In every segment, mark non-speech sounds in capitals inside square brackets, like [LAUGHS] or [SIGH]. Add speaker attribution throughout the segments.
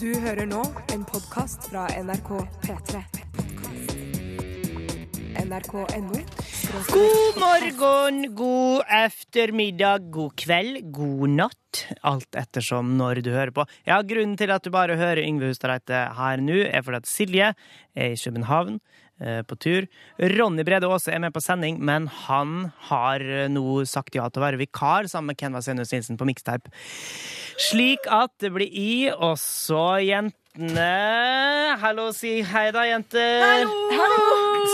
Speaker 1: Du hører nå en podkast fra NRK P3. NRK.no.
Speaker 2: God morgen, god eftermiddag, god kveld, god natt. Alt ettersom når du hører på. Ja, Grunnen til at du bare hører Yngve Hustadreite her nå, er fordi at Silje er i København eh, på tur. Ronny Brede Aase er med på sending, men han har eh, nå sagt ja til å være vikar sammen med Ken Vasenius Nilsen på Mixtape. Slik at det blir i, og så jentene Hallo, si hei da, jenter.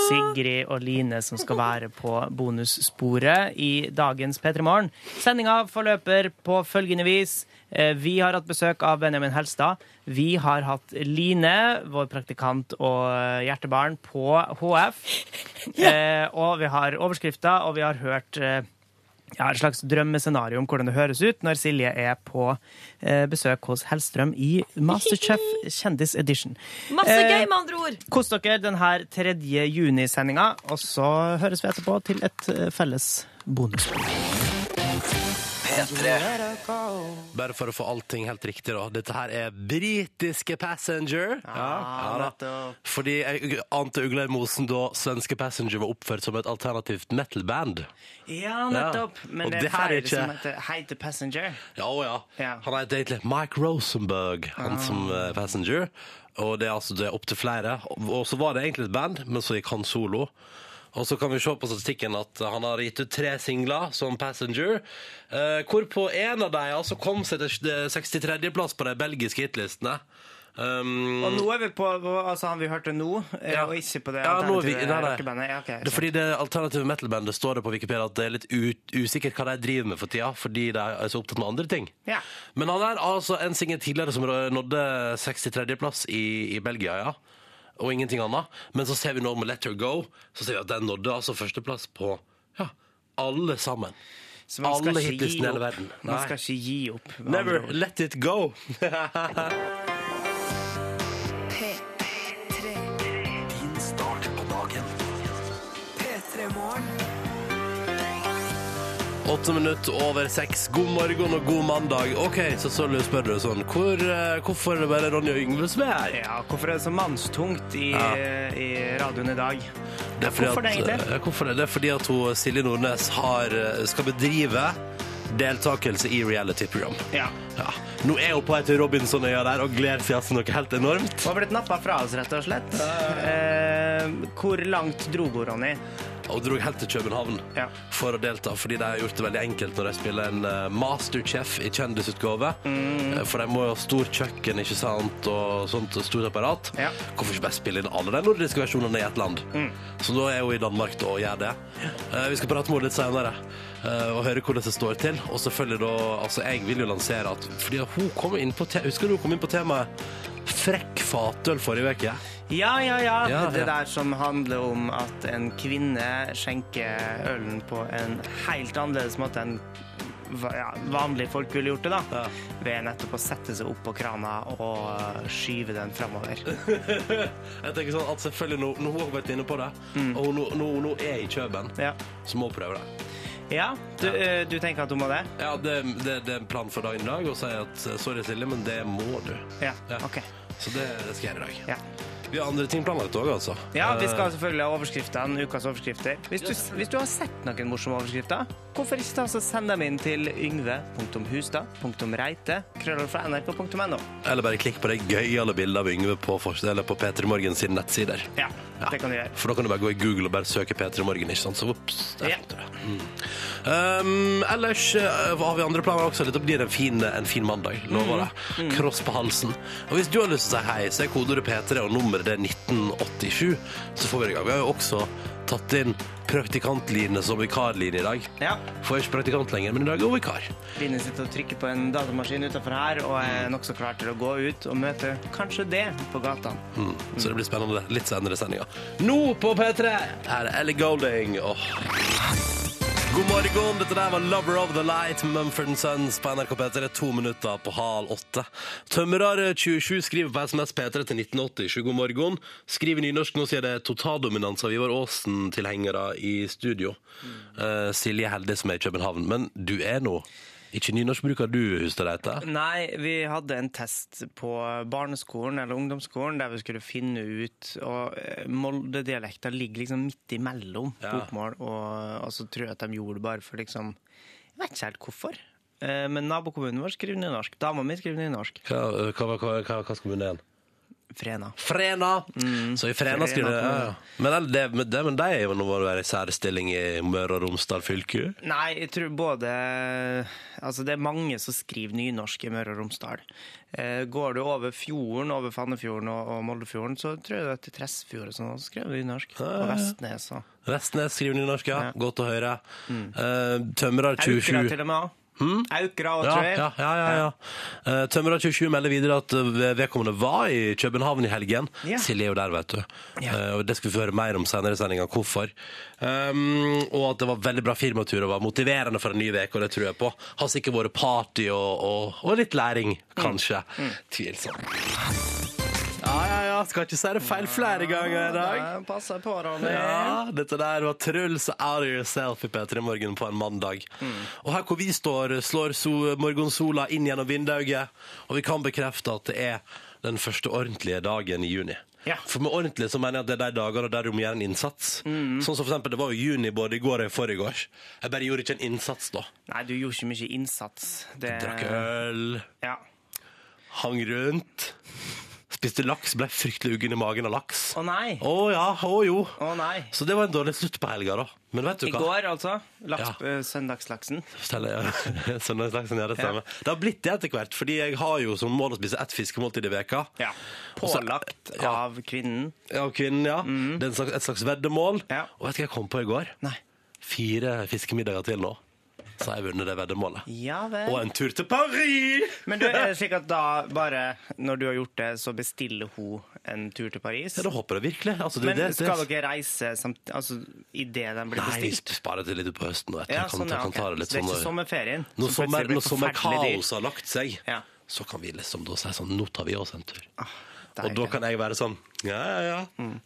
Speaker 2: Sigrid og Line som skal være på bonussporet i dagens P3 Morgen. Sendinga forløper på følgende vis. Eh, Vi har hatt besøk av Benjamin Helstad. Vi har hatt Line, vår praktikant og hjertebarn, på HF. Eh, Og vi har overskrifta, og vi har hørt eh, ja, et slags drømmescenario om hvordan det høres ut når Silje er på eh, besøk hos Hellstrøm i Masterchef Kjendis Edition.
Speaker 3: Masse
Speaker 2: Eh,
Speaker 3: gøy, med andre ord.
Speaker 2: Kos dere denne 3. juni-sendinga, og så høres vi etterpå til et eh, felles bonus.
Speaker 4: Bare for å få allting helt riktig, da. Dette her er britiske Passenger. Ja, da. Fordi jeg ante ugler i mosen da svenske Passenger var oppført som et alternativt metal-band.
Speaker 2: Ja,
Speaker 4: nettopp. Ja. Men Og det er det her er flere ikke- som eh,
Speaker 2: heter Hate the Passenger.
Speaker 4: Ja, å ja.
Speaker 2: Ja. Ah.
Speaker 4: Han heter egentlig Mike Rosenberg, han som eh, Passenger. Og det er altså det er opptil flere. Og og så var det egentlig et band, men så gikk han solo. Og så kan vi se på statistikken at han har gitt ut tre singler som Passenger. Eh, hvorpå en av dem altså kom seg til 63.-plass på de belgiske hitlistene. Um,
Speaker 2: Og nå er vi på på- altså han vi hørte nå, eh,
Speaker 4: Ja.
Speaker 2: og ikke på det
Speaker 4: Ja, nå er vi-
Speaker 2: alternative
Speaker 4: nei, nei.
Speaker 2: rockebandet. Ja, ok,
Speaker 4: Det er fordi det alternative metal-bandet står det på Wikipedia at det er litt ut, usikkert hva de driver med for tida, fordi de er så opptatt med andre ting.
Speaker 2: Ja.
Speaker 4: Men han er altså en singel tidligere som nådde 63.-plass i, i Belgia, ja. Og ingenting annet. Men så ser vi nå med Let Her Go, så ser vi at den nådde altså førsteplass på ja, alle sammen.
Speaker 2: Så man skal
Speaker 4: alle
Speaker 2: ikke gi
Speaker 4: hitlistene i hele
Speaker 2: opp.
Speaker 4: verden.
Speaker 2: Man
Speaker 4: Nei.
Speaker 2: skal ikke gi opp. med andre
Speaker 4: Never
Speaker 2: ord.
Speaker 4: let it go! Åtte minutter over seks. God morgen og god mandag. OK, så Solly spør du sånn Hvor, eh, Hvorfor er det bare Ronny og Yngve som er her?
Speaker 2: Ja, hvorfor er det så mannstungt i, eh,
Speaker 4: Ja.
Speaker 2: i radioen i dag?
Speaker 4: Det er fordi
Speaker 2: Hvorfor det
Speaker 4: at,
Speaker 2: egentlig?
Speaker 4: Ja, Hvorfor det? Det er fordi at hun, Silje Nordnes har, eh, skal bedrive deltakelse i reality-program.
Speaker 2: Ja.
Speaker 4: Ja. Nå er hun på vei til Robinsonøya der og gleder seg altså noe helt enormt.
Speaker 2: Hun har blitt nappa fra oss, rett og slett. Eh, hvor langt dro hun, Ronny?
Speaker 4: Og dro helt til København
Speaker 2: Ja.
Speaker 4: for å delta, fordi de har gjort det veldig enkelt når de spiller en eh, Masterchef i kjendisutgave.
Speaker 2: Mm.
Speaker 4: Eh, For de må jo ha stort kjøkken, ikke sant, og sånt og stort apparat.
Speaker 2: Ja. Mm.
Speaker 4: Hvorfor ikke bare spille inn alle de nordiske versjonene i ett land? Så da er hun i Danmark da og gjør det. Eh, Vi skal prate med henne litt senere eh, og høre hvordan det står til. Og selvfølgelig da Altså, jeg vil jo lansere at Fordi hun kom inn på te Husker du hun kom inn på temaet frekk fatøl forrige uke?
Speaker 2: Ja, ja, ja.
Speaker 4: Ja,
Speaker 2: det
Speaker 4: ja.
Speaker 2: der som handler om at en kvinne skjenker ølen på en helt annerledes måte enn va- ja, vanlige folk ville gjort det, da.
Speaker 4: Ja.
Speaker 2: Ved nettopp å sette seg opp på krana og øh, skyve den framover.
Speaker 4: Øh. Jeg tenker sånn at selvfølgelig Når når hun har vært inne på det, og hun nå, nå, nå er i Køben,
Speaker 2: Mm. Ja.
Speaker 4: så må hun prøve det.
Speaker 2: ja du, øh, du tenker at hun må det?
Speaker 4: Ja, det, det, det er en plan for dagen i dag å si at eh, sorry, Silje, men det må du.
Speaker 2: Ja.
Speaker 4: Ja.
Speaker 2: OK.
Speaker 4: Så det, det skal jeg gjøre i dag.
Speaker 2: Ja.
Speaker 4: Vi har andre ting planlagt òg, altså.
Speaker 2: Ja, Vi
Speaker 4: Eh,
Speaker 2: skal selvfølgelig ha overskriftene, ukas overskrifter. Hvis du, hvis du har sett noen morsomme overskrifter, hvorfor ikke ta så send dem inn til yngve.hustad.reite.nrk.no.
Speaker 4: Eh, Eller bare klikk på det gøyale bildet av Yngve på, fors- eller på P3 Morgen sine nettsider.
Speaker 2: Ja, det kan du gjøre.
Speaker 4: For da kan du bare gå i Google og bare søke P3 Morgen, ikke sant? Så ups, der
Speaker 2: Ja.
Speaker 4: fant du det. Mm. Um, ellers eh, har vi andre planer også. Dette blir en fin, en fin mandag,
Speaker 2: Mm.
Speaker 4: lover det. Kross på halsen. Og hvis du har lyst til å si hei, så er kodeordet P3 og nummeret det er 1987, så får vi det i gang. Vi har jo også tatt inn praktikantline som vikarline i dag.
Speaker 2: Ja.
Speaker 4: Får ikke praktikant lenger, men i dag er hun vikar.
Speaker 2: Line sitter og trykker på en datamaskin utenfor her og er nokså klar til å gå ut og møte kanskje det på gata.
Speaker 4: Mm. Så det blir spennende litt senere i sendinga. Nå på P3 her er Ellie Golding. Åh. God morgen. Dette der var 'Lover of the Light' med Mumford Sons på NRK P3. To minutter på halv åtte. Tømrer27 skriver på SMS P3 til 1987. God morgen. Skriver nynorsk nå, sier det totaldominans av Ivar Aasen-tilhengere i studio. Eh, Silje Helde som er i København. Men du er nå Ikke nynorsk bruker du, Hustadreite.
Speaker 2: Nei, vi hadde en test på barneskolen eller ungdomsskolen der vi skulle finne ut Og eh, Molde-dialekter ligger liksom midt imellom
Speaker 4: Ja.
Speaker 2: bokmål, og, og så tror jeg at de gjorde det bare for liksom Jeg vet ikke helt hvorfor. Eh, Men nabokommunen vår skriver nynorsk. Dama mi skriver nynorsk.
Speaker 4: Hva, hva, hva, hva, hva skal vi ned igjen?
Speaker 2: Frena.
Speaker 4: Frena! Så i Mm. Frena
Speaker 2: Frena
Speaker 4: skriver jeg ja,
Speaker 2: kommune.
Speaker 4: ja. Men, el- det, men, det, men de er jo nå må det være i særstilling i Møre og Romsdal fylke.
Speaker 2: Nei, jeg tror både Altså, det er mange som skriver nynorsk i Møre og Romsdal. Eh, går du over fjorden, over Fannefjorden og, og Moldefjorden, så tror jeg det er til Tresfjord og sånn, og så skriver du nynorsk. Og Vestnes og
Speaker 4: Vestnes skriver nynorsk, ja.
Speaker 2: Ja.
Speaker 4: Godt å høre. Eh, Tømrer
Speaker 2: Aukra
Speaker 4: 27
Speaker 2: til og med òg. Aukra
Speaker 4: Hm?
Speaker 2: og
Speaker 4: Ja,
Speaker 2: Trøy.
Speaker 4: ja, ja, ja, ja. Eh, Tømrer 27 melder videre at eh, vedkommende var i København i helgen.
Speaker 2: Ja.
Speaker 4: Silje er jo der, vet du.
Speaker 2: Ja.
Speaker 4: Eh, og Det skal vi få høre mer om senere i sendinga, hvorfor. Um, og at det var veldig bra firmatur og var motiverende for en ny uke, og det tror jeg på. Har sikkert vært party og, og, og litt læring, kanskje.
Speaker 2: Mm.
Speaker 4: Tvilsomt. Ja, ja, ja. Skal ikke si det feil flere ganger i dag.
Speaker 2: Ja, Passer på, Ronny. Eh.
Speaker 4: Ja, dette der var Truls Out of Yourself i P3 Morgen på en mandag.
Speaker 2: Mm.
Speaker 4: Og her hvor vi står, slår so morgensola inn gjennom vinduet, og vi kan bekrefte at det er den første ordentlige dagen i juni.
Speaker 2: Ja.
Speaker 4: For med ordentlig så mener jeg at det er de dagene der du må gjøre en innsats.
Speaker 2: Mm.
Speaker 4: Sånn som for eksempel, det var jo juni både i går og i forgårs. Jeg bare gjorde ikke en innsats da.
Speaker 2: Nei, du gjorde ikke mye innsats. Det,
Speaker 4: Drakk øh, øl,
Speaker 2: Ja.
Speaker 4: hang rundt, spiste laks, ble fryktelig uggen i magen av laks.
Speaker 2: Å nei.
Speaker 4: Å ja, å jo.
Speaker 2: Å nei.
Speaker 4: Så det var en dårlig slutt på helga da. Men vet du
Speaker 2: I
Speaker 4: hva?
Speaker 2: går, altså. Laks,
Speaker 4: Ja.
Speaker 2: eh, Søndagslaksen.
Speaker 4: Forteller, [LAUGHS] ja. Søndagslaksen, ja, det stemmer. Det har blitt det etter hvert, fordi jeg har jo som mål å spise ett fiskemåltid i veka.
Speaker 2: Ja.
Speaker 4: Og så-
Speaker 2: Pålagt
Speaker 4: ja,
Speaker 2: av kvinnen.
Speaker 4: av kvinnen, ja. Det er en slags, et slags veddemål.
Speaker 2: Ja.
Speaker 4: Og vet du hva jeg kom på i går?
Speaker 2: Nei.
Speaker 4: Fire fiskemiddager til nå. Så har jeg vunnet det veddemålet.
Speaker 2: Ja vel.
Speaker 4: Og en tur til Paris!
Speaker 2: Men du, eh, er det slik at da bare, når du har gjort det, så bestiller hun en tur til Paris?
Speaker 4: [LAUGHS] Ja, da håper jeg virkelig. Altså, det,
Speaker 2: Men
Speaker 4: det, det,
Speaker 2: skal dere reise samt, altså, idet den blir
Speaker 4: Nei, vi
Speaker 2: bestilt?
Speaker 4: sparer det litt på høsten. Vet. du.
Speaker 2: Ja,
Speaker 4: Jeg kan,
Speaker 2: sånn, ja,
Speaker 4: jeg kan
Speaker 2: ok.
Speaker 4: ta det litt
Speaker 2: Så det er
Speaker 4: sånn
Speaker 2: ikke sommerferien?
Speaker 4: Når
Speaker 2: som
Speaker 4: sommer,
Speaker 2: plutselig blir
Speaker 4: når
Speaker 2: forferdelig dyr.
Speaker 4: sommerkaoset har lagt seg,
Speaker 2: Ja.
Speaker 4: så kan vi liksom da si sånn Nå tar vi oss en tur.
Speaker 2: Ah,
Speaker 4: og
Speaker 2: deilig.
Speaker 4: da kan jeg være sånn Ja, ja, ja.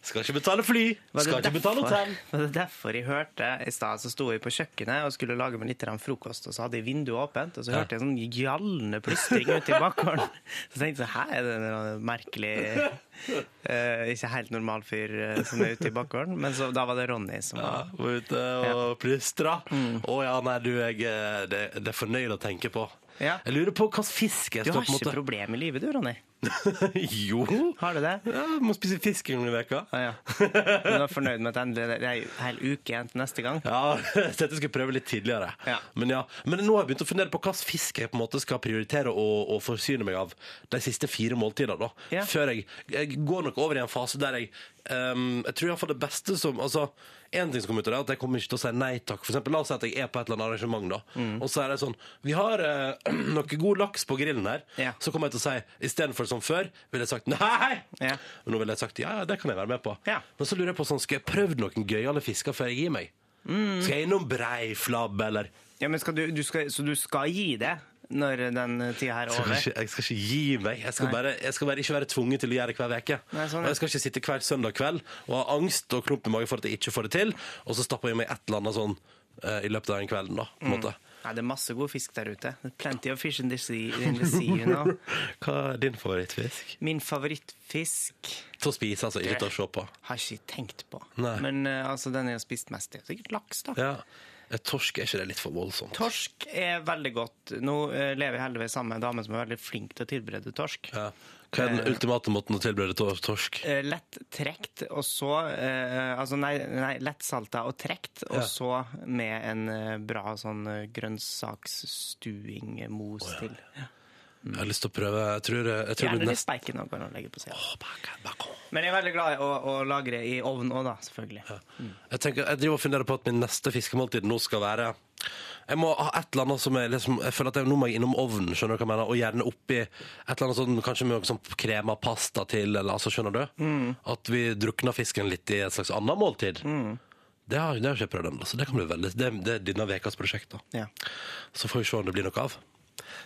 Speaker 4: Skal ikke betale fly.
Speaker 2: Var det
Speaker 4: Skal ikke betale
Speaker 2: derfor-
Speaker 4: hotell.
Speaker 2: Var det derfor jeg hørte i stad, så sto jeg på kjøkkenet og skulle lage meg litt grann frokost, og så hadde jeg vinduet åpent, og så hørte jeg sånn gjallende plystring ute i
Speaker 4: [LAUGHS]
Speaker 2: bakgården. Så tenkte jeg sånn, her er det en merkelig eh, Ikke helt normal fyr eh, som er ute i bakgården. Men så, da var det Ronny som
Speaker 4: Ja,
Speaker 2: var
Speaker 4: var ute og plystra. Å
Speaker 2: Mm.
Speaker 4: ja, nei, du, jeg eh, Det, det er fornøyd å tenke på.
Speaker 2: Ja.
Speaker 4: Jeg lurer på hvilken fisk jeg
Speaker 2: Du har
Speaker 4: står på
Speaker 2: ikke
Speaker 4: en måte
Speaker 2: problem i livet du, Ronny.
Speaker 4: [LAUGHS] Jo.
Speaker 2: Har
Speaker 4: [LAUGHS]
Speaker 2: du det?
Speaker 4: Ja, må spise fisk en gang i veka
Speaker 2: Ah, ja. Du er fornøyd med at endelig det er en hel uke igjen til neste gang?
Speaker 4: Ja, [LAUGHS] jeg tenkte jeg skulle prøve litt tidligere.
Speaker 2: Ja.
Speaker 4: Men, ja. Men nå har jeg begynt å fundere på hvilken fisk jeg på en måte skal prioritere å, å forsyne meg av de siste fire måltidene. da.
Speaker 2: Ja.
Speaker 4: Før jeg, jeg går nok over i en fase der jeg ehm, Jeg tror i hvert fall det beste som altså, En ting som kommer ut av det, er at jeg kommer ikke til å si nei takk. For eksempel, la oss si at jeg er på et eller annet arrangement, da.
Speaker 2: Mm.
Speaker 4: og så er det sånn Vi har eh, [CLEARS THROAT] noe god laks på grillen her.
Speaker 2: Ja.
Speaker 4: Så kommer jeg til å si istedenfor som før, ville jeg sagt nei!
Speaker 2: Ja.
Speaker 4: Men nå ville jeg sagt ja, ja, det kan jeg være med på.
Speaker 2: Ja.
Speaker 4: Men så lurer jeg på sånn, skal jeg prøve noen gøyale fisker før jeg gir meg?
Speaker 2: Mm.
Speaker 4: Skal jeg innom breiflabb, eller?
Speaker 2: Ja, men skal du, du skal, så du skal gi det når den tida her er
Speaker 4: Jeg skal,
Speaker 2: over?
Speaker 4: ikke, jeg skal ikke gi meg. Jeg skal,
Speaker 2: Nei.
Speaker 4: bare, jeg skal bare ikke være tvunget til å gjøre det hver uke.
Speaker 2: Nei, sånn, ja.
Speaker 4: Og jeg skal ikke sitte hver søndag kveld og ha angst og klump i magen for at jeg ikke får det til, og så stapper jeg i meg et eller annet sånn eh, i løpet av den kvelden, da. På
Speaker 2: Mm.
Speaker 4: en måte.
Speaker 2: Nei, det er masse god fisk der ute. Plenty of fish in the sea, in the sea
Speaker 4: [LAUGHS]
Speaker 2: you know.
Speaker 4: Hva er din favorittfisk?
Speaker 2: Min favorittfisk
Speaker 4: Til å spise, altså. Ikke til å se på.
Speaker 2: har jeg ikke tenkt på.
Speaker 4: Nei.
Speaker 2: Men eh, altså, den jeg har spist mest, det er sikkert laks, da.
Speaker 4: Ja. Et torsk, er ikke det litt for voldsomt?
Speaker 2: Torsk er veldig godt. Nå eh, lever jeg heldigvis sammen med en dame som er veldig flink til å tilberede torsk.
Speaker 4: Ja. Hva er den
Speaker 2: Eh.
Speaker 4: ultimate måten å tilberede tor- torsk?
Speaker 2: Eh, Lett trekt, og så eh, Altså, nei, nei lettsalta og trekt, og
Speaker 4: Ja.
Speaker 2: så med en eh, bra sånn eh, grønnsaksstuing, eh, mos til.
Speaker 4: Jeg har lyst til å prøve. Jeg tror, jeg tror
Speaker 2: Gjerne
Speaker 4: det
Speaker 2: litt
Speaker 4: neste
Speaker 2: bacon og legge på sida.
Speaker 4: Å, bacon, bacon.
Speaker 2: Men jeg er veldig glad i å, å lagre i ovn òg, da, selvfølgelig.
Speaker 4: Jeg, tenker, jeg driver og funderer på at min neste fiskemåltid nå skal være Jeg må ha et eller annet som er liksom, Jeg føler at jeg, nå må jeg innom ovnen, skjønner du hva jeg mener? Og gjerne oppi et eller annet sånn, kanskje med noe sånn krem av pasta til, eller altså, skjønner du? At vi drukner fisken litt i et slags annet måltid. Det har, det har ikke jeg prøvd ennå, så det kan bli veldig Det, det er denne ukas prosjekt, da.
Speaker 2: Ja.
Speaker 4: Så får vi se om det blir noe av.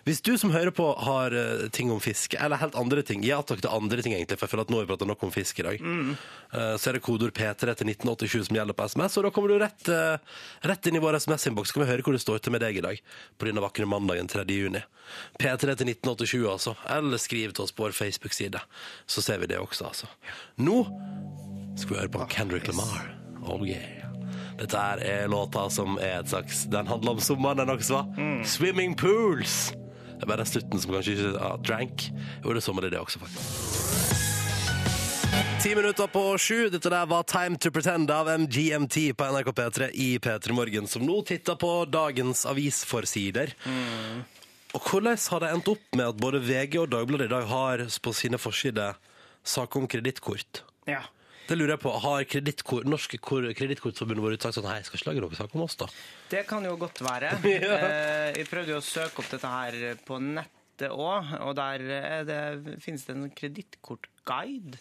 Speaker 4: Hvis du som hører på har eh, ting om fisk, eller helt andre ting Ja takk til andre ting, egentlig, for jeg føler at nå har vi prata nok om fisk i dag. Eh, så er det kodeord P3 til 1987 som gjelder på SMS, og da kommer du rett, eh, rett inn i vår SMS-innboks. Så kan vi høre hvor det står til med deg i dag på denne vakre mandagen 3. juni. P3 til 1987, altså. Eller skriv til oss på vår Facebook-side, så ser vi det også, altså. Nå skal vi høre på Kendrick Lamar. Oh yeah. Dette her er låta som er et slags Den handler om sommeren, den også. hva? Swimming pools! Det er bare den slutten som kanskje ikke ja, Drank. Jo, det er sommer, det er det også, faktisk. Ti minutter på sju. Dette der var Time to Pretend av MGMT på NRK P3 i P3 Morgen, som nå titter på dagens avisforsider. Og hvordan har det endt opp med at både VG og Dagbladet i dag har på sine forsider saker om kredittkort?
Speaker 2: Ja.
Speaker 4: Det lurer jeg på. Har kredittkort, Norske kor- Kredittkortforbundet vært sagt sånn Hei, skal ikke lage noen sak om oss, da?
Speaker 2: Det kan jo godt være.
Speaker 4: [LAUGHS] Ja.
Speaker 2: Eh, Jeg prøvde jo å søke opp dette her på nettet òg, og der er det, finnes det en kredittkortguide.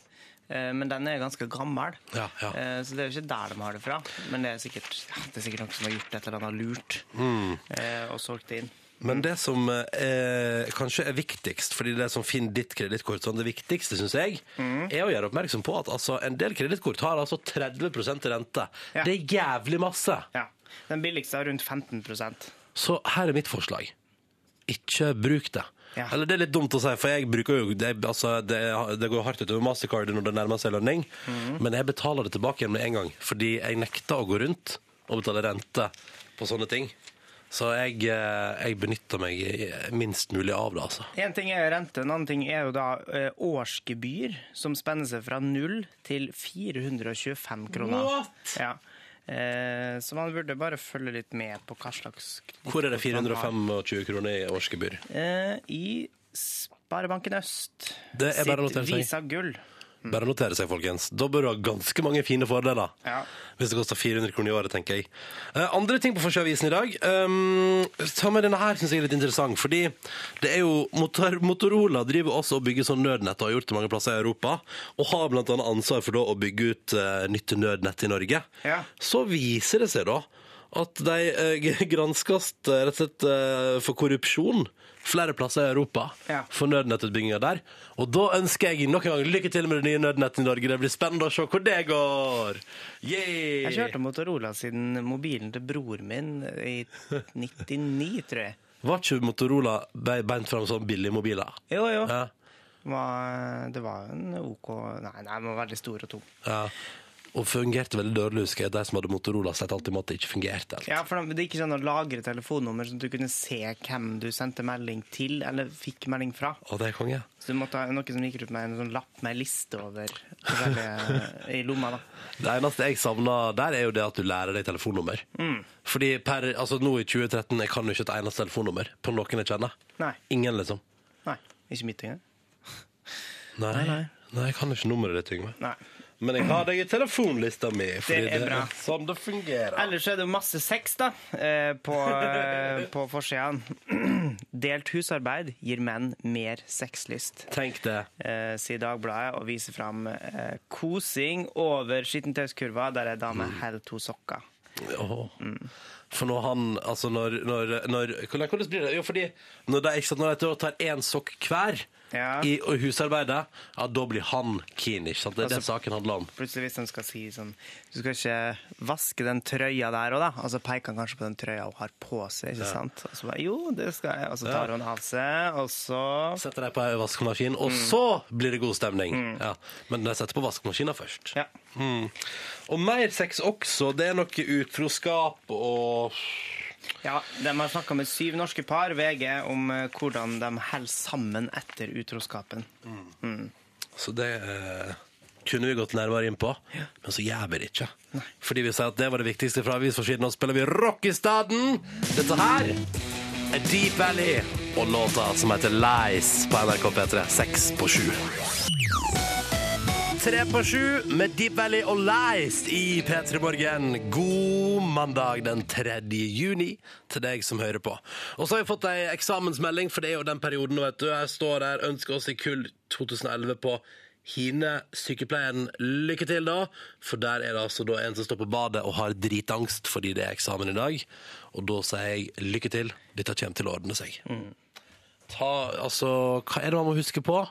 Speaker 2: Eh, Men den er ganske gammel,
Speaker 4: Ja, ja.
Speaker 2: Eh, så det er jo ikke der de har det fra. Men det er sikkert, ja, det er sikkert noen som har gjort et eller annet lurt
Speaker 4: Mm.
Speaker 2: eh, og solgt det inn.
Speaker 4: Men det som eh, kanskje er viktigst, fordi det som finner ditt kredittkort sånn, det viktigste, syns jeg, er å gjøre oppmerksom på at altså, en del kredittkort har altså 30 rente.
Speaker 2: Ja.
Speaker 4: Det er jævlig masse!
Speaker 2: Ja. Den billigste har rundt 15 Ja,
Speaker 4: Så her er mitt forslag. Ikke bruk det.
Speaker 2: Ja.
Speaker 4: Eller det er litt dumt å si, for jeg bruker jo det, altså, det, det går hardt utover Mastercard når det nærmer seg lønning,
Speaker 2: Mhm.
Speaker 4: men jeg betaler det tilbake igjen med en gang, fordi jeg nekter å gå rundt og betale rente på sånne ting. Så jeg, eh, jeg benytter meg i- minst mulig av det, altså.
Speaker 2: En ting er jo rente, en annen ting er jo da eh, årsgebyr, som spenner seg fra 0 til 425 kroner.
Speaker 4: What?
Speaker 2: Ja. Eh, så man burde bare følge litt med på hva slags kredittkort
Speaker 4: Hvor er det
Speaker 2: man har.
Speaker 4: 425 kroner i årsgebyr?
Speaker 2: Eh, I Sparebanken Øst
Speaker 4: Det er bare å notere
Speaker 2: sitt
Speaker 4: seg.
Speaker 2: Visa Gull.
Speaker 4: Bare notere seg, folkens. Da bør du ha ganske mange fine fordeler.
Speaker 2: Ja.
Speaker 4: Hvis det koster 400 kroner i året, tenker jeg. Eh, andre ting på Forsøavisen i dag. Um, ta med denne her, syns jeg er litt interessant. Fordi det er jo Motor Motorola driver også og bygger sånn nødnett, og har gjort det mange plasser i Europa. Og har blant annet ansvar for da å bygge ut eh, nytt nødnett i Norge.
Speaker 2: Ja.
Speaker 4: Så viser det seg da at de eh, g- [LAUGHS] granskes eh, rett og slett eh, for korrupsjon flere plasser i Europa
Speaker 2: Ja.
Speaker 4: for nødnettutbygginga der. Og da ønsker jeg nok en gang lykke til med det nye nødnettet i Norge. Det blir spennende å se hvor det går! Yeah!
Speaker 2: Jeg kjørte Motorola siden mobilen til broren min i 99, tror jeg.
Speaker 4: Var ikke Motorola be- beint fram som billige mobiler?
Speaker 2: Jo, jo.
Speaker 4: Ja.
Speaker 2: Var- Det var en OK Nei, nei, den var veldig stor og tung.
Speaker 4: Ja. Og fungerte veldig dårlig, husker jeg. De som hadde Motorola, slet alltid med at det ikke fungerte. helt.
Speaker 2: Ja, for det det gikk ikke an å lagre telefonnummer, så du kunne se hvem du sendte melding til, eller fikk melding fra.
Speaker 4: Å, det er konge.
Speaker 2: Så du måtte ha noen som gikk rundt med en sånn lapp med en liste over forskjellige i lomma, da.
Speaker 4: Det eneste jeg savner der, er jo det at du lærer deg telefonnummer.
Speaker 2: Mm.
Speaker 4: Fordi per, altså nå i 2013 jeg kan jo ikke et eneste telefonnummer på noen jeg kjenner.
Speaker 2: Nei.
Speaker 4: Ingen, liksom.
Speaker 2: Nei, ikke mitt engang.
Speaker 4: Nei, nei.
Speaker 2: nei.
Speaker 4: jeg kan ikke nummeret ditt, Yngve.
Speaker 2: Nei.
Speaker 4: Men jeg har deg i telefonlista mi. Fordi
Speaker 2: Det er bra.
Speaker 4: sånn det fungerer.
Speaker 2: Ellers er det jo masse sex, da, eh, på, eh, på forsiden. Delt husarbeid gir menn mer sexlyst,
Speaker 4: Tenk det.
Speaker 2: eh, sier Dagbladet og viser fram eh, kosing over skittentøyskurva, der ei dame holder to sokker.
Speaker 4: Åh.
Speaker 2: Mm.
Speaker 4: For når han Altså, når, når, når hvordan, hvordan blir det? Jo, fordi når de, ikke sant, når de tar én sokk hver
Speaker 2: Ja.
Speaker 4: i og husarbeidet, ja, da blir han keen, ikke sant? Det er det
Speaker 2: Altså-
Speaker 4: saken handler om.
Speaker 2: Plutselig hvis de skal si sånn Du skal ikke vaske den trøya der òg, da. Og så peker han kanskje på den trøya hun har på seg, ikke sant. Og så bare Jo, det skal jeg. Og så tar
Speaker 4: Ja.
Speaker 2: hun av seg, og så
Speaker 4: Setter deg på ei vaskemaskin, og så blir det god stemning. Ja. Men de setter på vaskemaskina først.
Speaker 2: Ja.
Speaker 4: Mm. Og mer sex også. Det er noe utroskap og
Speaker 2: ja de har snakka med syv norske par, VG, om eh, hvordan de holder sammen etter utroskapen.
Speaker 4: Så det eh, kunne vi gått nærmere inn på, men så gjør vi det ikke. Fordi vi sier at det var det viktigste fra avisforsiden, og så spiller vi rock i staden! Dette her er Deep Valley og låta som heter Lies på NRK P3 seks på sju. Tre på sju med Deep Valley og Lies i P3 Morgen. God mandag den 3. juni til deg som hører på. Og så har vi fått ei eksamensmelding, for det er jo den perioden nå, vet du. Jeg står der, ønsker oss i kull 2011 på Hine sykepleien lykke til, da. For der er det altså da en som står på badet og har dritangst fordi det er eksamen i dag. Og da sier jeg lykke til, dette kommer til å ordne seg. Ta, altså, hva er det man må huske på?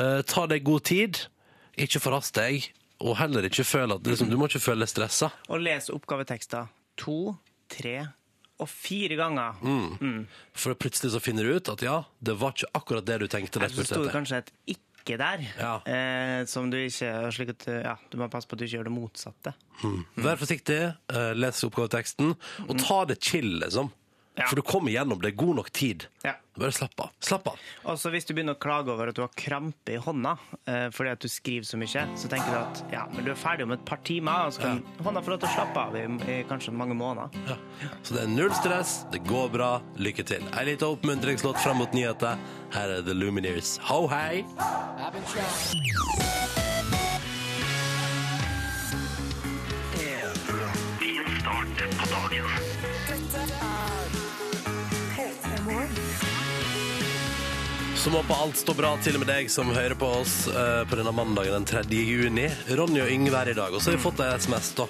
Speaker 4: Eh, ta deg god tid. Ikke forhast deg. Og heller ikke føle at liksom, Du må ikke føle deg stressa.
Speaker 2: Og les oppgavetekster to, tre og fire ganger.
Speaker 4: Mm,
Speaker 2: Altså,
Speaker 4: For plutselig så finner du ut at ja, det var ikke akkurat det du tenkte. Det
Speaker 2: Så sto det
Speaker 4: spurte etter.
Speaker 2: kanskje et ikke der,
Speaker 4: Ja.
Speaker 2: eh, som du ikke slik at, eh, ja, Du må passe på at du ikke gjør det motsatte.
Speaker 4: Mm. Vær forsiktig, eh, les oppgaveteksten, og ta det chill, liksom.
Speaker 2: Ja.
Speaker 4: For du kommer gjennom. Det er god nok tid.
Speaker 2: Ja.
Speaker 4: Bare slapp av. Slapp av.
Speaker 2: Og så hvis du begynner å klage over at du har krampe i hånda eh, fordi at du skriver så mye, så tenker du at ja, men du er ferdig om et par timer, og så kan hånda få lov til å slappe av i, i kanskje mange måneder.
Speaker 4: Ja. Så det er null stress, det går bra, lykke til. Ei lita oppmuntringslåt fram mot nyheter. Her er The Lumineers. Ho hei! Så må på alt stå bra til og med deg som hører på oss eh, på denne mandagen den 3. juni. Ronny og Yngve er i dag, og så har vi fått ei SMS, da.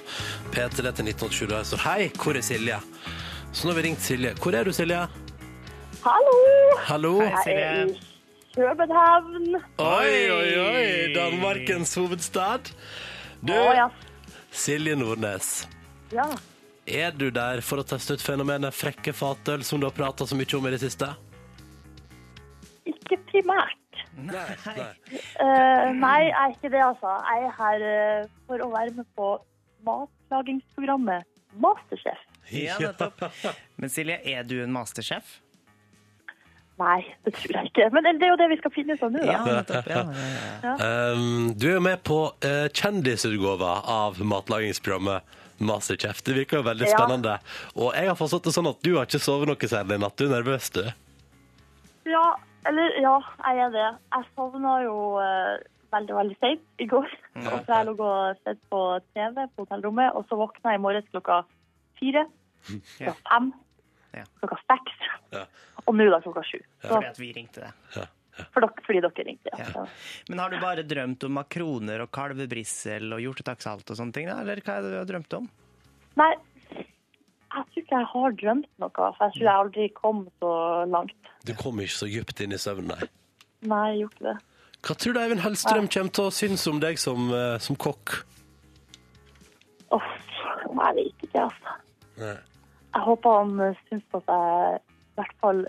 Speaker 4: P3 til 1987. Der står hei, hvor er Silje? Så nå har vi ringt Silje. Hvor er du, Silje?
Speaker 3: Hallo!
Speaker 4: Hallo?
Speaker 2: Hei,
Speaker 3: Jeg er i
Speaker 2: Silje.
Speaker 3: København.
Speaker 4: Oi, oi, oi! Danmarkens hovedstad. Du,
Speaker 3: Å, ja.
Speaker 4: Silje Nordnes.
Speaker 3: ja.
Speaker 4: Er du der for å teste ut fenomenet frekke fatøl, som du har prata så mye om i det siste?
Speaker 3: Ikke primært.
Speaker 4: Nei.
Speaker 3: Eh,
Speaker 2: Mm.
Speaker 3: nei, jeg er ikke det, altså. Jeg er her eh, for å være med på matlagingsprogrammet Masterchef.
Speaker 2: Ja, nettopp. Men Silje, er du en masterchef?
Speaker 3: Nei, det tror jeg ikke. Men det er jo det vi skal finne ut av nå, da.
Speaker 2: Ja, nettopp. Ja, ja, ja.
Speaker 4: Um, du er jo med på eh, kjendisutgåva av matlagingsprogrammet Masterchef. Det virker jo veldig
Speaker 3: Ja.
Speaker 4: spennende. Og jeg har forstått det sånn at du har ikke sovet noe særlig i natt. Du er nervøs, du.
Speaker 3: Ja, eller ja, jeg er det. Jeg sovna jo eh, veldig, veldig seint i går. Og så jeg lå og sett på TV på hotellrommet, og så våkna jeg i morges klokka fire,
Speaker 2: Ja.
Speaker 3: klokka fem,
Speaker 2: Ja.
Speaker 3: klokka seks,
Speaker 4: Ja.
Speaker 3: og nå da klokka sju.
Speaker 2: [LAUGHS]
Speaker 3: Så,
Speaker 2: Fordi at vi ringte deg.
Speaker 3: for dere, fordi dere ringte, ja. Så.
Speaker 2: Men har du bare drømt om makroner og kalvebrissel og hjortetakksalt og sånne ting, da? Eller hva er det du har drømt om?
Speaker 3: Nei, jeg tror ikke jeg har drømt noe, for jeg tror jeg aldri kom så langt.
Speaker 4: Du kom ikke så dypt inn i søvnen, nei.
Speaker 3: Nei, jeg gjorde ikke det.
Speaker 4: Hva tror du Eivind Hellstrøm kommer til å synes om deg som, eh, som kokk?
Speaker 3: Uff, jeg vet ikke, altså.
Speaker 4: Nei.
Speaker 3: Jeg håper han eh, syns at jeg i hvert fall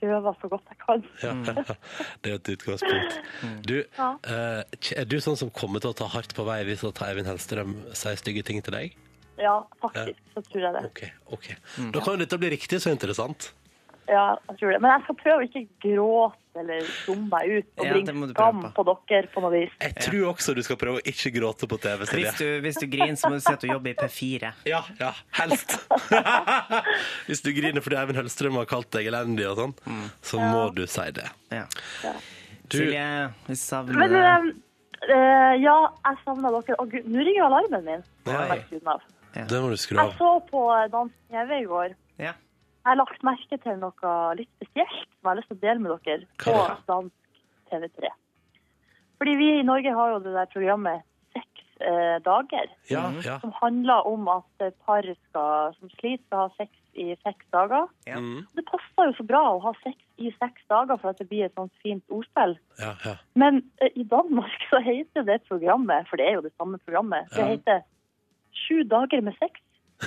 Speaker 3: prøver så godt jeg kan.
Speaker 4: Ja. [LAUGHS] Det er et utgangspunkt. Du,
Speaker 3: Mm. Ja.
Speaker 4: eh, er du sånn som kommer til å ta hardt på vei hvis at Eivind Hellstrøm sier stygge ting til deg?
Speaker 3: Ja, faktisk så tror jeg det.
Speaker 4: Ok, ok.
Speaker 3: Mm.
Speaker 4: Da kan jo dette bli riktig så interessant.
Speaker 3: Ja, jeg tror det. Men jeg skal prøve å ikke gråte eller dumme meg ut og
Speaker 2: Ja, det må
Speaker 3: bringe
Speaker 2: du
Speaker 3: skam
Speaker 2: prøve
Speaker 3: på dere på noe vis.
Speaker 4: Jeg tror også du skal prøve å ikke gråte på TV, Silje.
Speaker 2: Hvis du, hvis du griner, så må du si at du jobber i P4.
Speaker 4: Ja, ja, helst. [LAUGHS] Hvis du griner fordi Eivind Hellstrøm har kalt deg elendig og sånn, så må du si det.
Speaker 2: Ja.
Speaker 4: Du,
Speaker 2: Mm. Silje, vi savner
Speaker 3: Men
Speaker 2: deg.
Speaker 3: eh, eh, ja, jeg savna dere. Å gud, nå ringer alarmen min.
Speaker 4: Nei.
Speaker 3: Helt siden av.
Speaker 4: det må du skru
Speaker 3: Jeg
Speaker 4: av.
Speaker 3: så på eh, Dans TV i går.
Speaker 4: [LAUGHS]
Speaker 2: Ja.
Speaker 3: Jeg har lagt merke til noe litt spesielt som jeg har lyst til å dele med dere på
Speaker 4: Hva da?
Speaker 3: dansk TV3. Fordi vi i Norge har jo det der programmet Seks eh, dager,
Speaker 4: Ja, ja.
Speaker 2: Mm.
Speaker 3: som handler om at par skal, som sliter, skal ha sex i seks dager.
Speaker 2: Ja.
Speaker 4: Mm.
Speaker 3: Det passer jo så bra å ha sex i seks dager for at det blir et sånt fint ordspill.
Speaker 4: ja, ja.
Speaker 3: Men eh, i Danmark så heter det programmet, for det er jo det samme programmet, det
Speaker 4: Ja.
Speaker 3: heter Sju dager med sex.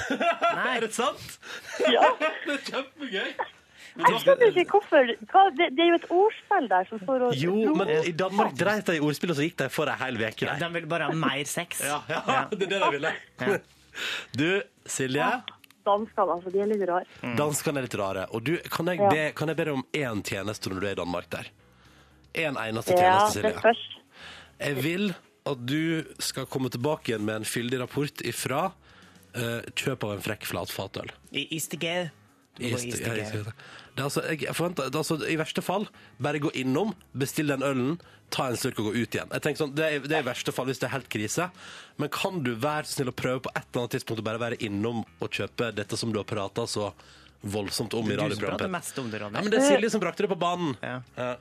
Speaker 4: Er det sant?
Speaker 3: Ja.
Speaker 4: Det er kjempegøy.
Speaker 3: Jeg skjønner ikke hvorfor. Hva, det, det er jo et ordspill der som står og
Speaker 4: Jo, men i Danmark dreit de i ordspill, og så gikk de for ei hel uke der.
Speaker 2: De vil bare ha mer sex.
Speaker 4: Ja, ja, det er det de ville.
Speaker 2: Ja.
Speaker 4: Du, Silje,
Speaker 3: Danskene, altså. De er litt rare.
Speaker 2: Mm.
Speaker 4: danskene er litt rare. Og du, kan jeg,
Speaker 3: Ja.
Speaker 4: be, kan jeg be deg om én tjeneste når du er i Danmark der? En eneste
Speaker 3: Ja,
Speaker 4: tjeneste,
Speaker 3: det
Speaker 4: Silje.
Speaker 3: spørs.
Speaker 4: Jeg vil at du skal komme tilbake igjen med en fyldig rapport ifra eh, kjøp av en frekk flat fatøl.
Speaker 2: I Istegau. Du må gå i
Speaker 4: Ist- ja,
Speaker 2: Istegau.
Speaker 4: ist- Det er altså, jeg forventer, det er altså, I verste fall, bare gå innom, bestill den ølen, ta en slurk og gå ut igjen. Jeg tenker sånn, det er, det er i verste fall hvis det er helt krise, men kan du være så snill å prøve på et eller annet tidspunkt å bare være innom og kjøpe dette som du har prata så voldsomt om i
Speaker 2: Du som prater
Speaker 4: radioprogrammet?
Speaker 2: mest om det,
Speaker 4: Ja,
Speaker 2: Ronny.
Speaker 4: men det er Silje som brakte det på banen.
Speaker 2: Ja.
Speaker 4: Ja.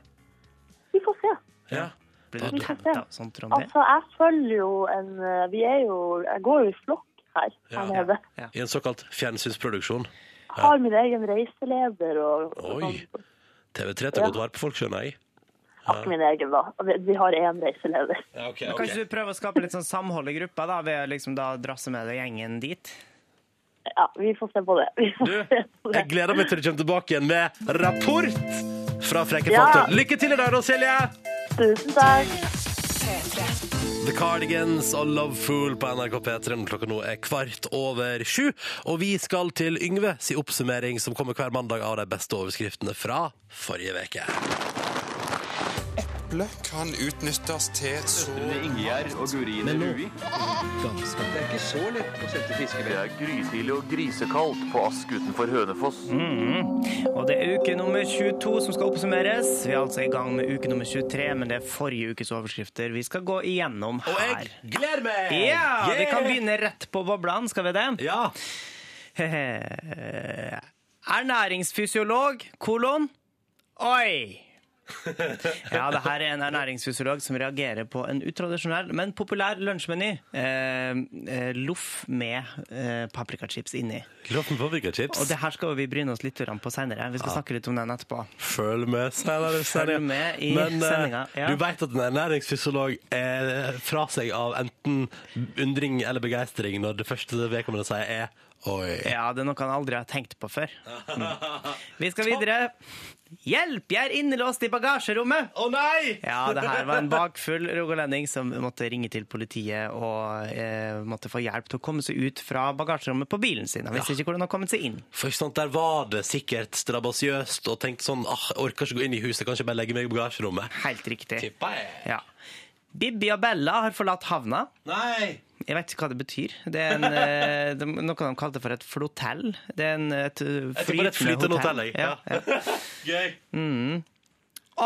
Speaker 3: Vi får se.
Speaker 4: Ja.
Speaker 2: Blir du
Speaker 3: Vi får
Speaker 2: tatt
Speaker 3: se.
Speaker 2: av sånt, Ronny?
Speaker 3: Altså, jeg følger jo en eh, Vi er jo Jeg går jo i flokk her.
Speaker 4: Ja.
Speaker 3: her nede.
Speaker 2: Ja.
Speaker 4: I en såkalt fjernsynsproduksjon.
Speaker 3: Har min egen reiseleder og og
Speaker 4: Oi.
Speaker 3: sånn.
Speaker 4: TV3 tar godt vare på folk, skjønner jeg.
Speaker 3: Akkurat min egen, da. Og Vi, vi har én reiseleder.
Speaker 4: Ja, ok,
Speaker 2: Men
Speaker 4: ok.
Speaker 2: Kanskje du prøver å skape litt sånn samhold i gruppa da, ved å liksom da drasse med deg gjengen dit?
Speaker 3: Ja, vi får se på det. Vi får se
Speaker 4: Du,
Speaker 3: på det.
Speaker 4: jeg gleder meg til du kommer tilbake igjen med rapport fra Frekke
Speaker 3: Ja.
Speaker 4: Faktor. Lykke til i dag, da, Silje!
Speaker 3: Tusen takk.
Speaker 4: The Cardigans og Love Fool på NRK P3 når klokka nå er kvart over sju. Og vi skal til Yngve si oppsummering som kommer hver mandag av de beste overskriftene fra forrige veke.
Speaker 5: eple kan utnyttes til så
Speaker 6: Ingjerd og Gurine Rui. Det er ikke så lett å sette fiskevær. Det er grytidlig og grisekaldt på Ask utenfor Hønefoss.
Speaker 2: Og det er uke nummer 22 som skal oppsummeres. Vi er altså i gang med uke nummer 23, men det er forrige ukes overskrifter vi skal gå igjennom
Speaker 4: Og
Speaker 2: her.
Speaker 4: jeg gleder meg!
Speaker 2: Ja, vi
Speaker 4: Yeah!
Speaker 2: kan begynne rett på boblene, skal vi det?
Speaker 4: Ja.
Speaker 2: [LAUGHS] Hehe. Ernæringsfysiolog, kolon, oi! Ja, det her er en ernæringsfysiolog som reagerer på en utradisjonell, men populær lunsjmeny. Eh, eh, loff med eh, paprikachips inni.
Speaker 4: Kroppen på burgerchips.
Speaker 2: Og det her skal vi bryne oss litt på senere. Vi skal snakke litt om den etterpå.
Speaker 4: Følg med senere. senere.
Speaker 2: med i
Speaker 4: Men, eh,
Speaker 2: sendinga, ja.
Speaker 4: Du vet at en ernæringsfysiolog er fra seg av enten undring eller begeistring når det første vedkommende sier er Oi.
Speaker 2: Ja, det er noe han aldri har tenkt på
Speaker 4: [LAUGHS]
Speaker 2: før. Mm. Vi skal videre. Hjelp, jeg er innelåst i bagasjerommet!
Speaker 4: Å nei!
Speaker 2: Ja, det her var en bakfull rogalending som måtte ringe til politiet og eh, måtte få hjelp til å komme seg ut fra bagasjerommet på bilen sin. Han visste ikke hvordan han kom seg inn.
Speaker 4: For ikke sant, Der var det sikkert strabasiøst og tenkte sånn ah, Jeg orker ikke gå inn i huset, kanskje bare legge meg i bagasjerommet.
Speaker 2: Helt riktig.
Speaker 4: Tippa jeg.
Speaker 2: Ja. Bibi og Bella har forlatt havna.
Speaker 4: Nei!
Speaker 2: Jeg vet ikke hva det betyr. Det er en, eh, det, er noe de kalte for et flotell. Det er en, et eh,
Speaker 4: Jeg tipper det er et flytende hotell, jeg.
Speaker 2: Ja, ja.
Speaker 4: [LAUGHS] Gøy.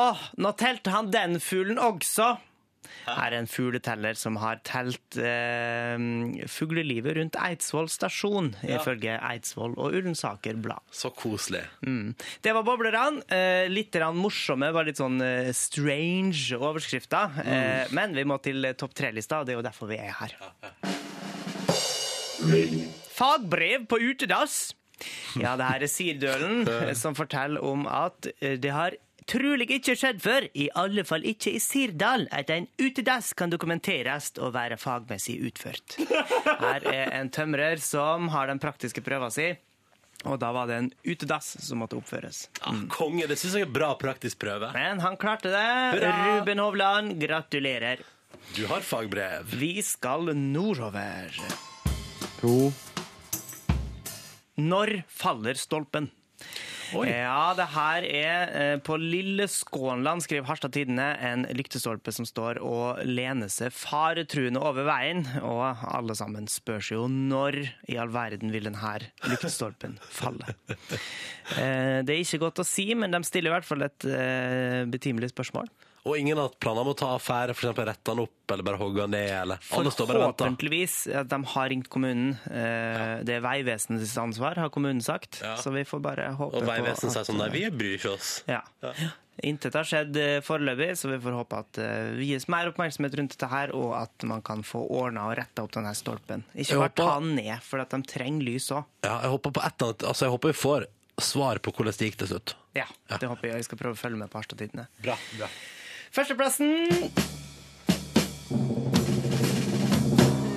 Speaker 2: Åh, nå telte han den fuglen også. Her er en fugleteller som har telt eh, fuglelivet rundt Eidsvoll stasjon, ifølge Eidsvoll og Ullensaker Blad.
Speaker 4: Så koselig.
Speaker 2: Mm. Det var boblerne. Eh, litt grann morsomme, bare litt sånn eh, strange overskrifter. Eh, men vi må til eh, topp tre-lista, og det er jo derfor vi er her. Fagbrev på utedass. Ja, det her er Sirdølen eh, som forteller om at eh, det har trolig ikke skjedd før, i alle fall ikke i Sirdal, at en utedass kan dokumenteres og være fagmessig utført. Her er en tømrer som har den praktiske prøva si. Og da var det en utedass som måtte oppføres.
Speaker 4: Ah, konge, det syns jeg er bra praktisk prøve.
Speaker 2: Men han klarte det.
Speaker 4: Hurra!
Speaker 2: Ruben Hovland, gratulerer.
Speaker 4: Du har fagbrev.
Speaker 2: Vi skal nordover. To. Når faller stolpen? Ja, det her er eh, på Lille Skånland, skriver Harstad Tidende, en lyktestolpe som står og lener seg faretruende over veien. Og alle sammen spør seg jo når i all verden vil denne lyktestolpen falle? Eh, Det er ikke godt å si, men de stiller i hvert fall et eh, betimelig spørsmål.
Speaker 4: Og ingen har hatt planer om å ta affære, f.eks. rette den opp eller bare hogge den ned. Eller. Alle står bare og venter.
Speaker 2: Forhåpentligvis at de har ringt kommunen. Eh, Det er Vegvesenets ansvar, har kommunen sagt.
Speaker 4: Ja.
Speaker 2: Så vi får bare håpe
Speaker 4: Og Vegvesenet
Speaker 2: på
Speaker 4: sier
Speaker 2: at- eh,
Speaker 4: sånn Nei, vi bryr ikke oss.
Speaker 2: Ja. Intet har skjedd eh, foreløpig, så vi får håpe at eh, vi gis mer oppmerksomhet rundt dette her, og at man kan få ordna og retta opp denne stolpen. Ikke
Speaker 4: Jeg
Speaker 2: bare ta
Speaker 4: håper-
Speaker 2: den ned, for at de trenger lys òg.
Speaker 4: Ja, jeg håper på et eller annet Altså, jeg håper vi får svar på hvordan det gikk til slutt.
Speaker 2: Ja, det håper jeg. Jeg skal prøve å følge med på Harstad-tidene.
Speaker 4: Bra, bra.
Speaker 2: Førsteplassen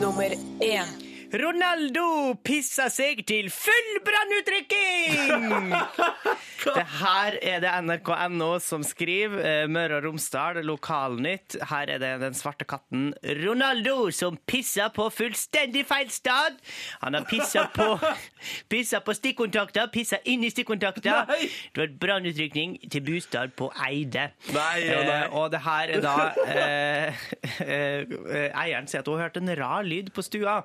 Speaker 1: Nummer én.
Speaker 2: Ronaldo pissa seg til full brannutrykking! det her er det nrk.no som skriver. eh, Møre og Romsdal, lokalnytt. Her er det den svarte katten Ronaldo som pissa på fullstendig feil sted. Han har pissa på, pissa på stikkontakter, pissa inn i stikkontakter. Det var brannutrykning til bostad på Eide.
Speaker 4: Nei, å nei.
Speaker 2: Eh, og det her er da eh, eh, Eieren sier at hun har hørt en rar lyd på stua.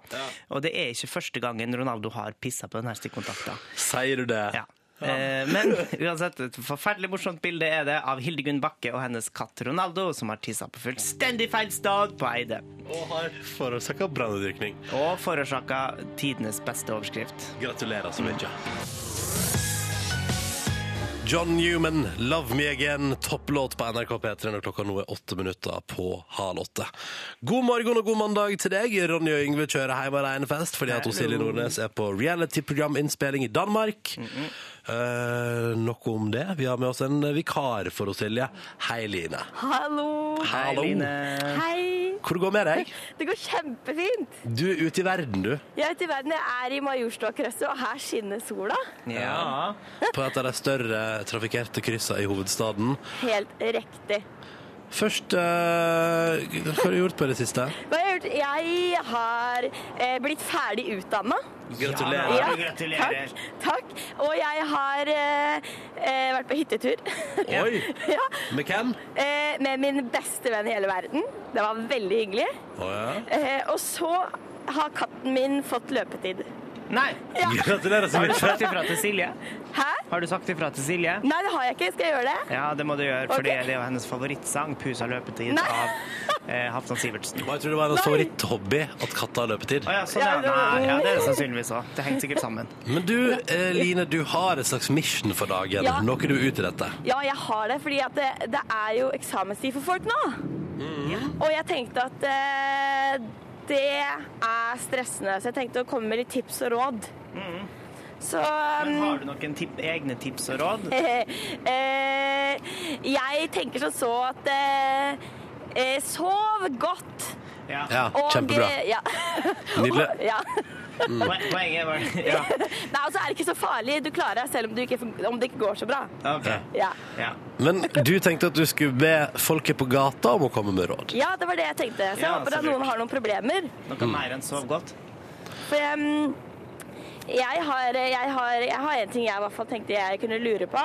Speaker 2: Og det er ikke første gangen Ronaldo har pissa på denne stikkontakta.
Speaker 4: Sier du det?
Speaker 2: Ja. Eh, Men uansett, et forferdelig morsomt bilde er det av Hildegunn Bakke og hennes katt Ronaldo, som har tissa på fullstendig feil sted på Eide.
Speaker 4: Og har forårsaka brannutrykning.
Speaker 2: Og forårsaka tidenes beste overskrift.
Speaker 4: Gratulerer så mye. John Newman, 'Love Me Again', topplåt på NRK P3 når klokka nå er åtte minutter på halv åtte. God morgen og god mandag til deg. Ronny og Yngve kjører hjem av Reinfest fordi at hun Silje Nordnes er på reality-programinnspilling i Danmark. Eh, nok om det. Vi har med oss en vikar for hun Silje. Hei, Line.
Speaker 7: Hallo!
Speaker 4: Hallo.
Speaker 7: Hei!
Speaker 4: Hvor går det med deg?
Speaker 7: Det går kjempefint!
Speaker 4: Du er ute i verden, du.
Speaker 7: Jeg er ute i verden, jeg er i Majorstuakrøsset, og her skinner sola.
Speaker 2: Ja.
Speaker 4: På et av de større trafikkerte kryssene i hovedstaden.
Speaker 7: Helt riktig.
Speaker 4: Først eh, Hva har du gjort på det siste?
Speaker 7: Hva har jeg gjort? Jeg har eh, blitt ferdig utdanna.
Speaker 4: Gratulerer.
Speaker 2: Ja, gratulerer.
Speaker 7: Takk, takk. Og jeg har eh, eh, vært på hyttetur.
Speaker 4: Oi!
Speaker 7: [LAUGHS] ja.
Speaker 4: Med hvem?
Speaker 7: eh, med min beste venn i hele verden. Det var veldig hyggelig.
Speaker 4: Å ja.
Speaker 7: Eh, og så har katten min fått løpetid.
Speaker 2: Nei.
Speaker 7: Ja.
Speaker 4: [LAUGHS] Gratulerer så
Speaker 2: Har du
Speaker 4: mye.
Speaker 2: sagt ifra til Silje?
Speaker 7: Hæ?
Speaker 2: Har du sagt ifra til Silje?
Speaker 7: Nei, det har jeg ikke. Skal jeg gjøre det?
Speaker 2: Ja, det må du gjøre, for
Speaker 7: Ok.
Speaker 2: det er jo hennes favorittsang, 'Pusa løpetid',
Speaker 7: Nei.
Speaker 2: av eh, Halvdan Sivertsen.
Speaker 4: Og Jeg tror det var hennes
Speaker 7: Nei.
Speaker 4: favoritthobby at katter har løpetid.
Speaker 2: Å ja, sånn
Speaker 7: Ja,
Speaker 2: er det.
Speaker 7: det-
Speaker 2: Nei, ja, det er det sannsynligvis òg. Det henger sikkert sammen.
Speaker 4: Men du, eh, Line, du har et slags mission for dagen.
Speaker 7: Ja.
Speaker 4: Noe du utretter.
Speaker 7: Ja, jeg har det, fordi at det, det er jo eksamenstid for folk nå. Og jeg tenkte at eh, det er stressende, så jeg tenkte å komme med litt tips og råd.
Speaker 3: Mm.
Speaker 7: Så um,
Speaker 2: Men har du noen tip egne tips og råd?
Speaker 7: [LAUGHS] eh, Jeg tenker som så at eh, eh, Sov godt.
Speaker 2: Ja.
Speaker 4: Ja,
Speaker 7: og,
Speaker 4: kjempebra.
Speaker 7: eh, Ja. [LAUGHS]
Speaker 4: Nydelig.
Speaker 7: ja.
Speaker 2: Poen- Poenget var [LAUGHS] Ja.
Speaker 7: Nei, altså er det ikke så farlig. Du klarer deg selv om, du ikke, om det ikke går så bra.
Speaker 2: OK.
Speaker 7: Ja.
Speaker 2: Ja.
Speaker 4: Men du tenkte at du skulle be folket på gata om å komme med råd.
Speaker 7: ja, det var det jeg tenkte. Så jeg
Speaker 2: Ja,
Speaker 7: håper
Speaker 2: så
Speaker 7: at noen
Speaker 2: lurt.
Speaker 7: har noen problemer.
Speaker 4: Mm.
Speaker 2: Noe mer enn sov godt?
Speaker 7: For em, jeg har, jeg, har, jeg har en ting jeg i hvert fall tenkte jeg kunne lure på.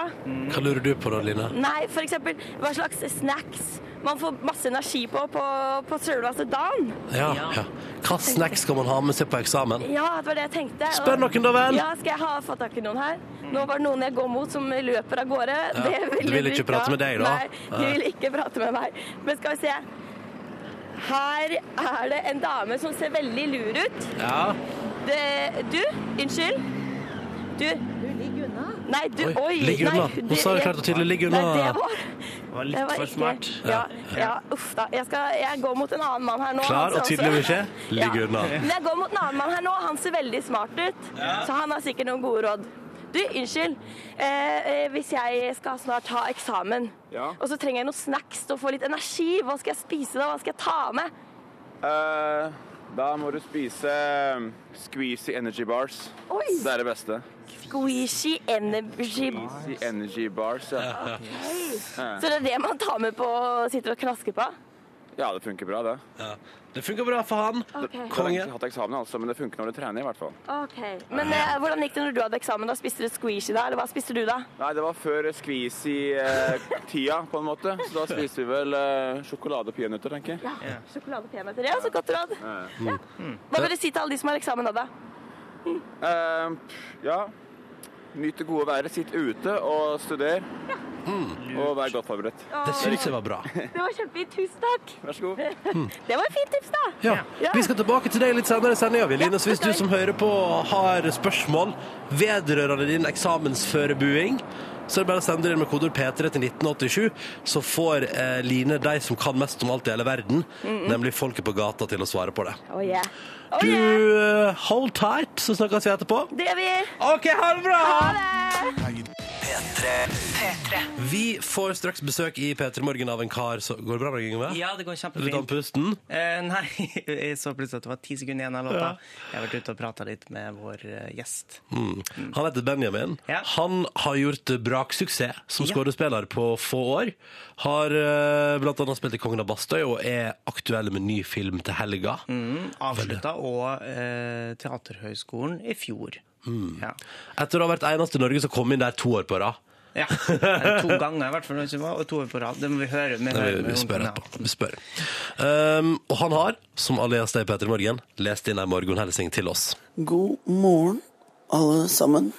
Speaker 4: Hva lurer du på da, Line?
Speaker 7: Nei, for eksempel hva slags snacks man får masse energi på på, på selveste dagen.
Speaker 4: Ja, ja. Hva snacks skal man ha med seg på eksamen?
Speaker 7: Ja, det var det jeg tenkte. Og-
Speaker 4: Spør noen da vel!
Speaker 7: Ja, skal jeg ha fått tak i noen her? Nå var det noen jeg går mot som løper av gårde. Det
Speaker 4: de
Speaker 7: de
Speaker 4: vil ikke prate
Speaker 7: ha.
Speaker 4: med deg, da?
Speaker 7: Nei, de vil ikke prate med meg. Men skal vi se. Her er det en dame som ser veldig lur ut.
Speaker 4: Ja.
Speaker 7: Det, du, unnskyld. Du. Du, ligg unna. Nei, du,
Speaker 4: Oi,
Speaker 7: oi.
Speaker 4: ligg
Speaker 7: nei,
Speaker 4: unna. Hun sa det klart og tydelig, ligg unna.
Speaker 7: Nei, det var,
Speaker 2: Det var
Speaker 7: det
Speaker 2: litt
Speaker 7: var
Speaker 2: for
Speaker 7: ikke-
Speaker 2: smart.
Speaker 7: Ja, ja, uff da. Jeg, skal, jeg går mot en annen mann her nå.
Speaker 4: Klar
Speaker 7: Han
Speaker 4: og
Speaker 7: ser
Speaker 4: tydelig
Speaker 7: også-
Speaker 4: beskjed? Ligg
Speaker 7: Ja.
Speaker 4: unna.
Speaker 7: Men jeg går mot en annen mann her nå. Han ser veldig smart ut. Så han har sikkert noen gode råd. Du, unnskyld. Eh, eh, hvis jeg skal snart ha eksamen,
Speaker 6: Ja.
Speaker 7: og så trenger jeg noen snacks til å få litt energi, hva skal jeg spise da? Hva skal jeg ta med?
Speaker 6: Eh, da må du spise eh, Squeezy Energy Bars.
Speaker 7: Oi.
Speaker 6: Det er det beste.
Speaker 7: Squishy energy
Speaker 6: Squeezy Energy Bars, ja.
Speaker 7: Så det er det man tar med på og sitter og knasker på?
Speaker 6: Ja, det funker bra, det.
Speaker 4: Det funker bra for han.
Speaker 6: Jeg har egentlig ikke hatt eksamen, altså, men det funker når du trener, i hvert fall.
Speaker 7: Ok. Men eh, hvordan gikk det når du hadde eksamen? da? Spiste du squishy da, eller hva spiste du da?
Speaker 6: Nei, det var før Squeezy-tida, på en måte. Så da spiste vi vel eh, sjokolade og peanøtter, tenker jeg.
Speaker 7: Sjokolade og peanøtter. Ja, så godt råd. Ja. Hva bør du si til alle de som har eksamen nå, da?
Speaker 6: Eh, ja. Nyt det gode været, sitt ute og studer.
Speaker 8: Hmm.
Speaker 6: Og vær godt forberedt.
Speaker 4: Det syns jeg var bra.
Speaker 7: Det var kjempefint. Tusen takk.
Speaker 6: Vær så god.
Speaker 7: Det var et fint tips, da.
Speaker 4: Ja.
Speaker 7: Ja.
Speaker 4: Vi skal tilbake til deg litt senere i sendinga, vi, Line. Så hvis
Speaker 7: ok.
Speaker 4: du som hører på har spørsmål vedrørende din eksamensførebuing, så er det bare å sende det inn med kodeord P3 til 1987, så får eh, Line de som kan mest om alt i hele verden, nemlig folket på gata, til å svare på det.
Speaker 7: Oh yeah. Oh
Speaker 4: Du,
Speaker 7: yeah.
Speaker 4: eh, hold tight, så snakkes vi etterpå.
Speaker 7: Det gjør vi.
Speaker 4: OK, ha det bra!
Speaker 7: Ha det.
Speaker 4: Vi får straks besøk i P3 Morgen av en kar som Går det bra med deg, Yngve?
Speaker 2: Ja, det går
Speaker 4: Litt
Speaker 2: kjempefint.
Speaker 4: andpusten?
Speaker 2: Eh, nei, [LAUGHS] jeg så plutselig at det var ti sekunder igjen av låta. Jeg har vært ute og prata litt med vår eh, gjest.
Speaker 4: Han heter Benjamin.
Speaker 2: Ja.
Speaker 4: Han har gjort braksuksess som
Speaker 2: Ja.
Speaker 4: skuespiller på få år. Har eh, blant annet spilt i Kongen av Bastøy og er aktuell med ny film til helga.
Speaker 2: Mm.
Speaker 4: Mm,
Speaker 2: Avslutta og eh, Teaterhøgskolen i fjor.
Speaker 4: Mm.
Speaker 2: Ja.
Speaker 4: Etter å ha vært eneste i Norge som kom inn der to år på rad. [LAUGHS]
Speaker 2: ja. Eller To ganger, i hvert fall. ikke hva, Og to år på rad. Det må vi høre. Vi,
Speaker 4: Det
Speaker 2: hører
Speaker 4: vil vi
Speaker 2: med
Speaker 4: spørre
Speaker 2: ungene.
Speaker 4: etterpå. Vi spør. Um, og han har, som alle gjester i P3 Morgen, lest inn ei morgenhelsing til oss.
Speaker 9: God morgen, alle sammen.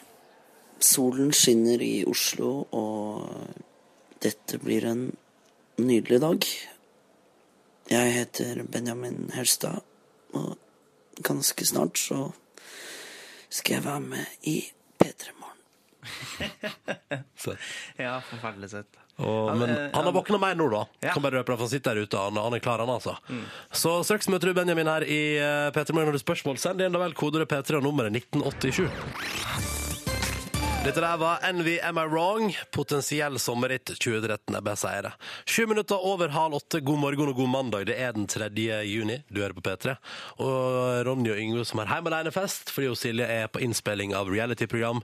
Speaker 9: Solen skinner i Oslo, og dette blir en nydelig dag. Jeg heter Benjamin Herstad, og ganske snart så skal jeg være med i P3 Morgen.
Speaker 4: Søtt.
Speaker 2: Ja, forferdelig søtt.
Speaker 4: Og,
Speaker 2: Han,
Speaker 4: men
Speaker 2: eh,
Speaker 4: han har
Speaker 2: han-
Speaker 4: våkna mer nå, da.
Speaker 2: Ja. Mm.
Speaker 4: Kan bare røpe det, for han sitter der ute. Han, han er klar, han, altså. Så straks møter du Benjamin her i eh, P3 Morgen. Har du spørsmål, send inn da vel kodeordet P3 og nummeret 1987. Dette der var Envy Am I Wrong, potensiell sommerritt 2013. Jeg bare sier det. Sju minutter over halv åtte, god morgen og god mandag. Det er den 3. juni, du hører på P3. Og Ronny og Yngve som har heim alene-fest fordi jo Silje er på innspilling av reality-program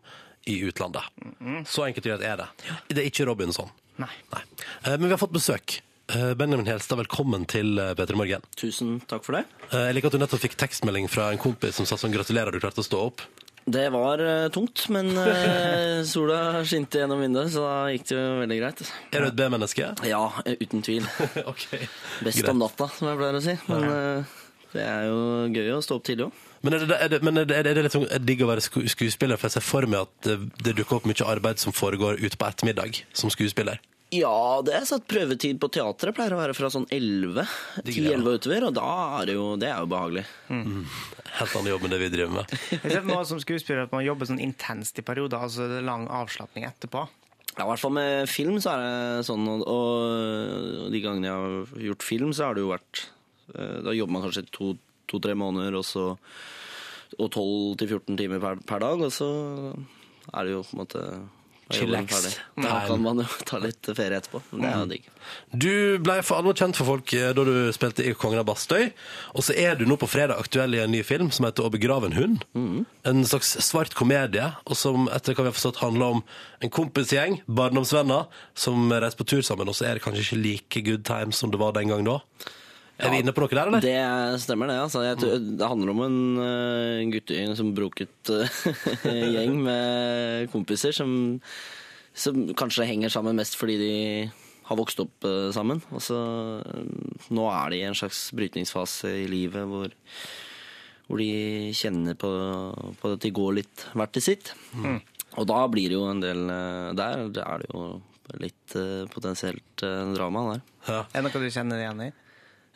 Speaker 4: i utlandet.
Speaker 2: Mm,
Speaker 4: Så enkelt og greit er det. Det er ikke Robinson.
Speaker 2: Nei.
Speaker 4: Nei. Eh, Men vi har fått besøk. Eh, Benjamin Helstad, velkommen til eh, P3 Morgen.
Speaker 9: Tusen takk for det.
Speaker 4: Eh, Jeg liker at du nettopp fikk tekstmelding fra en kompis som sa sånn 'gratulerer, du klarte å stå opp'.
Speaker 9: Det var eh, tungt, men [LAUGHS] eh, sola skinte gjennom vinduet, så da gikk det jo veldig greit.
Speaker 4: Er du et B-menneske?
Speaker 9: Ja, eh, uten tvil.
Speaker 4: [LAUGHS] ok.
Speaker 9: Best
Speaker 4: Greit.
Speaker 9: om natta, som jeg pleier å si. Men eh, det er jo gøy å stå opp tidlig òg.
Speaker 4: Men er det, er det, men er det, er det litt sånn er det digg å være sku, skuespiller? For jeg ser for meg at det, det dukker opp mye arbeid som foregår ute på ettermiddag som skuespiller.
Speaker 9: Ja, det er satt prøvetid på teatret. Pleier å være fra sånn 11
Speaker 4: Digg
Speaker 9: til
Speaker 4: det, da.
Speaker 9: 11 utover, og da er det jo, det er jo behagelig.
Speaker 4: Helt annen jobb enn det vi driver med.
Speaker 2: Jeg ser for meg også som skuespiller at man jobber sånn intenst i perioder, altså det er lang avslapning etterpå.
Speaker 9: Ja, I hvert fall med film så er det sånn, og, og de gangene jeg har gjort film, så har det jo vært eh, Da jobber man kanskje to- to-tre måneder, og så Og 12-14 timer per, per dag, og så er det jo på en måte da er jobben
Speaker 4: Chillax.
Speaker 9: ferdig. Da kan man jo ta litt ferie etterpå. Men det er jo digg.
Speaker 4: Du ble for alvor kjent for folk eh, da du spilte i Kongen av Bastøy. Og så er du nå på fredag aktuell i en ny film som heter Å begrave en hund.
Speaker 9: Mhm.
Speaker 4: En slags svart komedie, og som etter hva vi har forstått handler om en kompisgjeng, barndomsvenner, som reiser på tur sammen. Og så er det kanskje ikke like good times som det var den gang da. Er vi inne på noe der, eller?
Speaker 9: Det stemmer det. altså. Jeg, tror- det handler om en eh, guttegjeng som broket eh, [LAUGHS] gjeng med kompiser som, som kanskje henger sammen mest fordi de har vokst opp eh, sammen. Og så eh, nå er de i en slags brytningsfase i livet hvor, hvor de kjenner på, på at de går litt hvert til sitt.
Speaker 4: Mm.
Speaker 9: Og da blir det jo en del eh, der. Det er det jo litt eh, potensielt eh, drama der.
Speaker 4: Ja.
Speaker 2: Er det noe du kjenner igjen i?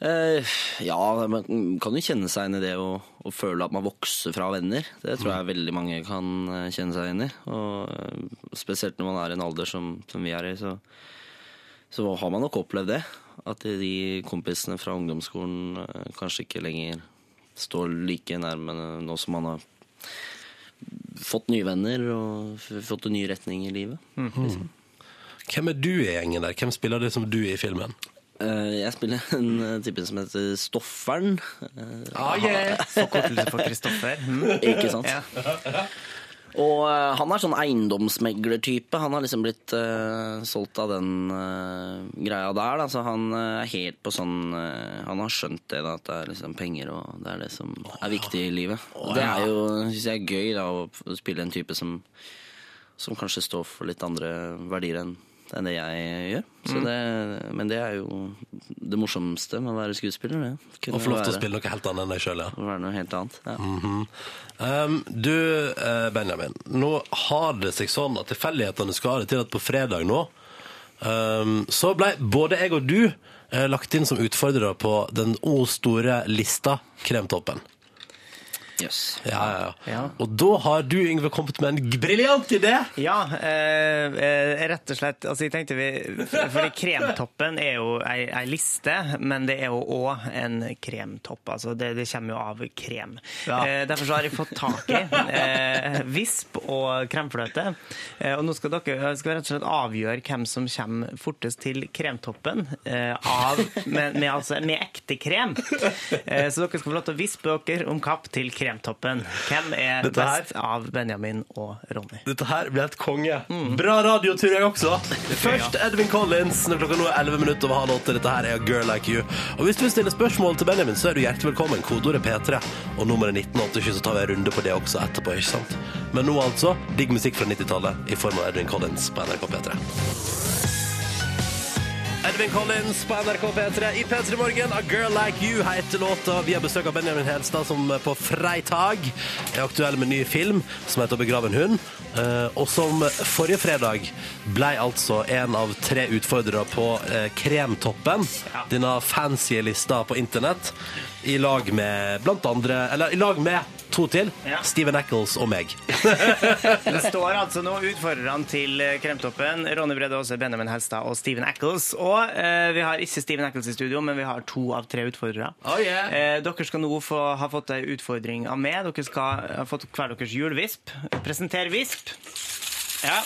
Speaker 9: Eh, ja, man kan jo kjenne seg inn i det å, å føle at man vokser fra venner. Det tror jeg veldig mange kan eh, kjenne seg inn i. Og eh, spesielt når man er i en alder som, som vi er i, så, så har man nok opplevd det. At de kompisene fra ungdomsskolen eh, kanskje ikke lenger står like nærme nå som man har fått nye venner og f- fått en ny retning i livet.
Speaker 4: Hvem er du i gjengen der? Hvem spiller det som du i filmen?
Speaker 9: Eh, jeg spiller en eh, type som heter Stofferen. eh,
Speaker 2: Forkortelse for
Speaker 4: [LAUGHS]
Speaker 2: Kristoffer. Mm.
Speaker 9: Ikke sant?
Speaker 2: Ja.
Speaker 9: [LAUGHS] Og eh, han er sånn eiendomsmeglertype. Han har liksom blitt eh, solgt av den eh, greia der. Da. Så han eh, er helt på sånn eh, Han har skjønt det, da, at det er liksom penger og det er det som er viktig i livet. Og det er jo, syns jeg, er gøy da, å f- spille en type som, som kanskje står for litt andre verdier enn enn det jeg gjør. Så
Speaker 4: Mm.
Speaker 9: det, men det er jo det morsomste med å være skuespiller. Det. Kunne
Speaker 4: Og få lov til å
Speaker 9: være-
Speaker 4: spille Mm. noe helt annet enn deg sjøl, ja.
Speaker 9: være noe helt annet. Ja.
Speaker 4: Um, du, eh, Benjamin, nå har det seg sånn at tilfeldighetene skal ha det til at på fredag nå um, så ble både jeg og du eh, lagt inn som utfordrere på den o store lista Kremtoppen.
Speaker 9: Yes.
Speaker 4: Ja, ja, ja.
Speaker 2: Ja.
Speaker 4: Og da har du, Yngve, kommet med en g- briljant idé!
Speaker 2: Ja, eh, eh, rett og slett. Altså, jeg tenkte vi Fordi kremtoppen er jo ei, ei liste, men det er jo òg en kremtopp. Altså, det, det kommer jo av krem. Eh, derfor så har jeg fått tak i eh, visp og kremfløte. Eh, og nå skal dere skal vi rett og slett avgjøre hvem som kommer fortest til kremtoppen eh, av, med, med, altså, med ekte krem. Eh, så dere skal få lov til å vispe dere om kapp til kremtoppen. Hvem er
Speaker 4: Dette her-
Speaker 2: best av Benjamin og Ronny?
Speaker 4: Dette her blir helt konge. Bra radio, tror jeg også. Først Edvin Collins. Når klokka nå er 11 minutter over halv åtte. Dette her er A Girl Like You. Og hvis du stiller spørsmål til Benjamin, så er du hjertelig velkommen. Kodeordet P3 og nummeret 1987, så tar vi en runde på det også etterpå, ikke sant? Men nå altså, digg musikk fra 90-tallet i form av Edvin Collins på NRK P3. Edvin Collins på NRK P3 i P3 Morgen. A Girl Like You heter låta. Vi har besøk av Benjamin Helstad, som på fredag er aktuell med ny film som heter 'Begrav en hund'. eh, Og som forrige fredag ble altså en av tre utfordrere på eh, Kremtoppen. Denne fancy lista på internett. I lag med blant andre Eller i lag med to til.
Speaker 2: Ja.
Speaker 4: Steven Eccles og meg.
Speaker 2: Det står altså nå utfordrerne til eh, Kremtoppen. Ronny Brede Aase, Benjamin Helstad og Steven Eccles. Og eh, vi har ikke Steven Eccles i studio, men vi har to av tre utfordrere.
Speaker 4: Oh, yeah.
Speaker 2: Eh, dere skal nå få, ha fått ei utfordring av meg. Dere skal ha fått hver deres julevisp. Presenter visp. Ja.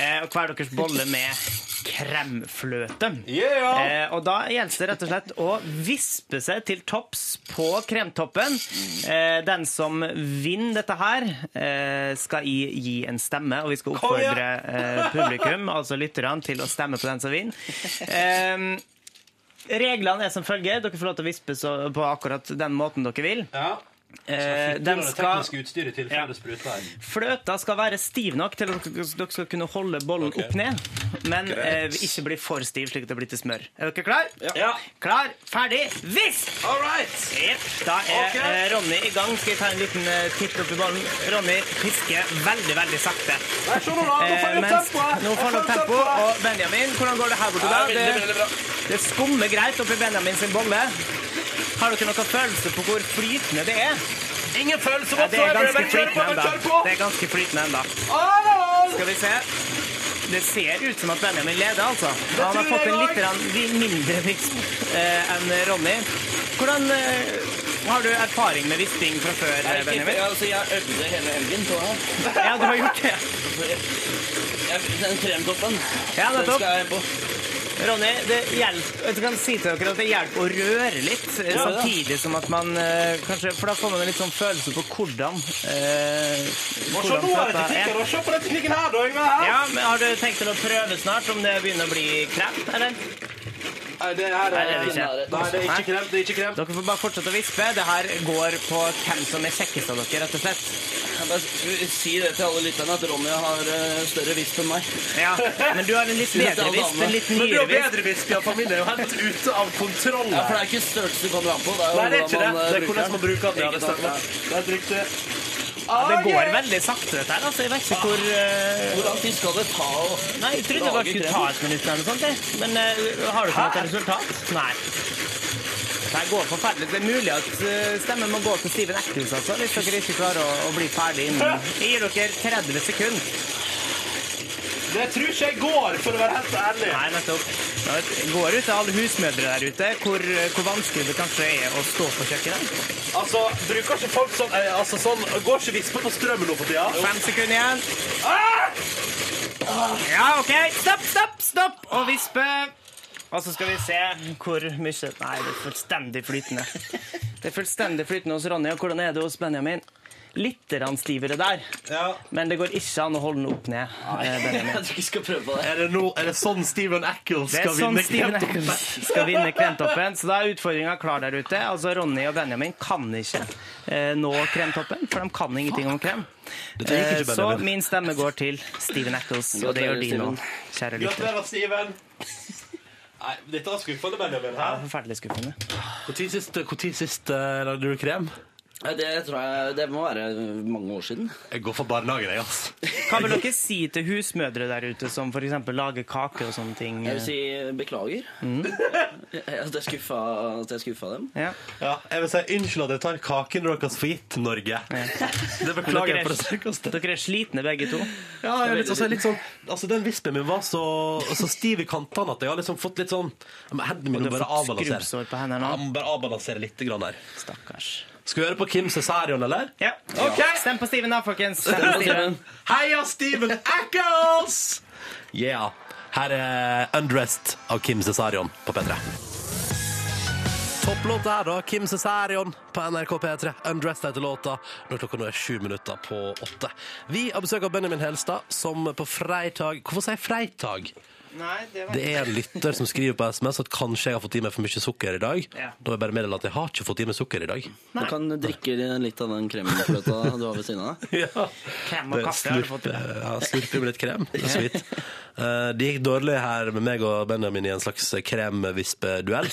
Speaker 2: Eh, og hver deres bolle med kremfløte. Eh, og da gjelder det rett og slett å vispe seg til topps på kremtoppen. Eh, den som vinner dette her, eh, skal i, gi en stemme, og vi skal oppfordre eh, publikum, altså lytterne, til å stemme på den som vinner. Eh, Reglene er som følger. Dere får lov til å vispe så- på akkurat den måten dere vil. Eh, den skal,
Speaker 4: utstyret til
Speaker 2: før det fløta skal være stiv nok til at dere dere skal kunne holde bollen
Speaker 4: Ok.
Speaker 2: opp ned, men eh, ikke bli for stiv slik at det blir til smør. Er dere klar?
Speaker 4: Ja.
Speaker 2: Klar, ferdig, visp!
Speaker 4: All right.
Speaker 2: Jep, Da er
Speaker 4: Ok.
Speaker 2: eh, Ronny i gang. Skal jeg ta en liten eh, titt opp i ballen? Ronny fisker veldig, veldig sakte.
Speaker 4: Nei, se nå, da. Nå får
Speaker 2: Eh,
Speaker 4: jeg opp
Speaker 2: mens-
Speaker 4: tempoet.
Speaker 2: Nå får han opp tempo. Og Benjamin, hvordan går det her borte?
Speaker 4: Ja,
Speaker 2: da?
Speaker 4: veldig, veldig bra.
Speaker 2: Det skummer greit oppi Benjamin sin bolle. Har dere noen følelse på hvor flytende det er?
Speaker 4: Ingen følelse
Speaker 2: Ja, det
Speaker 4: whatsoever.
Speaker 2: er ganske
Speaker 4: Bare kjør på,
Speaker 2: flytende
Speaker 4: bare
Speaker 2: enda.
Speaker 4: kjør på.
Speaker 2: Det er ganske flytende enda.
Speaker 4: All right.
Speaker 2: Skal vi se. Det ser ut som at Benjamin leder, altså. Han har
Speaker 4: tror
Speaker 2: fått
Speaker 4: jeg
Speaker 2: en
Speaker 4: nok.
Speaker 2: litt grann vi- mindre visp eh, enn Ronny. Hvordan eh, har du erfaring med visping fra før, eh, Benjamin?
Speaker 9: altså, jeg øvde hele helgen på det.
Speaker 2: Ja, du har gjort det.
Speaker 9: Jeg, den kremtoppen,
Speaker 2: Ja, nettopp.
Speaker 9: jeg på.
Speaker 2: Ronny, det hjelper, jeg kan si til dere at det hjelper å røre litt, eh,
Speaker 9: Ja, ja.
Speaker 2: samtidig som at man eh, kanskje, For da får man en litt sånn følelse på hvordan eh,
Speaker 4: Og se
Speaker 2: hvordan
Speaker 4: nå er det teknikken.
Speaker 2: fløta
Speaker 4: Og se på den teknikken her, da. Yngve.
Speaker 2: Ja, men Har du tenkt til å prøve snart om det begynner å bli krem, eller?
Speaker 4: Nei, det her
Speaker 2: Nei,
Speaker 4: er
Speaker 2: det er det ikke.
Speaker 4: Nei, det er ikke kremt. Det er ikke kremt.
Speaker 2: Dere får bare fortsette å vispe. Det her går på hvem som er kjekkest av dere, rett og slett.
Speaker 9: Jeg bare skulle si det til alle lytterne at Ronny har eh, større visp enn meg.
Speaker 2: Ja, Men du har
Speaker 4: [LAUGHS]
Speaker 2: en litt bedre visp. En litt
Speaker 4: Men du
Speaker 2: nyere
Speaker 4: har
Speaker 2: visp.
Speaker 4: bedre visp, iallfall. Min er jo helt ute av kontroll.
Speaker 9: Ja,
Speaker 4: her.
Speaker 9: for det er ikke størrelse du kommer an på. Det er jo
Speaker 4: Nei, det er ikke det.
Speaker 9: hvordan man, eh,
Speaker 4: Det er hvordan man bruker den. ja,
Speaker 9: Ikke
Speaker 4: det
Speaker 9: sant,
Speaker 4: stemmer. Det er helt riktig.
Speaker 2: Det går veldig sakte, dette her. altså. Jeg vet ikke hvor eh,
Speaker 9: Hvordan tid skal det ta å [LAUGHS]
Speaker 2: Nei, jeg trodde det bare skulle ta et minutt eller noe sånt. jeg. Men eh, har du ikke noe resultat? Nei. Det her går forferdelig. Det er mulig at eh, stemmen må gå til Steven Eccles, altså, hvis dere ikke klarer å, å bli ferdig innen Jeg gir dere 30 sekunder.
Speaker 4: Det tror ikke jeg går, for å være helt ærlig.
Speaker 2: Nei, nettopp. Ja, Det går ut til alle husmødre der ute hvor, eh, hvor vanskelig det kanskje er å stå på kjøkkenet.
Speaker 4: Altså, bruker ikke folk sånn, eh, altså, sånn Går ikke visper på strømmen nå for tida?
Speaker 2: Fem sekunder igjen. Ja, OK. Stopp, stopp, stopp! Og vispe. Og så skal vi se hvor mye Nei, det er fullstendig flytende. Det er fullstendig flytende hos Ronny. Og hvordan er det hos Benjamin? Litt grann stivere der,
Speaker 4: Ja.
Speaker 2: men det går ikke an å holde den opp ned. eh, Benjamin.
Speaker 9: Jeg tror ikke vi skal prøve på det.
Speaker 4: Er det, nå- er det sånn Steven Eccles
Speaker 2: Det er
Speaker 4: skal
Speaker 2: sånn
Speaker 4: vinne
Speaker 2: Steven
Speaker 4: kremt?
Speaker 2: Eccles skal vinne Kremtoppen. Så da er utfordringa klar der ute. Altså Ronny og Benjamin kan ikke eh, nå Kremtoppen, for de kan ingenting om krem.
Speaker 4: trenger ikke
Speaker 2: Eh, så
Speaker 4: Benjamin.
Speaker 2: min stemme går til Steven Eccles, og det gjør din òg, kjære lytter.
Speaker 4: Gratulerer, Steven. Nei, dette var skuffende, Benjamin.
Speaker 2: Det er Forferdelig skuffende.
Speaker 4: Når sist, hvor tid sist eh, lagde du krem?
Speaker 9: Nei, Det tror jeg Det må være mange år siden.
Speaker 4: Jeg går for barnehagen, jeg, ass.
Speaker 2: Hva vil dere si til husmødre der ute som f.eks. lager kake og sånne ting?
Speaker 9: Jeg vil si beklager.
Speaker 4: Mm.
Speaker 9: [LAUGHS] Jeg- At jeg skuffa, at jeg skuffa dem.
Speaker 2: eh, Ja.
Speaker 4: Ja, jeg vil si unnskyld at jeg tar kaken deres for gitt, Norge. Det beklager jeg for det sterkeste.
Speaker 2: Dere er slitne begge to.
Speaker 4: Ja, jeg er litt, altså, jeg er litt sånn, altså, den vispen min var så, så stiv i kantene at jeg har liksom fått litt sånn ja, men Hendene mine
Speaker 2: Og du
Speaker 4: må
Speaker 2: har
Speaker 4: bare
Speaker 2: fått
Speaker 4: avbalansere.
Speaker 2: skrubbsår på hendene.
Speaker 4: Jeg må bare avbalansere litt grann her.
Speaker 2: Stakkars.
Speaker 4: Skal vi høre på Kim Cesarion, eller?
Speaker 2: Ja.
Speaker 4: Ok.
Speaker 2: Stem på Steven, da, folkens. Stem på Steven.
Speaker 4: Heia Steven Eccles! Yeah. Her er Undressed av Kim Cesarion på P3. Topplåt der, da. Kim Cesarion på NRK P3. Undressed heter låta. Når klokka nå er sju minutter på åtte. Vi har besøk av Benjamin Helstad, som på freitag Hvorfor sier jeg freitag?
Speaker 2: Nei, det var
Speaker 4: Det er en lytter som skriver på SMS at kanskje jeg har fått i meg for mye sukker i dag.
Speaker 2: Ja.
Speaker 4: Da vil jeg bare meddele at jeg har ikke fått i meg sukker i dag.
Speaker 9: Du kan drikke litt av den kremfløta du har ved siden av deg.
Speaker 4: Ja.
Speaker 2: krem og kaffe. Har du fått i deg.
Speaker 4: eh, Ja, slurpe med litt krem. Det er så
Speaker 2: [LAUGHS]
Speaker 4: vidt. Eh, det gikk dårlig her med meg og Benjamin i en slags kremvispeduell.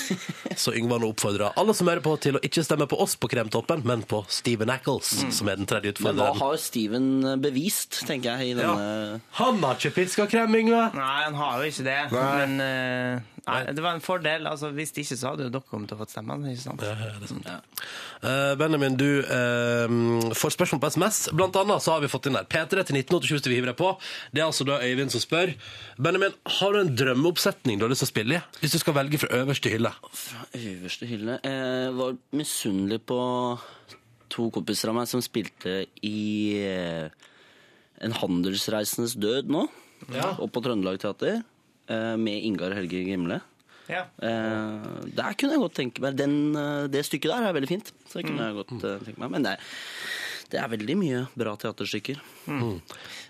Speaker 4: Så Yngve nå oppfordrer alle som hører på til å ikke stemme på oss på Kremtoppen, men på Steven Ackles,
Speaker 2: Mm.
Speaker 4: som er den tredje
Speaker 9: Men hva
Speaker 4: utfordreren.
Speaker 9: har eh, Steven bevist, tenker jeg, i
Speaker 4: Ja.
Speaker 9: denne
Speaker 4: Han har ikke fiska krem, Yngve!
Speaker 2: Nei, han har jo ikke det,
Speaker 8: Nei.
Speaker 2: men eh, nei, det var en fordel. Altså, hvis ikke, så hadde jo dere kommet til å få stemmene. Ikke sant?
Speaker 4: Ja, ja, det er sant. Eh, Benjamin, du eh, får spørsmål på SMS. Blant annet så har vi fått inn der P3 til 1987 hvis du vil hive deg på. Det er altså da Øyvind som spør. Benjamin, har du en drømmeoppsetning du har lyst til å spille i? Hvis du skal velge fra øverste hylle.
Speaker 9: Fra øverste hylle Jeg var misunnelig på to kompiser av meg som spilte i eh, En handelsreisendes død nå.
Speaker 4: Ja.
Speaker 9: Opp på Trøndelag Teater. eh, Med Ingar Helge Gimle.
Speaker 2: Ja.
Speaker 9: Eh, Der kunne jeg godt tenke meg Den, eh, Det stykket der er veldig fint. Så det
Speaker 4: Mm.
Speaker 9: kunne jeg godt eh, tenke meg Men det er, det er veldig mye bra teaterstykker.
Speaker 4: Men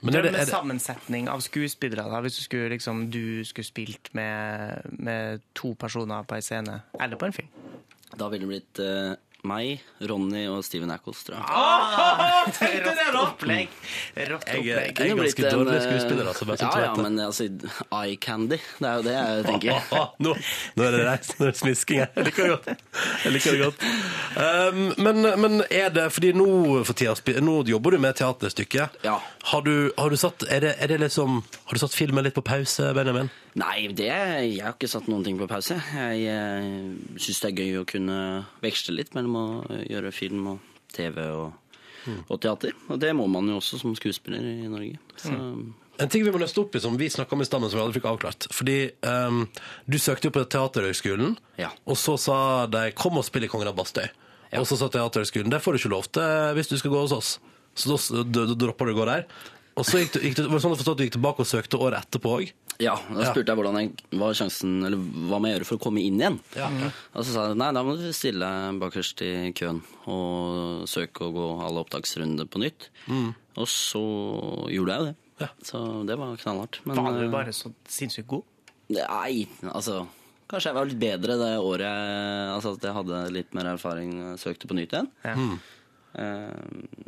Speaker 4: er det, er det,
Speaker 2: Drømmesammensetning av skuespillere, da, hvis du skulle, liksom, du skulle spilt med, med to personer på en scene, eller på en film.
Speaker 9: Da ville det blitt eh, meg, Ronny og Steven Ackles, tror jeg.
Speaker 2: Tenkte [LAUGHS] det, da! Opplegg. Rått
Speaker 4: Jeg-
Speaker 2: opplegg.
Speaker 4: jeg- er
Speaker 9: Kunne
Speaker 4: ganske
Speaker 9: blitt en,
Speaker 4: dårlig
Speaker 9: eh,
Speaker 4: skuespiller, altså, bare så
Speaker 9: Ja,
Speaker 4: du
Speaker 9: ja,
Speaker 4: vet det.
Speaker 9: men altså, eye candy, det er jo det jeg [LAUGHS] tenker.
Speaker 4: Ah, [LAUGHS] nå, nå er det reist, nå er det smisking her. Jeg liker det godt. Jeg liker det godt. Um, men, men er det fordi nå for tida spi- Nå jobber du med teaterstykket.
Speaker 9: Ja.
Speaker 4: Har du, har du satt er det, er det liksom, Har du satt filmen litt på pause, Benjamin?
Speaker 9: Nei, det, jeg har ikke satt noen ting på pause. Jeg eh, syns det er gøy å kunne veksle litt mellom å gjøre film og TV og, og teater. Og det må man jo også som skuespiller i Norge. Så,
Speaker 4: En ting vi må nøste opp i, som vi snakka om i stammen, som vi aldri fikk avklart. Fordi um, du søkte jo på Teaterhøgskolen,
Speaker 9: Ja.
Speaker 4: og så sa de 'kom og spill i Kongen av Bastøy'. Og så sa Teaterhøgskolen 'det får du ikke lov til eh, hvis du skal gå hos oss'. Så da, da, da droppa du å gå der. Og så gikk du, gikk du, var det sånn å forstå at du gikk tilbake og søkte året etterpå òg?
Speaker 9: ja, da spurte jeg hvordan jeg, hva, er sjansen, eller, hva må jeg gjøre for å komme inn igjen.
Speaker 4: Ja.
Speaker 9: Og så sa de nei, da må du stille deg bakerst i køen og søke å gå alle opptaksrunder på nytt. Og så gjorde jeg jo det.
Speaker 4: Ja.
Speaker 9: Så det var knallhardt. Men,
Speaker 2: Var du
Speaker 9: eh,
Speaker 2: bare så sinnssykt god?
Speaker 9: Nei, altså Kanskje jeg var litt bedre det året jeg, altså at jeg hadde litt mer erfaring og søkte på nytt igjen.
Speaker 2: Ja.
Speaker 9: Eh,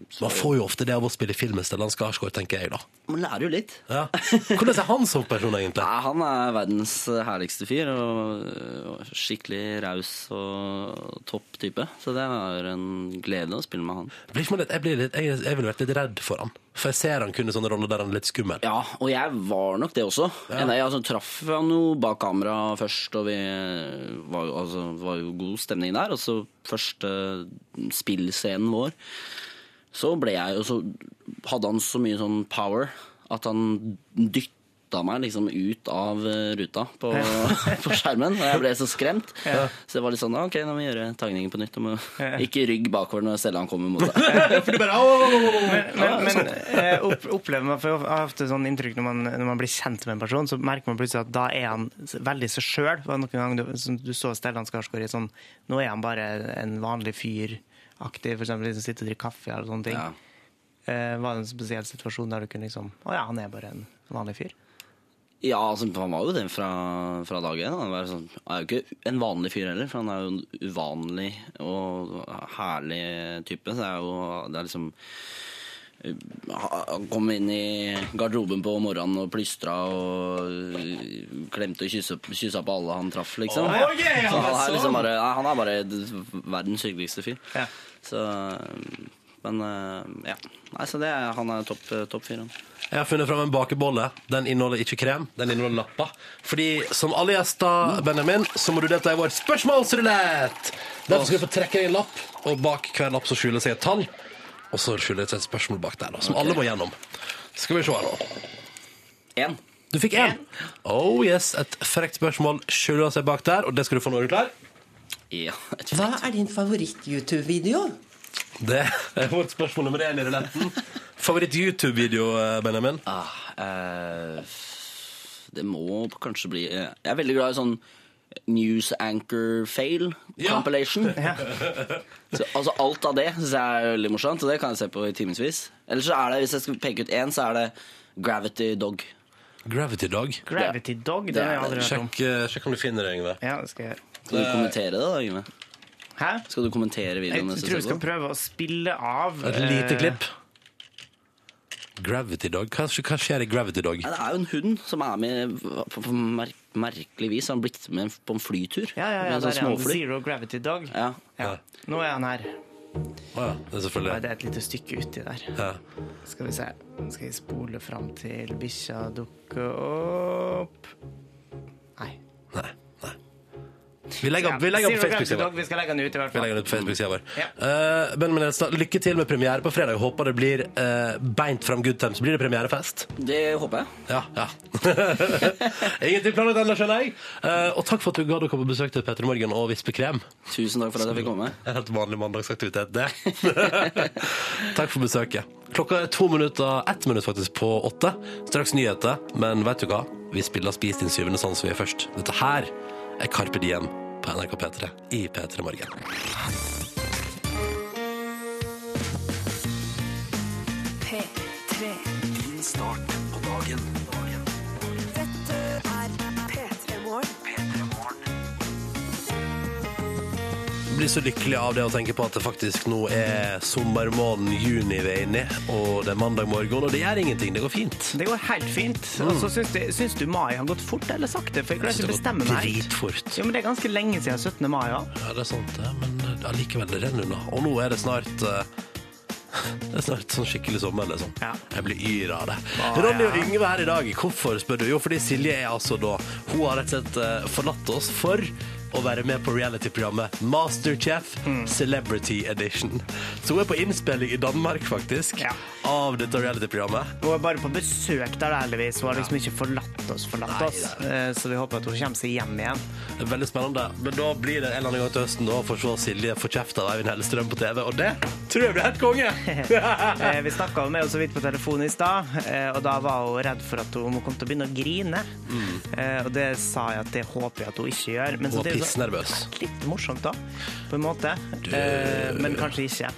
Speaker 9: så
Speaker 4: Man får jo ofte det av å spille film i Stellan Skarsgård, tenker jeg da.
Speaker 9: man lærer jo litt.
Speaker 4: Ja. Hvordan er han som person, egentlig?
Speaker 9: Nei, han er verdens eh, herligste fyr, og, og skikkelig raus og topp type. Så det var en glede å spille med han.
Speaker 4: Blir ikke man litt, jeg, blir litt, jeg, jeg ville vært litt redd for han. For jeg ser han kunne sånne roller der han er litt skummel.
Speaker 9: Ja, og jeg var nok det også. Jeg, jeg altså, traff han jo bak kamera først, og vi var, jo- altså, det var jo god stemning der. Og så første spillscenen vår, så ble jeg Og så hadde han så mye sånn power at han dytta meg liksom ut av eh, ruta på, [LAUGHS] på skjermen. Og jeg ble så skremt. Så det var litt sånn OK, nå må vi gjøre tagningen på nytt. Du må ikke rygg bakover når Stellan kommer mot deg.
Speaker 2: Men, men, men eh, opp, opplever man, for jeg har ofte sånn inntrykk når man, når man blir kjent med en person, så merker man plutselig at da er han veldig seg sjøl. Noen gang du, som du så Stellan Skarsgård i sånn Nå er han bare en vanlig fyr. Aktiv, for eksempel, liksom sitter og drikker kaffe eller sånne ting.
Speaker 9: Ja.
Speaker 2: Eh, var det en spesiell situasjon der du kunne liksom Å ja, han er bare en vanlig fyr.
Speaker 9: Ja, altså, han var jo det fra, fra dag én. Han var sånn, han er jo ikke en vanlig fyr heller, for han er jo en uvanlig og herlig type. Så det er jo det er liksom Han kom inn i garderoben på morgenen og plystra og klemte og kyssa, kyssa på alle han traff, liksom.
Speaker 2: Å, ja. sånn.
Speaker 9: så han er liksom bare nei, Han er bare verdens hyggeligste fyr.
Speaker 2: Ja.
Speaker 9: Så Men eh, ja. Nei, så det er, han er topp topp fyr, han.
Speaker 4: Jeg har funnet fram en bakebolle. Den inneholder ikke krem, den inneholder lapper. Fordi som alle gjester, Benjamin, så må du delta i vår spørsmålsrulett. Derfor skal du få trekke deg en lapp, og bak hver lapp så skjuler det seg et tall. Og så skjuler det seg et spørsmål bak der, da, som alle må gjennom. Skal vi se her nå.
Speaker 9: Én.
Speaker 4: Du fikk én. Oh yes, et frekt spørsmål skjuler seg bak der, og det skal du få når du er klar.
Speaker 9: Ja, et
Speaker 10: Hva er din favoritt-YouTube-video?
Speaker 4: Det er vårt spørsmål nummer én i ruletten. Favoritt-YouTube-video, eh, Benjamin?
Speaker 9: Ah, eh, det må kanskje bli eh, Jeg er veldig glad i sånn News Anchor Fail
Speaker 4: [LAUGHS] Ja.
Speaker 9: compilation. så, altså alt av det syns jeg er veldig morsomt, og det kan jeg se på i timevis. Eller så er det, hvis jeg skal peke ut én, så er det Gravity Dog.
Speaker 4: Gravity Dog.
Speaker 2: Gravity Dog, den har jeg aldri hørt om.
Speaker 4: Sjekk, eh, sjekk om du finner det, Yngve.
Speaker 2: Ja, det skal jeg gjøre.
Speaker 9: Skal
Speaker 4: Eh.
Speaker 9: du kommentere det, da, Yngve?
Speaker 2: Hæ?
Speaker 9: Skal du kommentere videoen?
Speaker 2: Jeg
Speaker 9: mens
Speaker 2: tror vi
Speaker 9: ser
Speaker 2: skal
Speaker 9: på?
Speaker 2: prøve å spille av
Speaker 4: Et lite
Speaker 2: eh,
Speaker 4: klipp. Gravity Dog? Hva, hva skjer i Gravity Dog?
Speaker 9: Nei, det er jo en hund som er med på, på mer merkelig vis. Han har blitt med på en flytur.
Speaker 2: eh, Ja, ja, ja, der
Speaker 9: Med sånn
Speaker 2: er han.
Speaker 9: småfly.
Speaker 2: Zero Gravity Dog.
Speaker 9: Ja.
Speaker 2: Ja. Nå er han her.
Speaker 4: Å ja, det er
Speaker 2: Nei,
Speaker 4: selvfølgelig
Speaker 2: Det er et lite stykke uti der.
Speaker 4: ja.
Speaker 2: Skal vi se. Nå skal jeg spole fram til bikkja dukker opp. Nei.
Speaker 4: Nei. Nei. Vi legger opp, vi legger opp
Speaker 2: Sier dere kanskje
Speaker 4: Facebook-sida
Speaker 2: dere? Vi skal legge den ut, i hvert
Speaker 4: Vi
Speaker 2: fall.
Speaker 4: legger den ut på Facebook-sida vår.
Speaker 2: Ja.
Speaker 4: Eh, Benjamin Elstad, lykke til med premiere på fredag. Håper det blir eh, beint fram good times. Blir det premierefest?
Speaker 9: Det håper jeg.
Speaker 4: Ja. ja. [LAUGHS] Ingenting planlagt ennå, skjønner jeg. Eh, og takk for at du gadd å komme på besøk til Petter Morgen og Vispekrem.
Speaker 9: Tusen takk for at jeg fikk komme.
Speaker 4: En helt vanlig mandagsaktivitet, det. Takk for besøket. Klokka er to minutter, ett minutt faktisk, på åtte. Straks nyheter, men vet du hva? Vi spiller Spis din syvende sans vi er først. Dette her er Carpe Diem på NRK P3 i P3 Morgen.
Speaker 1: P3.
Speaker 4: blir så lykkelig av det å tenke på at det faktisk nå er sommermåneden juni vi er inne i, og det er mandag morgen, og det gjør ingenting, det går fint.
Speaker 2: Det går helt fint. Og så syns, det, syns du mai har gått fort eller sakte? For jeg klarer
Speaker 4: Så
Speaker 2: ikke å
Speaker 4: Mm. det
Speaker 2: bestemme
Speaker 4: går
Speaker 2: meg. helt.
Speaker 4: dritfort.
Speaker 2: Jo, men Det er ganske lenge siden 17. mai. Ja.
Speaker 4: Ja, det er sant det, men eh, allikevel, det renner unna. Og nå er det snart eh, [LAUGHS] det er snart sånn skikkelig sommer, liksom.
Speaker 2: Ja.
Speaker 4: Jeg blir yr av det.
Speaker 2: Ah,
Speaker 4: Ronny
Speaker 2: ja.
Speaker 4: og Yngve her i dag. Hvorfor, spør du? Jo, fordi Silje er altså da Hun har rett og slett eh, forlatt oss for å være med på reality-programmet Masterchef
Speaker 2: Hmm.
Speaker 4: Celebrity Edition. Så hun er på innspilling i Danmark, faktisk,
Speaker 2: Ja.
Speaker 4: av dette reality-programmet.
Speaker 2: Hun er bare på besøk der, heldigvis. Hun har liksom ikke forlatt oss, forlatt
Speaker 4: Nei,
Speaker 2: oss. Eh, Så vi håper at hun kommer seg hjem igjen.
Speaker 4: Det er Veldig spennende. Men da blir det en eller annen gang til høsten da for å se Silje få kjeft av Eivind Hellstrøm på TV, og det tror jeg blir helt
Speaker 2: [LAUGHS]
Speaker 4: konge!
Speaker 2: Eh, Vi snakka med henne så vidt på telefonen i stad, eh, og da var hun redd for at hun kom til å begynne å grine. Eh, Og det sa jeg at det håper jeg at hun ikke gjør.
Speaker 4: Hun
Speaker 2: Men så
Speaker 4: var
Speaker 2: det er jo så
Speaker 4: pissnervøs.
Speaker 2: litt morsomt, da, på en måte. Eh, Men kanskje ikke.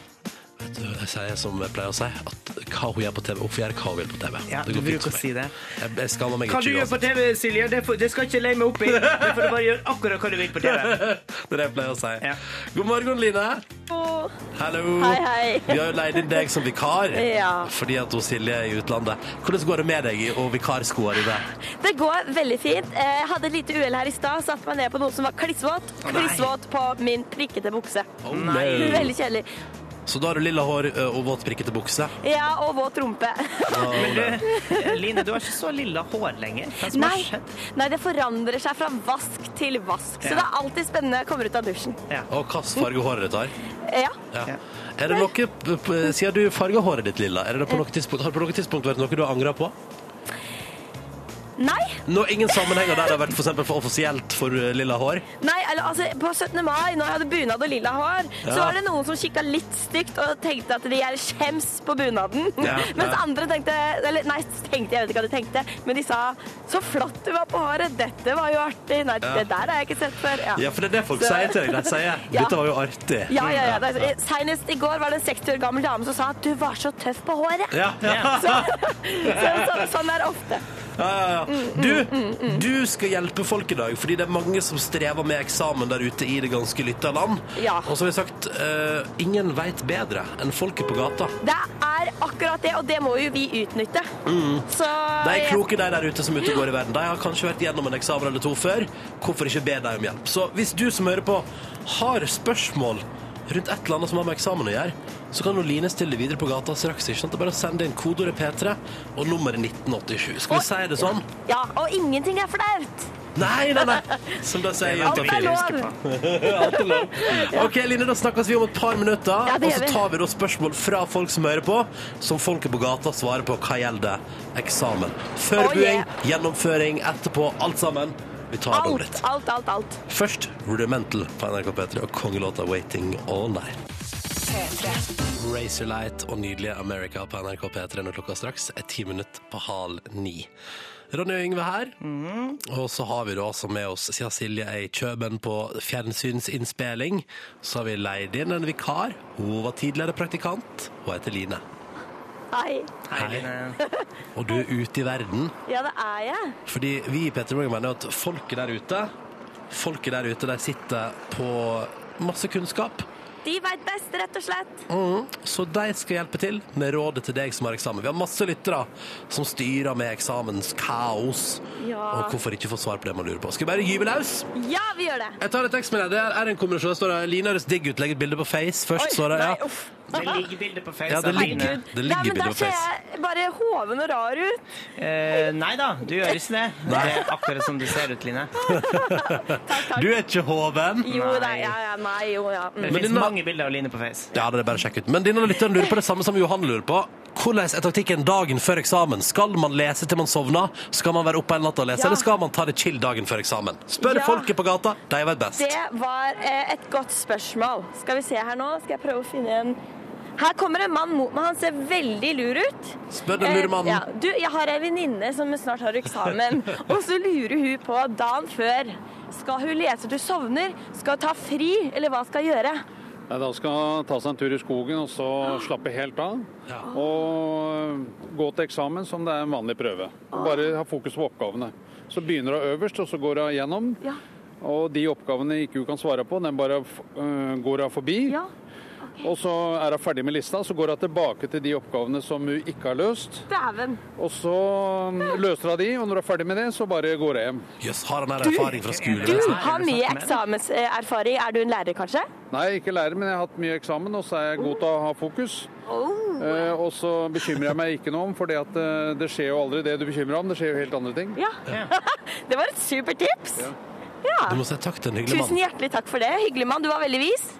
Speaker 4: Vet du, Jeg sier som jeg pleier å si, at hva hun gjør på TV, hun får gjøre hva hun vil på TV.
Speaker 2: Ja,
Speaker 4: Det
Speaker 2: du
Speaker 4: går fint
Speaker 2: bruker
Speaker 4: for
Speaker 2: å
Speaker 4: meg.
Speaker 2: si det.
Speaker 4: Jeg, jeg skammer meg
Speaker 2: Hva du
Speaker 4: ikke
Speaker 2: gjør på TV, Silje, det, får- det skal ikke jeg leie meg [LAUGHS] opp i. Det får du bare gjøre akkurat hva du vil på [LAUGHS] TV.
Speaker 4: Det er det jeg pleier å si.
Speaker 2: Ja.
Speaker 4: God morgen, Line.
Speaker 7: Åh,
Speaker 4: Hallo.
Speaker 7: Hei, hei.
Speaker 4: Vi har jo leid inn deg som vikar
Speaker 7: Ja.
Speaker 4: fordi at hun Silje er i utlandet. Hvordan går det med deg i- og vikarskoa dine?
Speaker 7: Det går veldig fint. Eh, Jeg hadde et lite uhell her i stad. Satte meg ned på noe som var klissvåt. Klissvåt på min prikkete bukse.
Speaker 4: Oh, no.
Speaker 7: Veldig kjedelig.
Speaker 4: Så da har du lilla hår ø, og våt prikkete bukse.
Speaker 7: Ja, og våt rumpe. [LAUGHS]
Speaker 2: Men du, Eh, Line, du har ikke så lilla hår lenger. Hva som har
Speaker 7: Nei,
Speaker 2: skjedd?
Speaker 7: nei, det forandrer seg fra vask til vask. Så
Speaker 2: Ja.
Speaker 7: det er alltid spennende å komme ut av dusjen.
Speaker 4: Og hvilken farge håret ditt har.
Speaker 7: Ja.
Speaker 4: Ja.
Speaker 2: Ja.
Speaker 4: Er det noe, p- p- siden du farga håret ditt lilla, er det på noe tidspunkt, har det på noe tidspunkt vært noe du har angra på?
Speaker 7: Nei,
Speaker 4: Nå, ingen sammenhenger der det har vært for, eksempel for offisielt for ø, lilla hår?
Speaker 7: nei, eller altså på 17. mai, når jeg hadde bunad og lilla hår, så
Speaker 4: Ja.
Speaker 7: var det noen som kikka litt stygt og tenkte at de er skjems på bunaden.
Speaker 4: Ja,
Speaker 7: [LAUGHS] Mens
Speaker 4: ja.
Speaker 7: andre tenkte Eller nei, tenkte, jeg vet ikke hva de tenkte, men de sa så flott du var på håret, dette var jo artig. Nei, det der har jeg ikke sett før. Ja.
Speaker 4: Ja, for det er det folk
Speaker 7: Så-
Speaker 4: sier til deg. De sier
Speaker 7: Ja.
Speaker 4: 'dette var jo artig'.
Speaker 7: Ja, ja, ja. Det er- Senest i går var det en 60 år gammel dame som sa at du var så tøff på
Speaker 4: [LAUGHS]
Speaker 7: håret.
Speaker 4: Ja, ja.
Speaker 7: Så, så, så, sånn er det ofte.
Speaker 4: Ja, ja, ja. Du, du skal hjelpe folk i dag, fordi det er mange som strever med eksamen der ute i det ganske lytta land.
Speaker 7: Ja.
Speaker 4: Og som jeg har sagt, eh, ingen veit bedre enn folket på gata.
Speaker 7: Det er akkurat det, og det må jo vi utnytte. Så
Speaker 4: De
Speaker 7: jeg-
Speaker 4: kloke de der ute som Mm. er ute og går i verden, de har kanskje vært gjennom en eksamen eller to før. Hvorfor ikke be dem om hjelp? Så hvis du som hører på har spørsmål rundt et eller annet som har med eksamen å gjøre, så kan jo Line stille det videre på gata straks. ikke sant? Det er bare å sende inn kodeordet P3 og nummeret 1987. Skal vi si det sånn?
Speaker 7: Ja, og ingenting er flaut.
Speaker 4: Nei, nei, nei! Som de sier i
Speaker 7: Alt er
Speaker 4: Juntafil.
Speaker 7: lov.
Speaker 4: Alt er lov. [LAUGHS] OK, Line, da snakkes vi om et par minutter.
Speaker 7: Ja, det
Speaker 4: og
Speaker 7: gjør
Speaker 4: så
Speaker 7: vi.
Speaker 4: tar vi da spørsmål fra folk som hører på, som folket på gata svarer på hva gjelder eksamen. Forbereding,
Speaker 7: Oh,
Speaker 4: gjennomføring, etterpå, alt sammen. Vi tar det om
Speaker 7: Alt,
Speaker 4: litt.
Speaker 7: alt, alt. alt.
Speaker 4: Først Rudimental på NRK P3 og kongelåta 'Waiting All Night'. Razorlight og nydelige America på NRK P3 når klokka straks er ti minutter på halv ni. Ronny og Yngve her. Og så har vi da også med oss, siden Silje er i Kjøben på fjernsynsinnspilling, så har vi leid inn en vikar. Hun var tidligere praktikant. Hun heter Line.
Speaker 7: Hei.
Speaker 2: Nei, Line.
Speaker 4: Og du er ute i verden.
Speaker 7: Ja, det er jeg.
Speaker 4: Fordi vi i Petter Morgan mener at folket der ute Folket der ute, de sitter på masse kunnskap
Speaker 7: De veit best, rett og slett.
Speaker 4: Mm. Så de skal hjelpe til med rådet til deg som har eksamen. Vi har masse lyttere som styrer med eksamenskaos.
Speaker 7: Ja.
Speaker 4: Og hvorfor ikke få svar på det man lurer på. Skal vi bare gyve løs?
Speaker 7: Ja, vi gjør det.
Speaker 4: Jeg tar en tekstmelding. Det er en kombinasjon. Det står det, Line høres digg ut. Legg et bilde på Face først. så det,
Speaker 7: nei,
Speaker 4: ja.
Speaker 7: uff.
Speaker 2: Det ligger bilde på Face.
Speaker 4: Ja, det
Speaker 2: av
Speaker 4: ligger-
Speaker 2: Line.
Speaker 4: det
Speaker 7: Nei,
Speaker 4: ligger
Speaker 7: men
Speaker 4: bilde
Speaker 7: da
Speaker 4: på
Speaker 7: ser
Speaker 4: Face.
Speaker 7: jeg bare hoven og rar ut.
Speaker 2: Eh, nei da, du gjør ikke det. Det er akkurat som du ser ut, Line.
Speaker 4: Du er ikke hoven.
Speaker 7: Jo
Speaker 2: Nei.
Speaker 7: da, ja, ja, nei, jo, ja.
Speaker 2: Det
Speaker 7: Mm.
Speaker 4: Men
Speaker 2: finnes
Speaker 4: denne-
Speaker 2: mange bilder av Line på Face.
Speaker 4: Ja, det er bare å sjekke ut. Men denne lytteren lurer på det samme som Johan lurer på. Hvordan er taktikken dagen før eksamen? Skal man lese til man sovner? Skal man være oppe hele natta og lese,
Speaker 7: Ja.
Speaker 4: eller skal man ta det chill dagen før eksamen? Spør
Speaker 7: Ja.
Speaker 4: folket på gata. De vet best.
Speaker 7: Det var eh, et godt spørsmål. Skal vi se her nå? Skal jeg prøve å finne en Her kommer en mann mot meg. Han ser veldig lur ut.
Speaker 4: Spør den lure mannen.
Speaker 7: Eh, ja. Du, jeg har ei venninne som snart
Speaker 4: [LAUGHS]
Speaker 7: har eksamen, og så lurer hun på dagen før. Skal hun lese til hun sovner? Skal hun ta fri, eller hva skal hun gjøre?
Speaker 8: Nei, da skal han ta seg en tur i skogen og så slappe helt av. Og eh, gå til eksamen som det er en vanlig prøve. Bare ha fokus på oppgavene. Så begynner hun øverst, og så går hun gjennom.
Speaker 7: Ja.
Speaker 8: Og de oppgavene ikke hun kan svare på, den bare f- øh, går hun forbi.
Speaker 7: Ja.
Speaker 8: Og så er hun ferdig med lista, så går hun tilbake til de oppgavene som hun ikke har løst.
Speaker 7: Dæven.
Speaker 8: Og så øh, løser hun de, og når hun er ferdig med det, så bare går hun hjem.
Speaker 4: Jøss, har han her erfaring fra skole?
Speaker 7: Du
Speaker 4: vet
Speaker 7: har
Speaker 2: snakk
Speaker 7: mye
Speaker 2: med
Speaker 7: eksamenserfaring. Er du en lærer, kanskje?
Speaker 8: Nei, ikke lærer, men jeg har hatt mye eksamen, og så er jeg god til å ha fokus. Eh, og så bekymrer jeg meg ikke noe om, for det, at, eh, det skjer jo aldri det du bekymrer deg om. Det skjer jo helt andre ting.
Speaker 7: Ja. [LAUGHS] Det var et supert tips.
Speaker 4: Du Du må si takk til en hyggelig
Speaker 7: Tusen
Speaker 4: mann.
Speaker 7: hjertelig takk for det. Hyggelig mann. Du var veldig vis.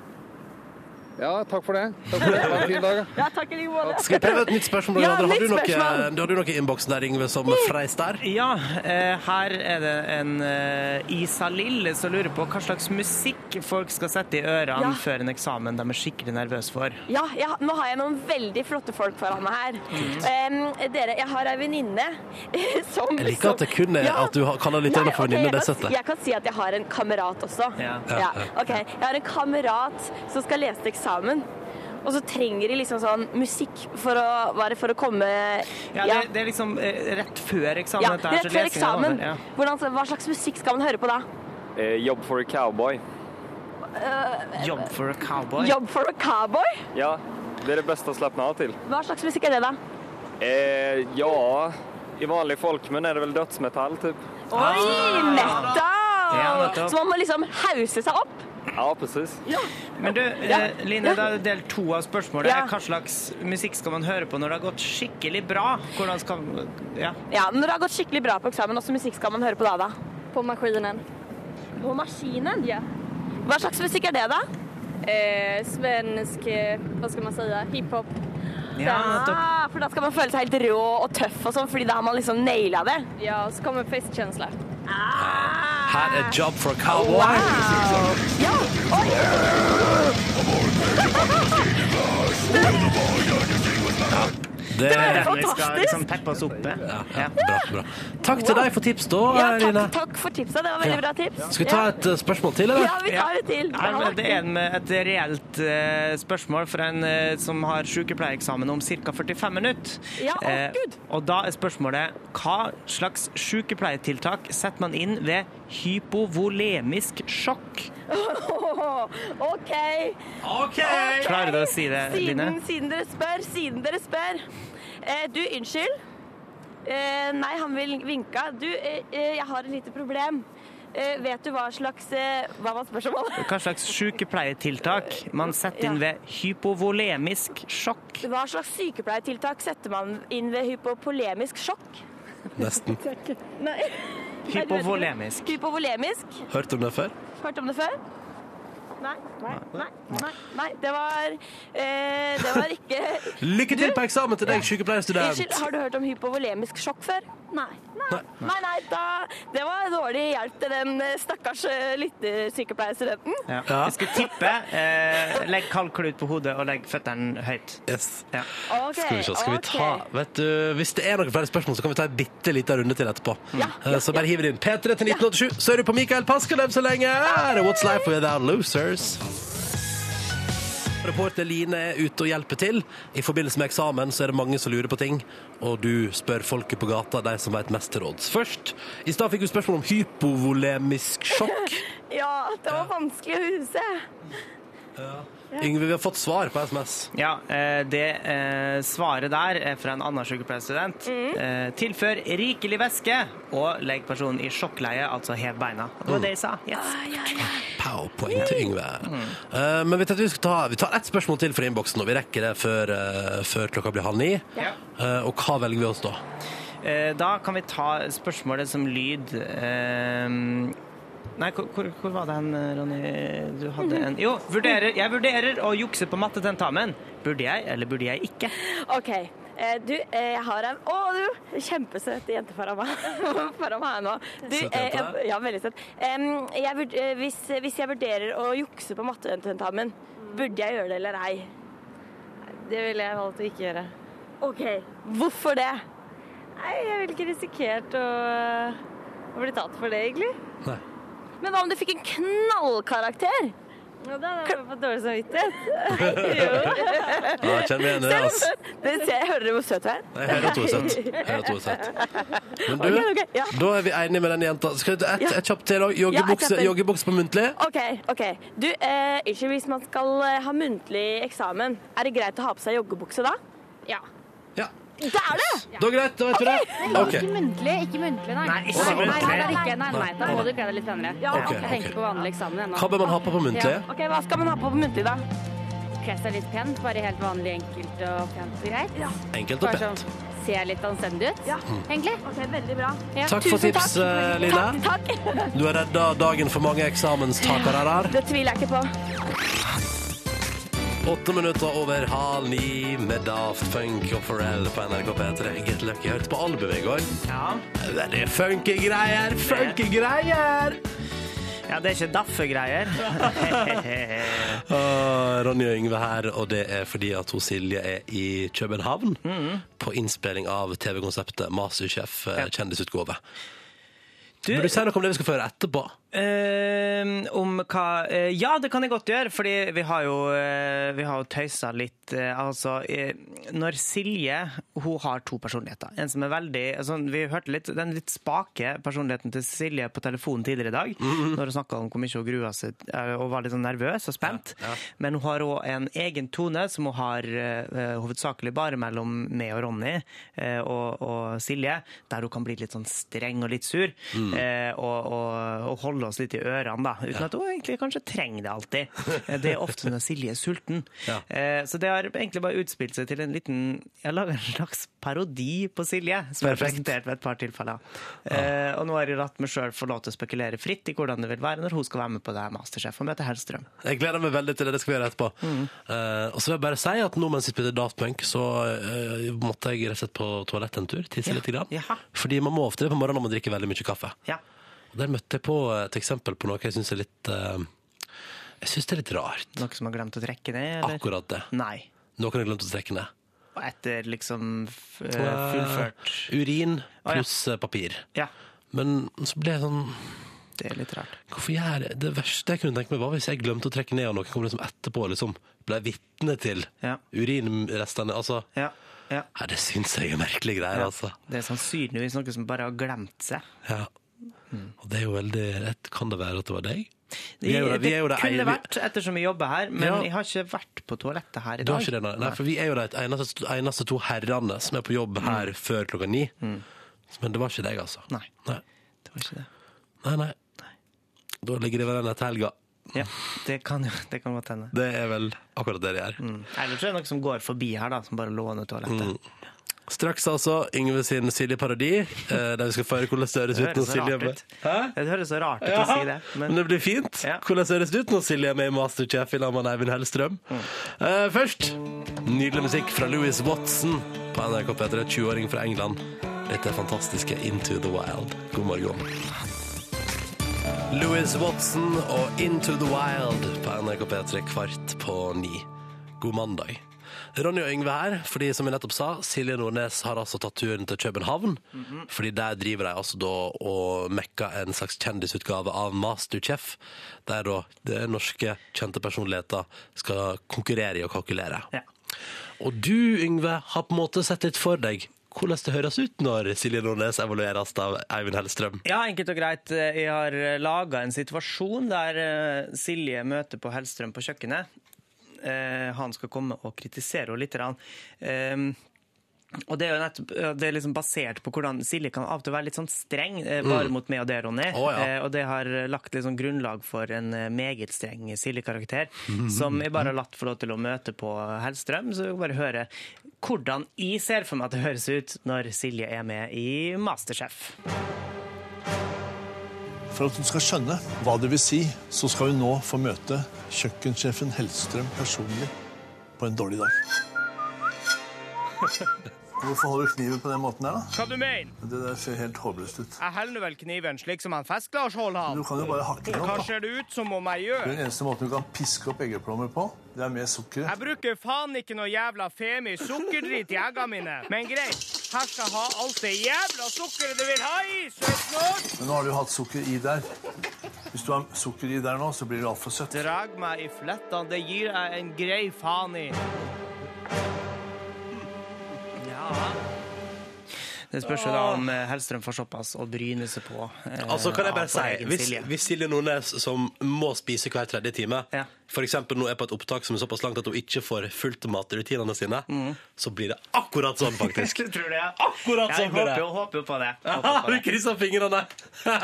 Speaker 8: Ja, takk for det. Takk for det. Ha en fin dag. da.
Speaker 7: Ja, takk i like måte.
Speaker 4: Skal vi prøve et nytt spørsmål?
Speaker 7: Ja,
Speaker 4: Andre?
Speaker 7: nytt
Speaker 4: har, du noe,
Speaker 7: spørsmål.
Speaker 4: har du noe i innboksen der, Yngve, som freis der?
Speaker 2: Ja, eh, her er det en eh, Isalill som lurer på hva slags musikk folk skal sette i ørene
Speaker 7: Ja.
Speaker 2: før en eksamen de er skikkelig nervøse for.
Speaker 7: Ja, jeg, nå har jeg noen veldig flotte folk foran meg her. Em, dere, jeg har ei venninne [LAUGHS] som
Speaker 4: Jeg liker at det kun er at du har- kaller litt
Speaker 7: Nei,
Speaker 4: grann for
Speaker 7: ok,
Speaker 4: venninne,
Speaker 7: jeg
Speaker 4: det
Speaker 7: kan
Speaker 4: setter.
Speaker 7: si- Jeg kan si at jeg har en kamerat også.
Speaker 2: Ja.
Speaker 4: Ja,
Speaker 7: OK. Jeg har en kamerat som skal lese til eksamen. Og så trenger de liksom sånn musikk for å, være for å komme
Speaker 2: Ja, det, det er liksom eh, rett før eksamen.
Speaker 7: Ja,
Speaker 2: dette her, så lesingen er
Speaker 7: rett før
Speaker 2: over,
Speaker 7: eksamen.
Speaker 2: ja.
Speaker 7: Hvordan, hva slags musikk skal man høre på da?
Speaker 6: Eh, jobb for a cowboy.
Speaker 2: Job for a cowboy.
Speaker 7: Job for a cowboy?
Speaker 6: Ja, det er det beste å slappe av til.
Speaker 7: Hva slags musikk er det, da?
Speaker 6: Eh, ja, i vanlig folkmunn er det vel dødsmetall, typ.
Speaker 7: Oi, nettopp!
Speaker 2: Ja, nettopp.
Speaker 7: Så man må liksom hause seg opp.
Speaker 6: Ja, precis.
Speaker 2: Men du, eh,
Speaker 7: Ja.
Speaker 2: Line, da er det del to av spørsmålet.
Speaker 7: Ja.
Speaker 2: Hva slags musikk skal man høre på når det har gått skikkelig bra? Hvordan skal Ja.
Speaker 7: Ja, Når det har gått skikkelig bra på eksamen, hvilken musikk skal man høre på da? da? På maskinen. På maskinen? Ja. Hva slags musikk er det, da? svensk eh, Hva skal man si? Hiphop.
Speaker 2: ja nettopp.
Speaker 7: ah, for da skal man føle seg helt rå og tøff og sånn, fordi da har man liksom naila det.
Speaker 11: Ja, og så kommer festkjensla.
Speaker 4: Her er Job for a Cowboy.
Speaker 7: Ja! Oi!
Speaker 4: Det er
Speaker 7: [LAUGHS]
Speaker 2: Den
Speaker 7: var
Speaker 2: vi skal
Speaker 7: fantastisk.
Speaker 2: liksom peppe oss opp med. Ja.
Speaker 4: bra, bra. Takk til deg for tips, da,
Speaker 7: Ja,
Speaker 4: Line.
Speaker 7: takk, takk for tipsa. Det var veldig bra tips.
Speaker 4: Skal vi ta et eh, spørsmål til, eller?
Speaker 7: Ja, vi tar det til.
Speaker 2: Nei, men det er en med et reelt eh, spørsmål fra en eh, som har sykepleiereksamen om ca. 45 minutter.
Speaker 7: Ja, å, Gud.
Speaker 2: Eh, og da er spørsmålet hva slags sykepleietiltak setter man inn ved hypovolemisk sjokk?
Speaker 7: [LAUGHS] OK.
Speaker 4: OK!
Speaker 2: Klarer du å si det, Line?
Speaker 7: Siden, siden dere spør, siden dere spør. Eh, du, unnskyld. Eh, nei, han vil vinka. Du, eh, eh, jeg har et lite problem. Eh, vet du hva slags eh, Hva var spørsmålet?
Speaker 2: Hva slags sykepleietiltak man setter inn ved hypovolemisk sjokk?
Speaker 7: Hva slags sykepleietiltak setter man inn ved hypopolemisk sjokk?
Speaker 4: Nesten.
Speaker 7: Nei. Nei, du vet ikke.
Speaker 2: Hypovolemisk.
Speaker 7: Hypovolemisk.
Speaker 4: Hørt om det før?
Speaker 7: Hørt om det før? Nei. Nei. Nei. Nei. Nei. Det var eh, Det var ikke
Speaker 2: [LAUGHS]
Speaker 4: Lykke til på eksamen til deg,
Speaker 7: Unnskyld,
Speaker 4: sykepleierstudent!
Speaker 7: har du hørt om hypovolemisk sjokk før? Nei. Nei, nei, da, det var dårlig hjelp til den eh, stakkars eh, lyttersykepleierstudenten.
Speaker 2: Ja. Jeg skal tippe. Eh, legg kald klut på hodet og legg føttene høyt.
Speaker 4: Yes.
Speaker 2: Ja.
Speaker 7: Okay,
Speaker 4: Skal vi se, skal vi ta
Speaker 7: ok.
Speaker 4: Vet du, Hvis det er noen flere spørsmål, så kan vi ta en bitte liten runde til etterpå.
Speaker 7: Ja,
Speaker 4: Eh,
Speaker 7: ja,
Speaker 4: Så bare hiv det inn. P3 til 1987. Så er du på Mikael Paskalev så lenge! Her er What's Life Without Losers. Reporter Line er ute og hjelper til. I forbindelse med eksamen så er det mange som lurer på ting, og du spør folket på gata, de som vet mest til råds. Først, i stad fikk du spørsmål om hypovolemisk sjokk.
Speaker 7: Ja, det var vanskelig å huske.
Speaker 4: Yngve, vi har fått svar på SMS.
Speaker 2: Ja, eh, det eh, svaret der er fra en annen sykepleierstudent. Eh, Tilfør rikelig væske og legg personen i sjokkleie, altså hev beina. Det var det jeg sa.
Speaker 4: Powerpoint til Yngve. Eh, men vi, tenkte vi, skal ta, vi tar ett spørsmål til fra innboksen, og vi rekker det før, eh, før klokka blir halv ni. Eh, og hva velger vi oss
Speaker 7: [LAUGHS]
Speaker 4: da?
Speaker 2: Eh, Da kan vi ta spørsmålet som lyd. Eh, Nei, hvor, hvor, hvor var det hen, Ronny? Du hadde en Jo, vurderer, jeg vurderer å jukse på mattetentamen. Burde jeg, eller burde jeg ikke?
Speaker 7: OK. eh, Du, eh, jeg har en Å, du! Kjempesøt jente foran meg, [LAUGHS] foran meg her nå. Du,
Speaker 12: Søt
Speaker 7: eh,
Speaker 12: jente?
Speaker 7: jeg- Ja, veldig søt. Em, jeg vurd- eh, hvis, hvis jeg vurderer å jukse på mattetentamen, burde jeg gjøre det eller ei?
Speaker 11: Det ville jeg valgt å ikke gjøre.
Speaker 7: OK. Hvorfor det?
Speaker 11: Nei, jeg ville ikke risikert å, eh, å bli tatt for det, egentlig.
Speaker 7: Men hva om du fikk en knallkarakter?
Speaker 11: Ja, da hadde jeg fått dårlig samvittighet.
Speaker 4: Ja, jeg kjenner meg igjen i det, ass.
Speaker 7: Dere ser, jeg hører dere hvor søt du er?
Speaker 4: Jeg hører at hun er søt. Jeg hører at hun er søt. Men du,
Speaker 7: Ok, ok, ja.
Speaker 4: da er vi enige med den jenta. Skal du et,
Speaker 7: Ja.
Speaker 4: et kjapt til? også?
Speaker 7: Ja, et kjapt
Speaker 4: Joggebukse,
Speaker 7: til.
Speaker 4: joggebukse på muntlig?
Speaker 7: OK. ok. Du, eh, Unnskyld, hvis man skal eh, ha muntlig eksamen, er det greit å ha på seg joggebukse da? Ja. Det er det!
Speaker 4: Da greit, da vet vi
Speaker 11: Nei,
Speaker 4: det. Ok.
Speaker 11: ikke muntlig, ikke muntlig, nei.
Speaker 4: Nei, ikke
Speaker 11: nei, nei,
Speaker 4: muntlig.
Speaker 11: nei, nei, nei, nei, nei, Da må du glede deg litt senere.
Speaker 4: ok,
Speaker 11: Jeg tenker på vanlig eksamen jeg, nå.
Speaker 4: Hva bør man ha på på muntlig?
Speaker 11: Ja. Ok, Hva skal man ha på på muntlig, da? Kle seg litt pent. Bare helt vanlig, enkelt og pent og greit.
Speaker 4: Enkelt og
Speaker 11: Bare sånn, Se litt anstendig ut, egentlig. Ok, veldig bra.
Speaker 4: Takk for tips, eh, Line.
Speaker 7: Takk, takk. [LAUGHS]
Speaker 4: Du har redda dagen for mange eksamenstakere her.
Speaker 7: Det tviler jeg ikke på.
Speaker 4: Åtte minutter over halv ni med Daft Funk og Pharrell på NRK P3. Get Lucky. Jeg hørte på albumet i går. Veldig funky greier, funky greier!
Speaker 2: Ja, det er ikke daffegreier.
Speaker 4: Ah, Ronny og Yngve her, og det er fordi at hun Silje er i København på innspilling av TV-konseptet Masterchef eh, kjendisutgave. Vil du si noe om det vi skal få høre etterpå?
Speaker 2: Eh, om hva eh, Ja, det kan jeg godt gjøre, fordi vi har jo, eh, vi har jo tøysa litt. eh, altså, eh, når Silje Hun har to personligheter. En som er veldig altså, Vi hørte litt den litt spake personligheten til Silje på telefonen tidligere i dag. Når hun snakka om hvor mye hun grua seg eh, og var litt sånn nervøs og spent. Men hun har òg en egen tone som hun har eh, hovedsakelig bare mellom meg og Ronny eh, og, og Silje, der hun kan bli litt sånn streng og litt sur.
Speaker 13: Mm.
Speaker 2: Eh, eh, og, og, og holde oss litt i ørene, da. Uten at hun egentlig kanskje trenger det alltid. Eh, Det er ofte når Silje er sulten. Eh, Så det har egentlig bare utspilt seg til en liten Jeg har laga en slags parodi på Silje, som jeg har
Speaker 4: Perfekt.
Speaker 2: presentert ved et par tilfeller. Eh, Og nå har jeg latt meg sjøl få lov til å spekulere fritt i hvordan det vil være når hun skal være med på det her Masterchef og møte Hellstrøm.
Speaker 4: Jeg gleder meg veldig til det. Det skal vi gjøre etterpå.
Speaker 2: Mm.
Speaker 4: Eh, og så vil jeg bare si at nå mens jeg spilte Daft Punk, så eh, måtte jeg rett og slett på toalettet en tur. Tisse litt. Grann. Fordi man må ofte det på morgenen når man drikker veldig mye kaffe.
Speaker 2: Ja.
Speaker 4: Og der møtte jeg på eh, et eksempel på noe jeg syns er litt eh, Jeg syns det er litt rart.
Speaker 2: Noe som har glemt å trekke ned? Eller?
Speaker 4: Akkurat det.
Speaker 2: Nei.
Speaker 4: Noen har glemt å trekke ned.
Speaker 2: Og etter liksom f- eh, fullført
Speaker 4: Eh, Urin
Speaker 2: Å, ja.
Speaker 4: pluss eh, papir.
Speaker 2: Ja.
Speaker 4: Men så ble jeg sånn
Speaker 2: Det er litt rart.
Speaker 4: Hvorfor gjør jeg det? Det verste jeg kunne tenke meg, var hvis jeg glemte å trekke ned, og noen kom liksom etterpå liksom, ble vitne til urinrestene. Altså, Nei, det syns jeg er merkelige greier,
Speaker 2: Ja.
Speaker 4: altså.
Speaker 2: Det er sannsynligvis noe som bare har glemt seg.
Speaker 4: Ja.
Speaker 2: Mm.
Speaker 4: Og det er jo veldig rett. Kan det være at det var deg?
Speaker 2: Det,
Speaker 4: Vi er jo
Speaker 2: det,
Speaker 4: der- vi er jo der-
Speaker 2: kunne
Speaker 4: vi-
Speaker 2: vært, ettersom jeg jobber her, men
Speaker 4: Ja.
Speaker 2: jeg har ikke vært på toalettet her i dag.
Speaker 4: Du har ikke det, nei. nei. For vi er jo de eneste, eneste to herrene som er på
Speaker 2: Mm.
Speaker 4: jobb her før klokka ni. Men det var ikke deg, altså.
Speaker 2: Nei.
Speaker 4: Det
Speaker 2: var ikke det.
Speaker 4: Nei, nei. Da ligger det vel en etter helga.
Speaker 2: Ja, det kan jo det kan godt hende.
Speaker 4: Det er vel akkurat det det er.
Speaker 2: Ellers er det noen som går forbi her, da, som bare låner toalettet.
Speaker 4: Straks altså Yngve sin Silje-parodi, eh, der vi skal få høre hvordan det høres
Speaker 2: Det
Speaker 4: ut når
Speaker 2: høres så
Speaker 4: Silje er
Speaker 2: rart
Speaker 4: med.
Speaker 2: ut. Det høres så rart ut
Speaker 4: Ja,
Speaker 2: å si det.
Speaker 4: men... det blir fint. Hvordan høres det ut når Silje er med i Masterchef i lag med Eivind Hellstrøm? Eh, først, nydelig musikk fra Louis Watson på NRK P3, 20-åring fra England. Dette er fantastiske Into the Wild. God morgen. Louis Watson og Into the Wild på NRK P3 kvart på ni. God mandag. Ronny og Yngve her, fordi som jeg nettopp sa, Silje Nordnes har altså tatt turen til København. Fordi der driver de altså da og mekka en slags kjendisutgave av Masterchef. Der da det norske kjente personligheter skal konkurrere i å kalkulere. Og du, Yngve, har på en måte sett litt for deg hvordan det høres ut når Silje Nordnes evalueres av Eivind Hellstrøm.
Speaker 2: Ja, enkelt og greit. Jeg eh, har laga en situasjon der eh, Silje møter på Hellstrøm på kjøkkenet. eh, han skal komme og kritisere henne litt. grann. Ehm, og det er jo nettopp, det er liksom basert på hvordan Silje kan av og til være litt sånn streng eh, bare
Speaker 12: Mm.
Speaker 2: mot meg og det, Ronny.
Speaker 12: Å, ja.
Speaker 2: Eh, og det har lagt litt sånn grunnlag for en eh, meget streng Silje-karakter,
Speaker 12: Mhm.
Speaker 2: som jeg bare har latt få lov til å møte på Hellstrøm. Så jeg vil bare høre hvordan jeg ser for meg at det høres ut når Silje er med i Masterchef.
Speaker 13: For at hun skal skjønne hva det vil si, så skal hun nå få møte kjøkkensjefen Hellstrøm personlig på en dårlig dag. [LAUGHS] Hvorfor holder du kniven på den måten der, da?
Speaker 2: Hva du mener?
Speaker 13: Det der ser helt håpløst ut.
Speaker 2: Jeg holder vel kniven slik som en Lars Hålhavn.
Speaker 13: Du kan jo bare hakke den opp, da.
Speaker 2: Hva ser det ut som om
Speaker 13: Det
Speaker 2: jeg
Speaker 13: er
Speaker 2: gjør?
Speaker 13: Den eneste måten du kan piske opp eggeplommer på, det er med sukker.
Speaker 2: Jeg bruker faen ikke noe jævla femi sukkerdrit i eggene mine. Men greit, her skal jeg ha alt det jævla sukkeret du vil ha i, søt norsk!
Speaker 13: Men nå har du hatt sukker i der. Hvis du har sukker i der nå, så blir det altfor søtt.
Speaker 2: Drag meg i flettene, det gir jeg en grei faen i. Ja. Det spørs jo da om eh, Hellstrøm får såpass å bryne seg på. eh,
Speaker 4: Altså, kan jeg bare
Speaker 2: av på
Speaker 4: si,
Speaker 2: egen
Speaker 4: hvis, [LAUGHS]
Speaker 2: Silje.
Speaker 4: hvis Silje Nordnes, som må spise hver tredje time, for eksempel nå er på et opptak som er såpass langt at hun ikke får fulgt matrutinene sine, så blir det akkurat sånn,
Speaker 2: [LAUGHS]
Speaker 4: faktisk.
Speaker 2: Tror du det?
Speaker 4: Akkurat
Speaker 2: Ja,
Speaker 4: sånn
Speaker 2: jeg
Speaker 4: blir det.
Speaker 2: håper jo- håper jo på det. Håper
Speaker 4: Har
Speaker 2: på
Speaker 4: du
Speaker 2: det.
Speaker 4: kryssa fingrene?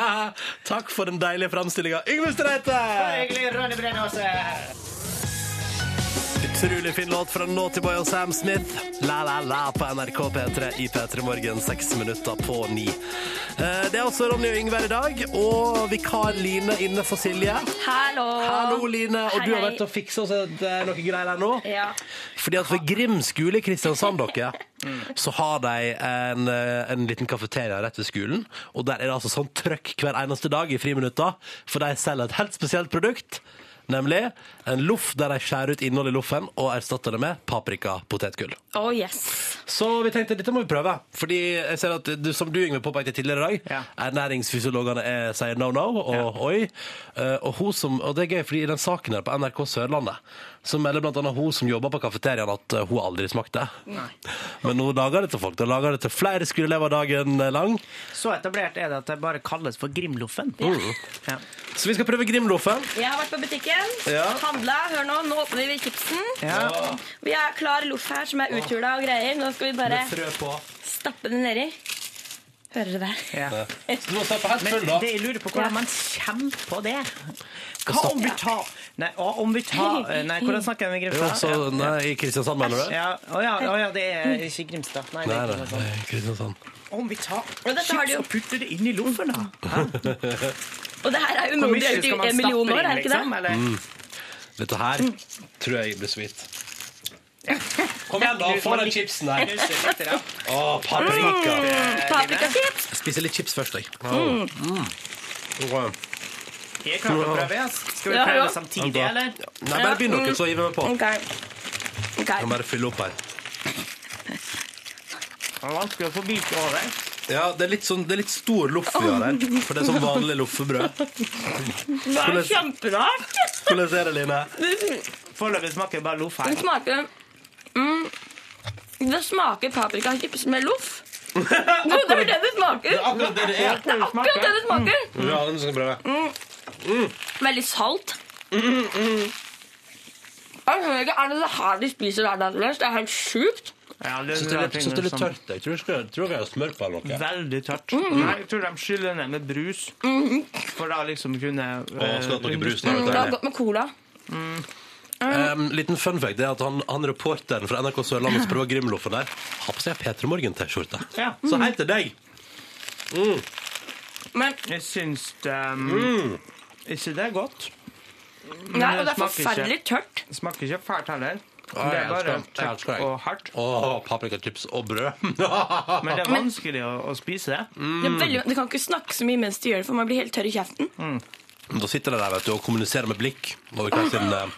Speaker 4: [LAUGHS] Takk for den deilige framstillinga. Yngve Streite!
Speaker 2: Bare hyggelig, Ronny eh. Brennåse.
Speaker 4: Utrolig fin låt fra Naughty Boy og Sam Smith. La, la, la på NRK P3 i P3 Morgen, seks minutter på ni. Eh, Det er også Ronny og Yngve her i dag, og vikar Line inne for Silje.
Speaker 14: Hallo.
Speaker 4: Hallo, Line. Og
Speaker 14: Hei,
Speaker 4: du har
Speaker 14: hei.
Speaker 4: vært og fiksa oss et, eh, noe greier her nå.
Speaker 14: Ja.
Speaker 4: Fordi at ved Grim skole i Kristiansand, dere, så har de en, eh, en liten kafeteria rett ved skolen. Og der er det altså sånn trøkk hver eneste dag i friminutta, for de selger et helt spesielt produkt. Nemlig en loff der de skjærer ut innholdet i loffen og erstatter det med paprikapotetgull.
Speaker 14: Oh yes.
Speaker 4: Så vi tenkte dette må vi prøve. Fordi jeg ser at du, som du Yngve, påpekte tidligere i dag, ernæringsfysiologene er, sier no no og oi. Eh, og, hun som, og det er gøy, fordi i den saken her på NRK Sørlandet så melder blant annet hun som jobber på kafeteriaen at eh, hun aldri smakte. Men hun lager det til folk. Hun lager det til flere skoleelever dagen lang.
Speaker 2: Så etablert er det at det bare kalles for Grimloffen. Ja.
Speaker 7: Mm.
Speaker 4: Så vi skal prøve Grimloffen.
Speaker 7: Jeg har vært på butikken,
Speaker 4: Ja.
Speaker 7: handla. Hør nå, nå åpner vi chipsen.
Speaker 4: Ja.
Speaker 7: Vi har klar loff her som er uthula og greier. Nå skal vi bare
Speaker 4: Med frø på.
Speaker 7: stappe den nedi. Hører du det?
Speaker 4: Ja. Så nå tar jeg på helt full,
Speaker 2: Men
Speaker 4: da.
Speaker 2: det jeg lurer på hvordan
Speaker 7: Ja.
Speaker 2: man kommer på det. Hva om vi tar Nei, å, om vi tar
Speaker 7: [LAUGHS]
Speaker 2: Nei, hvordan snakker jeg med
Speaker 4: Jo,
Speaker 2: Grimstad?
Speaker 4: så, nei, I Kristiansand, mener du?
Speaker 2: Ja, å ja, å ja, det er ikke Grimstad. Nei, det
Speaker 4: Nei,
Speaker 2: er
Speaker 4: nei,
Speaker 2: ikke sånn.
Speaker 4: nei, Kristiansand.
Speaker 2: Om vi tar
Speaker 7: Og dette har de
Speaker 2: chips
Speaker 7: jo-
Speaker 2: og putter det inn i
Speaker 7: [LAUGHS]
Speaker 2: loffen, da?
Speaker 7: Og det her er jo
Speaker 2: Hvor
Speaker 7: noe
Speaker 2: mye
Speaker 7: de har gjort
Speaker 2: skal man
Speaker 7: i en million
Speaker 2: stappe
Speaker 7: år, er
Speaker 2: inn,
Speaker 7: det ikke
Speaker 2: liksom,
Speaker 7: det?
Speaker 2: eller?
Speaker 4: Mm. Dette her tror jeg blir sweet. Kom igjen, da.
Speaker 2: Knus
Speaker 4: Få
Speaker 2: meg
Speaker 4: den
Speaker 2: litt-
Speaker 4: chipsen her.
Speaker 2: knus det litt, da.
Speaker 4: Å, paprika.
Speaker 7: Mm, paprikachips.
Speaker 4: Jeg spiser litt chips først, jeg. Mm.
Speaker 7: Mm.
Speaker 4: Ok.
Speaker 2: Jeg er klar for å prøve, ass. Skal vi
Speaker 7: Ja,
Speaker 2: prøve
Speaker 7: ja.
Speaker 2: samtidig, eller?
Speaker 4: Nei, bare begynn dere, så hiver vi på.
Speaker 7: Ok. Ok.
Speaker 4: Jeg må bare fylle opp her.
Speaker 2: Det er vanskelig å få bite over.
Speaker 4: Ja, det er litt, sånn, det er litt stor loff vi har her. For det er sånn vanlig loffebrød.
Speaker 7: Det er
Speaker 4: Hvordan-
Speaker 7: kjemperart.
Speaker 4: Hvordan er det, Line?
Speaker 2: Foreløpig smaker det bare loff
Speaker 7: Den
Speaker 2: her.
Speaker 7: smaker mm, Det smaker paprikachips med loff. Jo, det er det det smaker.
Speaker 4: Det er akkurat det det er.
Speaker 7: Det er akkurat det det smaker.
Speaker 4: Ja, den skal jeg prøve.
Speaker 7: Mm.
Speaker 12: Mm.
Speaker 7: Veldig salt. Jeg hører ikke, Mm, Er det det her de spiser hverdagsløst? Det er helt sjukt.
Speaker 4: Syns det er sånn. litt- syns det er litt tørt. Jeg tror jeg skal- tror jeg har smør på eller noe.
Speaker 2: sånn Veldig tørt.
Speaker 4: Mm.
Speaker 2: Nei, jeg tror de skyller ned med brus.
Speaker 7: Mm-hmm.
Speaker 2: For da liksom kunne eh,
Speaker 4: Å, skulle hatt noe brus
Speaker 7: Mm, det er godt med cola.
Speaker 4: Um, liten fun fact det er at han, han reporteren fra NRK Sørlandet som prøver Grimloffen der, har på seg P3 Morgen-T-skjorte.
Speaker 2: Ja.
Speaker 4: Så hei til deg! Mm.
Speaker 7: Men
Speaker 2: jeg syns det
Speaker 4: Mm.
Speaker 2: Ikke det er godt. Men
Speaker 7: Nei, og det
Speaker 2: smaker
Speaker 7: er
Speaker 2: ikke-
Speaker 7: forferdelig tørt.
Speaker 2: Smaker ikke fælt heller.
Speaker 4: Å,
Speaker 2: det
Speaker 4: jeg
Speaker 2: er bare
Speaker 4: elsker- jeg
Speaker 2: tørt
Speaker 4: elsker deg.
Speaker 2: og hardt.
Speaker 4: Å, paprikachips og brød. [LAUGHS]
Speaker 2: Men det er vanskelig å, å spise det.
Speaker 4: Mm.
Speaker 7: Det er veldig, du kan ikke snakke så mye mens du gjør det, for man blir helt tørr i kjeften.
Speaker 4: Da sitter de der vet du, og kommuniserer med blikk over hver sin uh,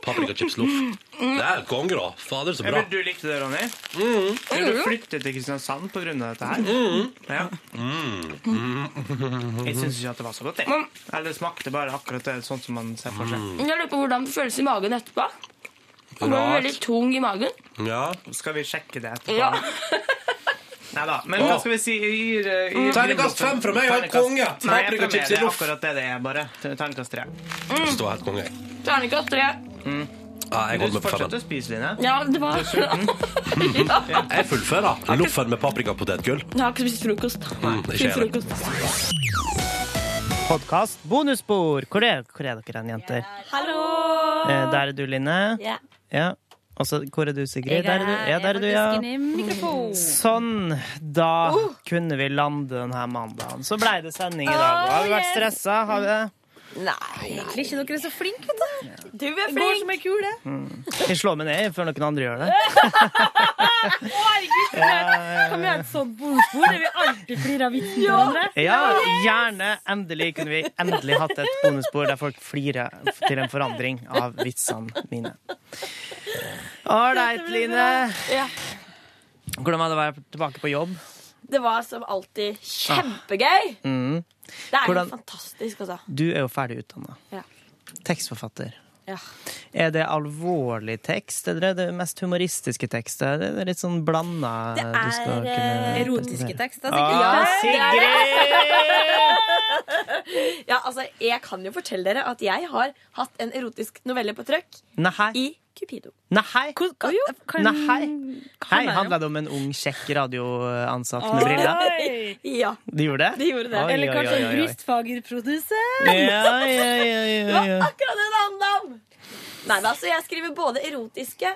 Speaker 4: paprikachipsloff. Det er konge, da. Fader, så
Speaker 2: Jeg
Speaker 4: bra. Mm.
Speaker 2: vet Mm. du likte det, Ronny. Vil
Speaker 7: Mm.
Speaker 2: du flytte til Kristiansand på grunn av dette her? Ja.
Speaker 4: Mm.
Speaker 2: Jeg syns ikke at det var så godt, jeg. Eller det smakte bare akkurat det, sånn som man ser for
Speaker 7: Men
Speaker 2: seg.
Speaker 7: Jeg lurer på hvordan det føles i magen etterpå. Man blir veldig tung i magen.
Speaker 2: Skal vi sjekke det etterpå?
Speaker 7: Ja.
Speaker 2: [LAUGHS] Nei da. Men hva
Speaker 4: Å.
Speaker 2: skal vi si? Jeg gir, eh,
Speaker 4: Mm.
Speaker 2: gir
Speaker 4: Terningkast fem fra meg, jeg er
Speaker 2: Terningkast-
Speaker 4: konge.
Speaker 2: Nei, jeg er
Speaker 4: Paprikachips
Speaker 2: med.
Speaker 4: i
Speaker 2: Det er
Speaker 4: loff.
Speaker 2: akkurat det det er, bare. Terningkast tre.
Speaker 4: Står helt konge.
Speaker 7: Terningkast tre.
Speaker 2: Mm.
Speaker 4: Ja, jeg holder
Speaker 2: Du
Speaker 4: meg på
Speaker 2: fortsetter
Speaker 4: femmeren.
Speaker 2: å spise, Line.
Speaker 7: Ja, det var
Speaker 4: Jeg fullfører. Loffen med paprikapotetgull.
Speaker 7: [LAUGHS] Jeg har ikke spist frokost.
Speaker 4: Mm, ikke jeg heller.
Speaker 2: Podkast bonusspor. Hvor er, hvor er dere hen, jenter?
Speaker 7: Hallo!
Speaker 2: Eh, Der er du, Line.
Speaker 7: Ja.
Speaker 2: Ja. Og så, hvor er du, Sigrid? Der er du. Ja, der er du, ja. Sånn. Da kunne vi lande denne mandagen. Så blei det sending i dag. Har vi vært
Speaker 11: yes.
Speaker 2: stressa? Har vi det?
Speaker 11: Nei, egentlig ikke. Dere er så flinke, vet du.
Speaker 7: Du er flink.
Speaker 11: Går som ei kule.
Speaker 2: Mm. Jeg slår meg ned før noen andre gjør det.
Speaker 11: Herregud,
Speaker 2: Ja, ja, ja.
Speaker 11: kan vi ha et sånt bonusbord der vi alltid flirer av vitsen til hverandre?
Speaker 2: Ja, gjerne. Endelig kunne vi endelig hatt et bonusbord der folk flirer til en forandring av vitsene mine. Ålreit, Line.
Speaker 7: Ja.
Speaker 2: Hvordan var det å være tilbake på jobb?
Speaker 7: Det var som alltid kjempegøy.
Speaker 2: Mm.
Speaker 7: Det er
Speaker 2: Hvordan-
Speaker 7: helt fantastisk, altså.
Speaker 2: Du er jo ferdig utdanna.
Speaker 7: Ja.
Speaker 2: Tekstforfatter.
Speaker 7: Ja.
Speaker 2: Er det alvorlig tekst, eller er det mest humoristiske tekst? Er det litt sånn blanda
Speaker 11: Det er eh, erotiske tekster,
Speaker 2: Ah,
Speaker 7: Sigrid! ja, altså, jeg kan jo fortelle dere at jeg har hatt en erotisk novelle på trykk
Speaker 2: Nei.
Speaker 7: i Cupido.
Speaker 2: Nei.
Speaker 7: kan-
Speaker 2: Nei. Hei,
Speaker 7: handler det om?
Speaker 2: handla det om en ung, kjekk radioansatt med briller?
Speaker 7: ja.
Speaker 2: De gjorde det?
Speaker 7: De gjorde det.
Speaker 2: Oi,
Speaker 11: Eller
Speaker 2: oi,
Speaker 11: kanskje
Speaker 2: oi,
Speaker 11: en
Speaker 2: oi.
Speaker 11: brystfagerprodusent.
Speaker 2: Ja, ja, ja, ja,
Speaker 7: Det
Speaker 2: ja,
Speaker 7: var
Speaker 2: ja.
Speaker 7: akkurat det det handla om! Nei, men altså, jeg skriver både erotiske,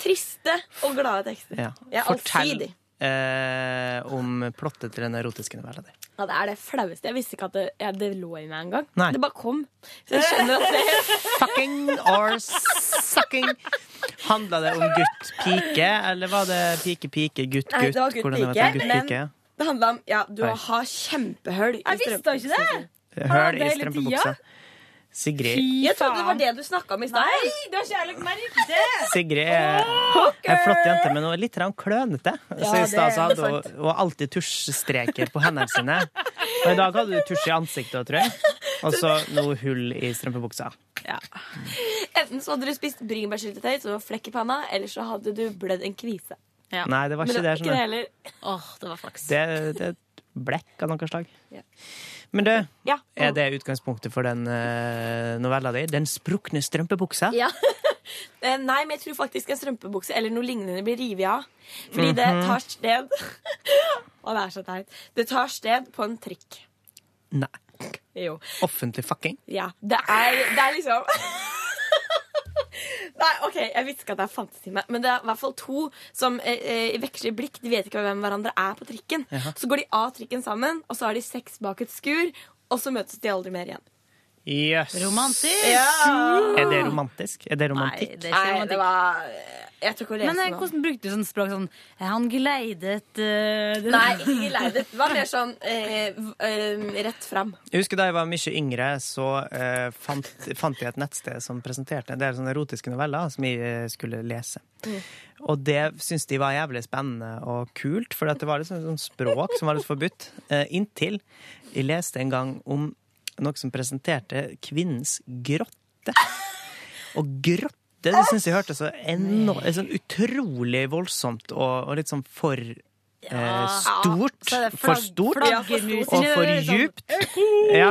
Speaker 7: triste og glade tekster.
Speaker 2: ja.
Speaker 7: Jeg er
Speaker 2: Fortell
Speaker 7: allsidig.
Speaker 2: eh, om plottet til den erotiske novella di.
Speaker 7: Ja, det er det flaueste. Jeg visste ikke at det, ja, det lå i meg engang.
Speaker 2: Nei.
Speaker 7: Det bare kom. Så jeg skjønner at det [LAUGHS]
Speaker 2: Fucking or sucking. Handla det om gutt-pike, eller var det pike-pike,
Speaker 7: Nei,
Speaker 2: gutt-gutt?
Speaker 7: det var gutt-pike,
Speaker 2: Hvordan det var til
Speaker 7: men-
Speaker 2: gutt-pike?
Speaker 7: Det handla om ja, du
Speaker 2: Oi.
Speaker 7: har kjempehull i
Speaker 11: Jeg visste jo ikke det!
Speaker 7: Ah,
Speaker 2: Høl i
Speaker 11: hele
Speaker 2: strømpebuksa. Sigrid,
Speaker 7: Jeg trodde det var det du snakka om i stad.
Speaker 11: Nei, du har ikke jeg lagt merke til det!
Speaker 2: Sigrid er en flott jente, men hun er litt grann klønete.
Speaker 11: Ja,
Speaker 2: Så i stad så
Speaker 11: det-
Speaker 2: hadde hun, hun har alltid tusjstreker på hendene sine. Og i dag hadde du tusj i ansiktet òg, tror jeg. Og så noe hull i strømpebuksa.
Speaker 7: Enten så hadde du spist bringebærsyltetøy, så det var flekk i panna, eller så hadde du blødd en kvise.
Speaker 2: Nei, det var
Speaker 7: Men
Speaker 2: ikke det.
Speaker 7: det
Speaker 2: skjønner
Speaker 7: heller. det var
Speaker 2: du.
Speaker 7: flaks.
Speaker 2: Det, det er et blekk av noe slag.
Speaker 7: Ja.
Speaker 2: Men du,
Speaker 7: Ja.
Speaker 2: er det utgangspunktet for den eh, novella di? Den sprukne strømpebuksa?
Speaker 7: Ja. [LAUGHS] Eh, Nei, men jeg tror faktisk en strømpebukse eller noe lignende blir revet av. Fordi det
Speaker 2: Mhm.
Speaker 7: tar sted [LAUGHS] Å, det er så teit. Det tar sted på en trikk.
Speaker 2: Nei.
Speaker 7: Jo.
Speaker 2: Offentlig fucking?
Speaker 7: Ja. Det er, det er liksom [LAUGHS] Nei, OK, jeg visste ikke at det er fantasime, men det er i hvert fall to som eh, eh, veksler blikk. De vet ikke hvem hverandre er på trikken.
Speaker 2: Jaha.
Speaker 7: Så går de av trikken sammen, og så har de sex bak et skur, og så møtes de aldri mer igjen.
Speaker 2: Jøss.
Speaker 11: Romantisk!
Speaker 2: Er det romantisk? Er det romantikk?
Speaker 11: det er ikke
Speaker 7: Nei, det var Jeg tror ikke å lese
Speaker 11: Men eh,
Speaker 7: nå.
Speaker 11: hvordan brukte du sånn språk sånn eh, Han geleidet eh, det-
Speaker 7: Nei, ikke leidet. Det var mer sånn eh, v- eh, rett fram.
Speaker 2: Jeg husker Da jeg var mye yngre, så eh, fant, fant jeg et nettsted som presenterte en del sånne erotiske noveller som jeg eh, skulle lese.
Speaker 11: Mm.
Speaker 2: Og det syntes de var jævlig spennende og kult, for at det var liksom et sånt språk som var litt forbudt. Eh, inntil jeg leste en gang om noe som presenterte kvinnens grotte. Og grotte, det syns jeg hørtes så enormt sånn utrolig voldsomt og, og litt sånn for eh, stort.
Speaker 11: Så er det
Speaker 2: for
Speaker 11: flagg-
Speaker 2: stort
Speaker 11: flaggermus,
Speaker 2: og
Speaker 11: eller
Speaker 2: for
Speaker 11: det er sånn-
Speaker 2: djupt. Ja.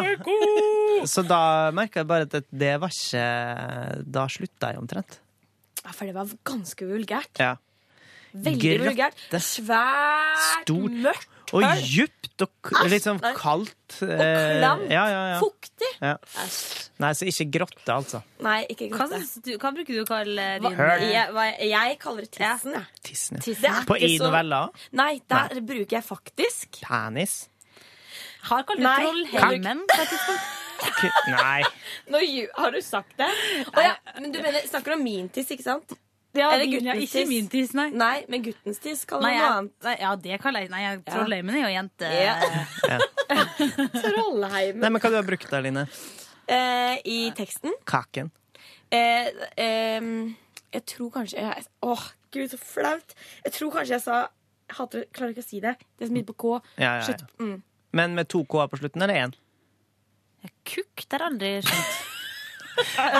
Speaker 2: Så da merka jeg bare at det var ikke Da slutta jeg omtrent.
Speaker 7: Ja, For det var ganske vulgært.
Speaker 2: Ja.
Speaker 7: Veldig
Speaker 2: Grotte.
Speaker 7: vulgært. Svært,
Speaker 2: eh, Stort.
Speaker 7: mørkt,
Speaker 2: Og
Speaker 7: Øl.
Speaker 2: djupt og k-
Speaker 7: Æsj,
Speaker 2: litt sånn
Speaker 7: nei.
Speaker 2: kaldt. Og
Speaker 7: klamt.
Speaker 2: eh, Ja, ja, ja.
Speaker 7: fuktig.
Speaker 2: Ja. Nei, så ikke grotte, altså.
Speaker 7: Nei, ikke
Speaker 11: Hva,
Speaker 7: grotte.
Speaker 11: synes du, hva bruker du å kalle din
Speaker 2: Høl.
Speaker 7: eh, Jeg, hva- jeg kaller det tissen, jeg.
Speaker 2: Tissen. ja.
Speaker 11: Tissen.
Speaker 2: På
Speaker 7: ikke
Speaker 2: i
Speaker 7: så-
Speaker 2: novella?
Speaker 7: Nei, der bruker jeg faktisk
Speaker 2: Penis?
Speaker 11: Har kalt det
Speaker 7: Nei.
Speaker 11: trollheimen? på et tidspunkt?
Speaker 2: K- Nei.
Speaker 7: Nå ju- Har du sagt det? Å ja, men du mener, snakker om min tiss, ikke sant?
Speaker 11: Ja,
Speaker 7: Eller
Speaker 11: din, ja,
Speaker 7: guttens
Speaker 11: ikke
Speaker 7: tiss.
Speaker 11: min tiss, nei.
Speaker 7: Nei, men guttens tiss kaller
Speaker 11: Nei,
Speaker 7: man noe
Speaker 11: jeg,
Speaker 7: annet.
Speaker 11: nei, ja, det kaller jeg Nei, jeg-
Speaker 7: Ja.
Speaker 11: trollheimen er jo jente.
Speaker 7: Ja.
Speaker 2: Ja.
Speaker 7: [LAUGHS] Trollheim.
Speaker 2: Nei, men hva du har brukt da, Line?
Speaker 7: Eh, I teksten
Speaker 2: Kaken.
Speaker 7: eh, ehm, Jeg tror kanskje jeg, Åh, gud, så flaut. Jeg tror kanskje jeg sa jeg hater, det, Klarer ikke å si det. Det som begynner på K.
Speaker 2: Ja, ja,
Speaker 7: Slutt-
Speaker 2: ja.
Speaker 7: Mm.
Speaker 2: Men med to k-er på slutten, eller én?
Speaker 11: Kukk, det har jeg aldri skjønt.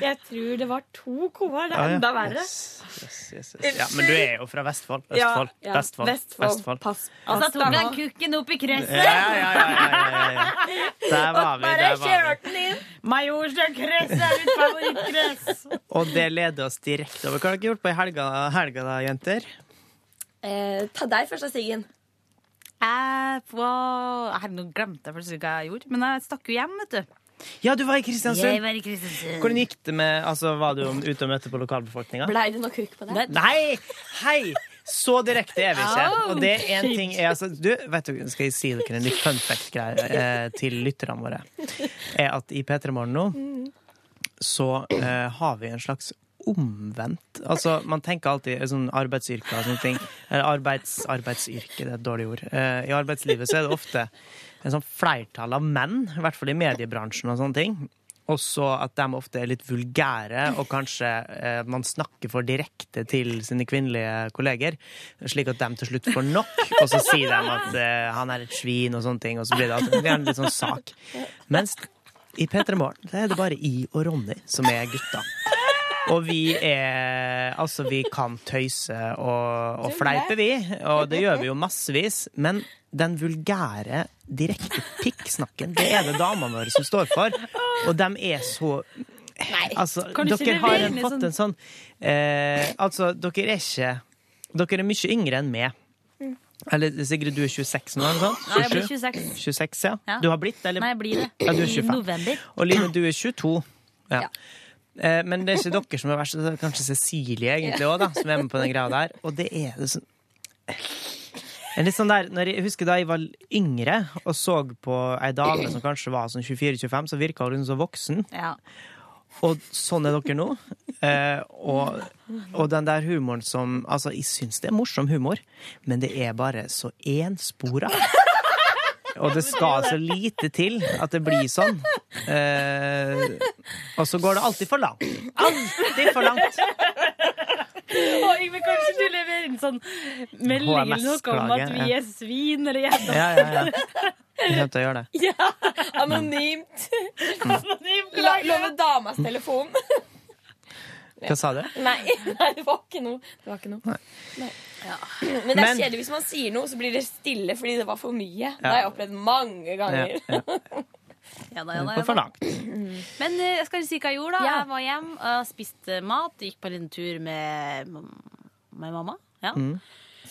Speaker 7: Jeg tror det var to K-er. Det
Speaker 2: Ja,
Speaker 7: er
Speaker 2: ja.
Speaker 7: enda verre.
Speaker 2: Yes, yes, yes, yes. Ja, men du er jo fra Vestfold. Østfold.
Speaker 7: Ja, ja.
Speaker 2: Vestfold.
Speaker 7: Vestfold.
Speaker 2: Vestfold.
Speaker 7: Pass.
Speaker 11: Og så
Speaker 7: pass
Speaker 11: tok
Speaker 7: deg
Speaker 11: han
Speaker 7: nå.
Speaker 11: kukken opp i
Speaker 2: Ja, ja,
Speaker 11: krysset.
Speaker 2: ja, ja, ja, ja. Der var vi.
Speaker 7: Bare
Speaker 2: Der var vi.
Speaker 7: kjørte den inn.
Speaker 12: Majorstøkress er mitt
Speaker 11: [LAUGHS]
Speaker 12: favorittkress!
Speaker 2: Og det leder oss direkte over. Hva har dere gjort på i helga, helga da, jenter?
Speaker 14: Eh, ta deg først, da, Siggen.
Speaker 12: Jeg på Herregud, nå glemte jeg plutselig hva jeg gjorde. Men jeg stakk jo hjem, vet du.
Speaker 2: Ja, du var i Kristiansund.
Speaker 12: Jeg var i Kristiansund.
Speaker 2: Hvordan gikk det med altså, Var du ute og møtte på lokalbefolkninga?
Speaker 14: Blei det noe kuk på
Speaker 7: [LAUGHS]
Speaker 14: deg?
Speaker 2: Nei! Hei! Så direkte er vi ikke.
Speaker 14: Au,
Speaker 2: Og det er en ting er, altså, du, vet du, Skal jeg si dere en litt fun fact-greie eh, til lytterne våre? Er at i P3 Morgen nå så eh, har vi en slags omvendt Altså, man tenker alltid eh, sånn arbeidsyrker og sånne ting. Eller arbeids, arbeidsyrke, det er et dårlig ord. Eh, I arbeidslivet så er det ofte en sånn flertall av menn, i hvert fall i mediebransjen og sånne ting. Og så at de ofte er litt vulgære, og kanskje eh, man snakker for direkte til sine kvinnelige kolleger, slik at de til slutt får nok, og så sier de at eh, han er et svin og sånne ting, og så blir det alltid en litt sånn sak. Mens i P3 Morgen er det bare I og Ronny som er gutta. Og vi er Altså, vi kan tøyse og, og fleipe, vi. Og det gjør vi jo massevis. Men den vulgære direkte pikksnakken, det er det damene våre som står for. Og de er så Altså,
Speaker 12: Kan du ikke liksom?
Speaker 2: dere har
Speaker 12: levere inn i
Speaker 2: fått en sånn eh, Altså, dere er ikke Dere er mye yngre enn meg.
Speaker 12: Mm.
Speaker 2: Eller Sigrid, du er 26 nå? eller noe sånt?
Speaker 12: Nei, jeg blir 26.
Speaker 2: 26, ja.
Speaker 12: Ja.
Speaker 2: Du har blitt, eller?
Speaker 12: Nei, jeg blir det.
Speaker 2: Ja, du er
Speaker 12: I
Speaker 2: 25.
Speaker 12: november.
Speaker 2: Og Line, du er 22. Ja.
Speaker 12: Ja.
Speaker 2: Eh, Men det er ikke dere som er verst, det er kanskje Cecilie egentlig
Speaker 12: Ja.
Speaker 2: også, da, som er med på den greia der. Og det er det sånn en litt sånn der, når jeg husker da jeg var yngre og så på ei dame som kanskje var sånn 24-25, så virka hun så voksen.
Speaker 12: Ja.
Speaker 2: Og sånn er dere nå. Eh, og, og den der humoren som Altså, jeg syns det er morsom humor, men det er bare så enspora. Og det skal så lite til at det blir sånn. Eh, og så går det alltid for langt. Alltid for langt.
Speaker 12: Og Yngve, kanskje du leverer inn sånn melding eller noe om at vi
Speaker 2: ja.
Speaker 12: er svin eller jævla
Speaker 2: Ja, ja, ja. Jeg kommer til å gjøre det.
Speaker 14: Ja, anonymt. La- Låne damas telefon.
Speaker 2: Hva sa du?
Speaker 14: Nei, [LAUGHS] nei, det var ikke noe. Det var ikke noe. Nei. Men det er
Speaker 2: Men-
Speaker 14: kjedelig hvis man sier noe, så blir det stille fordi det var for mye. Det
Speaker 2: Ja.
Speaker 14: har jeg opplevd mange ganger. [LAUGHS]
Speaker 2: Ja, ja.
Speaker 12: Ja da, ja da,
Speaker 2: Det
Speaker 12: ja
Speaker 2: går for
Speaker 12: da.
Speaker 2: langt.
Speaker 12: Men eh, jeg skal si hva jeg gjorde. da
Speaker 14: Ja.
Speaker 12: Jeg var hjem og spiste mat. Gikk på en liten tur med, med mamma. Ja.
Speaker 2: Mm.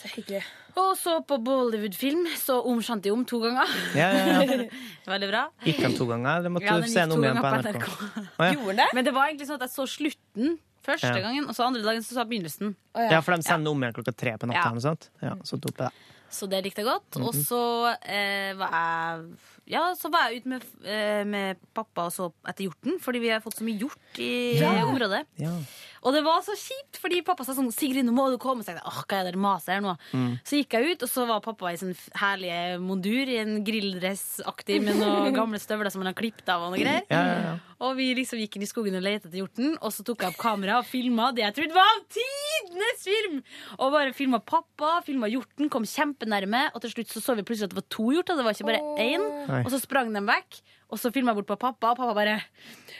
Speaker 14: Så hyggelig.
Speaker 12: Og så på Bollywood-film. Så om shanti om to ganger.
Speaker 2: Ja, ja, ja.
Speaker 12: Veldig bra.
Speaker 2: Gikk han to ganger, eller måtte
Speaker 12: Ja,
Speaker 2: du
Speaker 12: den
Speaker 2: se
Speaker 12: gikk
Speaker 2: den
Speaker 12: to
Speaker 2: om igjen på
Speaker 12: ganger
Speaker 2: NRK?
Speaker 12: på
Speaker 2: Å, ja.
Speaker 12: Men det var egentlig sånn at jeg så slutten første
Speaker 2: Ja.
Speaker 12: gangen, og så andre dagen så så jeg begynnelsen.
Speaker 2: ja, for de sender om igjen klokka tre på natta.
Speaker 12: Ja.
Speaker 2: eller noe sånt. Ja, så tok jeg det.
Speaker 12: Så det likte jeg godt.
Speaker 2: Mhm.
Speaker 12: Og så eh, var jeg Ja, så var jeg ute med, eh, med pappa og så etter hjorten, fordi vi har fått så mye hjort i
Speaker 2: Ja.
Speaker 12: eh, området.
Speaker 2: Ja.
Speaker 12: Og det var så kjipt, fordi pappa sa sånn 'Sigrid, nå må du komme'. Så jeg tenkte, åh, hva er det dere maser her nå?
Speaker 2: Mm.
Speaker 12: Så gikk jeg ut, og så var pappa i sin f- herlige mondur, i en grilldressaktig med
Speaker 2: [LAUGHS]
Speaker 12: noen gamle støvler som han har klippet av og noe greier.
Speaker 2: Ja, ja, ja.
Speaker 12: Og vi liksom gikk inn i skogen og lette etter hjorten, og så tok jeg opp kamera og filma det jeg trodde var tidenes film! Og bare filma pappa, filma hjorten, kom kjempenærme, og til slutt så så vi plutselig at det var to hjorter, det var ikke bare én.
Speaker 2: Nei.
Speaker 12: Og så sprang de vekk, og så filma jeg bort på pappa, og pappa bare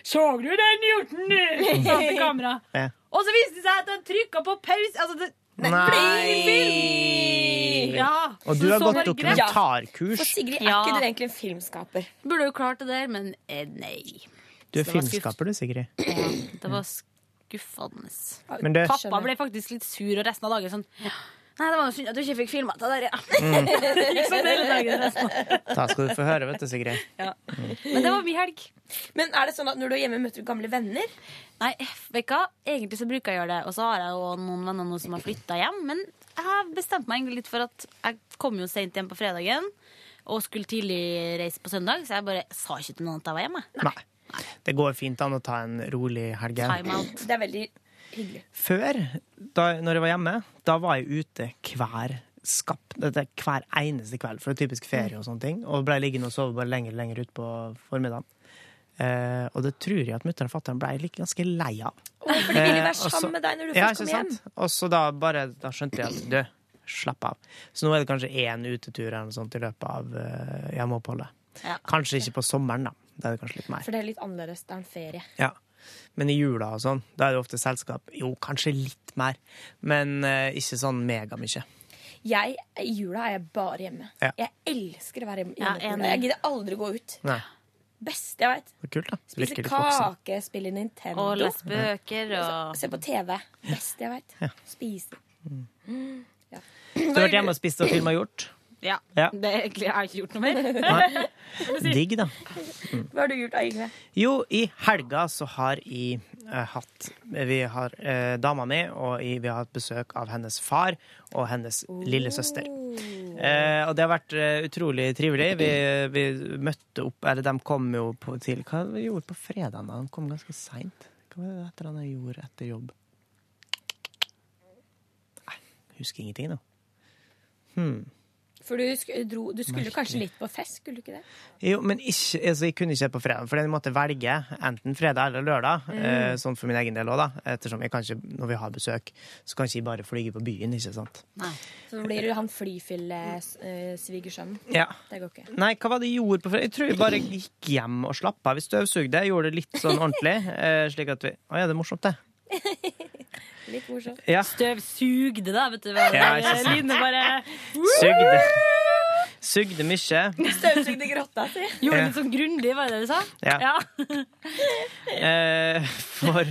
Speaker 12: Såg du den hjorten, [LAUGHS] du? sa han til kamera.
Speaker 2: Ja.
Speaker 12: Og så viste det seg at han trykka på pause. Altså, det, det
Speaker 2: Nei.
Speaker 12: ble ingen film! Ja.
Speaker 2: Og du
Speaker 12: så
Speaker 2: har
Speaker 12: så
Speaker 2: gått
Speaker 12: var det greit.
Speaker 2: dokumentarkurs.
Speaker 14: Sigrid, er
Speaker 12: Ja.
Speaker 14: ikke du egentlig en filmskaper?
Speaker 12: Burde jo klart det der, men eh, nei.
Speaker 2: Du
Speaker 12: Så det
Speaker 2: er
Speaker 12: var
Speaker 2: filmskaper, du, Sigrid.
Speaker 12: Det var skuffende.
Speaker 2: Men det-
Speaker 12: Pappa ble faktisk litt sur, og resten av dagen sånn «Ja, Nei, det var jo synd at du ikke fikk filma det der, ja.
Speaker 2: Mm.
Speaker 12: [LAUGHS] liksom hele dagen resten.
Speaker 2: Da skal du få høre, vet du, Sigrid.
Speaker 12: Men det var min helg.
Speaker 14: Men er det sånn at når du er hjemme, møter du gamle venner?
Speaker 12: Nei, vet du hva? Egentlig så bruker jeg gjøre det, og så har jeg jo noen venner nå som har flytta hjem, men jeg bestemte meg egentlig litt for at jeg kom jo seint hjem på fredagen og skulle tidlig reise på søndag, så jeg bare sa ikke til noen at jeg var hjemme.
Speaker 2: Nei. Det går fint an å ta en rolig helg.
Speaker 12: [LAUGHS]
Speaker 14: Det er veldig hyggelig.
Speaker 2: Før, da når jeg var hjemme, da var jeg ute hver skap, dette, er hver eneste kveld, for det er typisk ferie og sånne ting, og ble liggende og sove bare lenger og lenger ut på formiddagen. Eh, og det tror jeg at mutter'n og fatter'n ble like, ganske lei av.
Speaker 14: for [LAUGHS] de ville
Speaker 2: Eh,
Speaker 14: være
Speaker 2: og så-
Speaker 14: sammen med deg når du
Speaker 2: ja,
Speaker 14: først
Speaker 2: ikke
Speaker 14: kom hjem.
Speaker 2: sant? Og så da bare, da skjønte jeg at du, slapp av. Så nå er det kanskje én utetur eller noe sånt i løpet av eh, hjemmeoppholdet. Kanskje ikke på sommeren, da. Da er det kanskje litt mer.
Speaker 14: For det er litt annerledes. Det er en ferie.
Speaker 2: Ja. Men i jula og sånn, da er det ofte selskap. Jo, kanskje litt mer, men eh, ikke sånn megamye.
Speaker 14: Jeg, I jula er jeg bare hjemme.
Speaker 2: Ja.
Speaker 14: Jeg elsker å være hjemme.
Speaker 12: Ja,
Speaker 14: på jula.
Speaker 12: enig.
Speaker 14: jeg gidder aldri gå ut.
Speaker 2: Nei.
Speaker 14: Beste jeg veit.
Speaker 2: Så kult, da.
Speaker 14: Spise
Speaker 2: Lykke til, Foxen.
Speaker 14: kake, spille Nintendo.
Speaker 12: Og lese bøker, og-
Speaker 14: Se på TV. Beste jeg veit.
Speaker 2: Ja.
Speaker 14: Spise. Mm. Ja.
Speaker 2: Så du har vært hjemme og spist og filma gjort?
Speaker 12: Ja.
Speaker 2: Ja.
Speaker 12: Det er egentlig, jeg har ikke gjort noe mer. [LAUGHS]
Speaker 2: Digg, da.
Speaker 14: Hva har du gjort, Agne?
Speaker 2: Jo, i helga så har jeg eh, hatt Vi har eh, dama mi, og jeg, vi har hatt besøk av hennes far og hennes lillesøster. Eh, og det har vært eh, utrolig trivelig. Vi, vi møtte opp Eller de kom jo på, til Hva vi gjorde vi på fredagen da? Han kom ganske seint. Hva var det etter han gjorde etter jobb? Nei, husker ingenting nå. Hmm.
Speaker 14: For du, sk dro, du skulle
Speaker 2: Merkelig.
Speaker 14: kanskje litt på fest, skulle du ikke det?
Speaker 2: Jo, men ikke, altså, jeg kunne ikke på fredag, for jeg måtte velge enten fredag eller lørdag.
Speaker 14: Mm.
Speaker 2: Eh, sånn for min egen del òg, da. Ettersom jeg kanskje, når vi har besøk, så kan ikke jeg bare flyge på byen, ikke sant.
Speaker 14: Så blir du han flyfyll-svigersønnen.
Speaker 2: Ja.
Speaker 14: Det går ikke.
Speaker 2: Nei, hva var det jeg gjorde på fredag? Jeg tror jeg bare gikk hjem og slapp av. Vi støvsugde, jeg gjorde det litt sånn ordentlig. Eh, slik at vi Å ja, det er morsomt, det.
Speaker 14: Litt morsomt.
Speaker 2: Ja.
Speaker 12: Støvsugde, da, vet du. hva?
Speaker 2: Ja, ikke sant.
Speaker 12: Line bare
Speaker 2: Sugde. Sugde mye.
Speaker 14: Støvsugde grotta si.
Speaker 12: Gjorde
Speaker 2: Ja.
Speaker 12: litt sånn grundig, var det det du sa?
Speaker 2: Ja. [LAUGHS] Eh, for,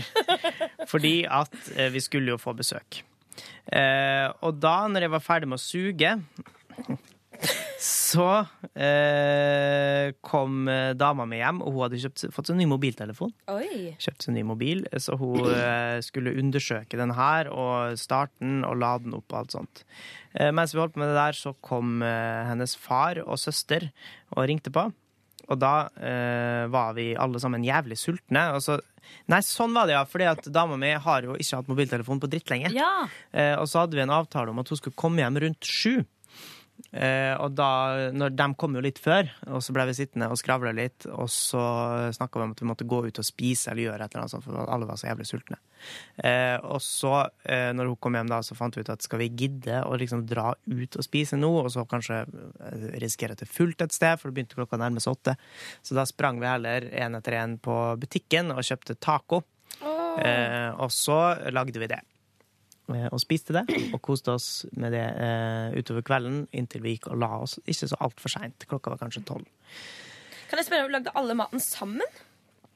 Speaker 2: fordi at eh, vi skulle jo få besøk. Eh, og da, når jeg var ferdig med å suge, så eh, kom eh, dama mi hjem, og hun hadde kjøpt, fått seg en ny mobiltelefon.
Speaker 14: Oi.
Speaker 2: Kjøpt seg en ny mobil, så hun eh, skulle undersøke den her, og starte den, og lade den opp og alt sånt. Eh, mens vi holdt på med det der, så kom eh, hennes far og søster og ringte på. Og da eh, var vi alle sammen jævlig sultne. Og så, nei, sånn var det, ja. Fordi at dama mi har jo ikke hatt mobiltelefon på drittlenge.
Speaker 12: Ja.
Speaker 2: Eh, og så hadde vi en avtale om at hun skulle komme hjem rundt sju. Eh, og da, når de kom jo litt før, og så ble vi sittende og skravla litt, og så snakka vi om at vi måtte gå ut og spise eller gjøre et eller annet sånt, for alle var så jævlig sultne. Eh, og så, eh, når hun kom hjem da, så fant vi ut at skal vi gidde å liksom dra ut og spise nå, og så kanskje eh, risikere at det er fullt et sted, for det begynte klokka nærme seg åtte. Så da sprang vi heller én etter én på butikken og kjøpte taco. Eh, og så lagde vi det. Eh, og spiste det, og koste oss med det eh, utover kvelden inntil vi gikk og la oss. Ikke så altfor seint. Klokka var kanskje tolv.
Speaker 14: Kan jeg spørre om du lagde alle maten sammen?
Speaker 2: Eh,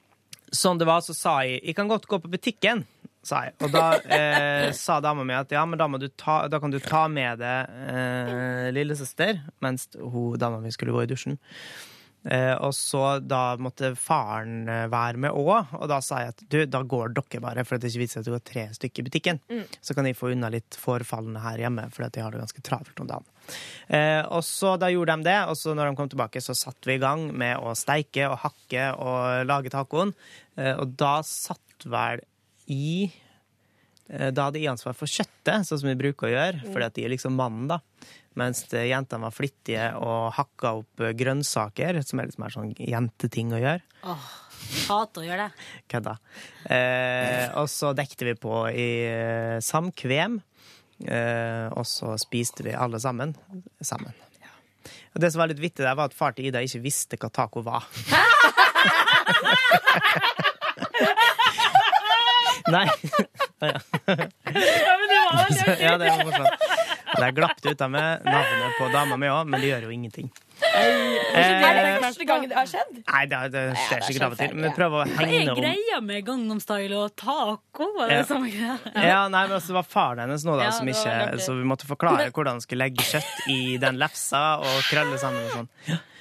Speaker 2: Som det var, så sa jeg jeg kan godt gå på butikken. Sa jeg. Og da eh, [LAUGHS] sa dama mi at ja, men da, må du ta, da kan du ta med deg eh, lillesøster, mens hun, dama mi skulle gå i dusjen. Eh, og så da måtte faren eh, være med òg, og da sa jeg at du, da går dere bare, for at det ikke viser at det går tre stykker i butikken.
Speaker 15: Mm.
Speaker 2: Så kan jeg få unna litt forfallene her hjemme, for at jeg har det ganske travelt om dagen. Eh, og så da gjorde de det, og så når de kom tilbake, så satt vi i gang med å steike og hakke og lage tacoen. Eh, og da satt vel i eh, Da hadde jeg ansvar for kjøttet, sånn som vi bruker å gjøre,
Speaker 15: Mm.
Speaker 2: fordi at de er liksom mannen, da. Mens eh, jentene var flittige og hakka opp eh, grønnsaker, som er litt mer sånn jenteting å gjøre.
Speaker 12: Åh, hater å gjøre det.
Speaker 2: Kødda. Eh, og så dekte vi på i eh, samkvem, eh, og så spiste vi alle sammen sammen. Og det som var litt vittig der, var at far til Ida ikke visste hva taco var. [LAUGHS] Nei. Å, ja.
Speaker 14: Ja, men det var
Speaker 2: Så, ja, det var morsomt. Der glapp det ut av meg navnet på dama mi òg, men det gjør jo ingenting.
Speaker 14: Er det
Speaker 2: Eh,
Speaker 14: første gang det har skjedd?
Speaker 2: Nei, det, det skjer sikkert av og til. Men prøv å
Speaker 12: Hva er
Speaker 2: hegne om
Speaker 12: greia med Gangnam Style og taco? Var det
Speaker 2: Ja.
Speaker 12: samme greia?
Speaker 2: Ja, nei, men altså, det var faren hennes nå, da,
Speaker 12: Ja,
Speaker 2: som
Speaker 12: det var
Speaker 2: ikke,
Speaker 12: artig.
Speaker 2: så vi måtte forklare hvordan han skulle legge kjøtt i den lefsa og krølle sammen og sånn.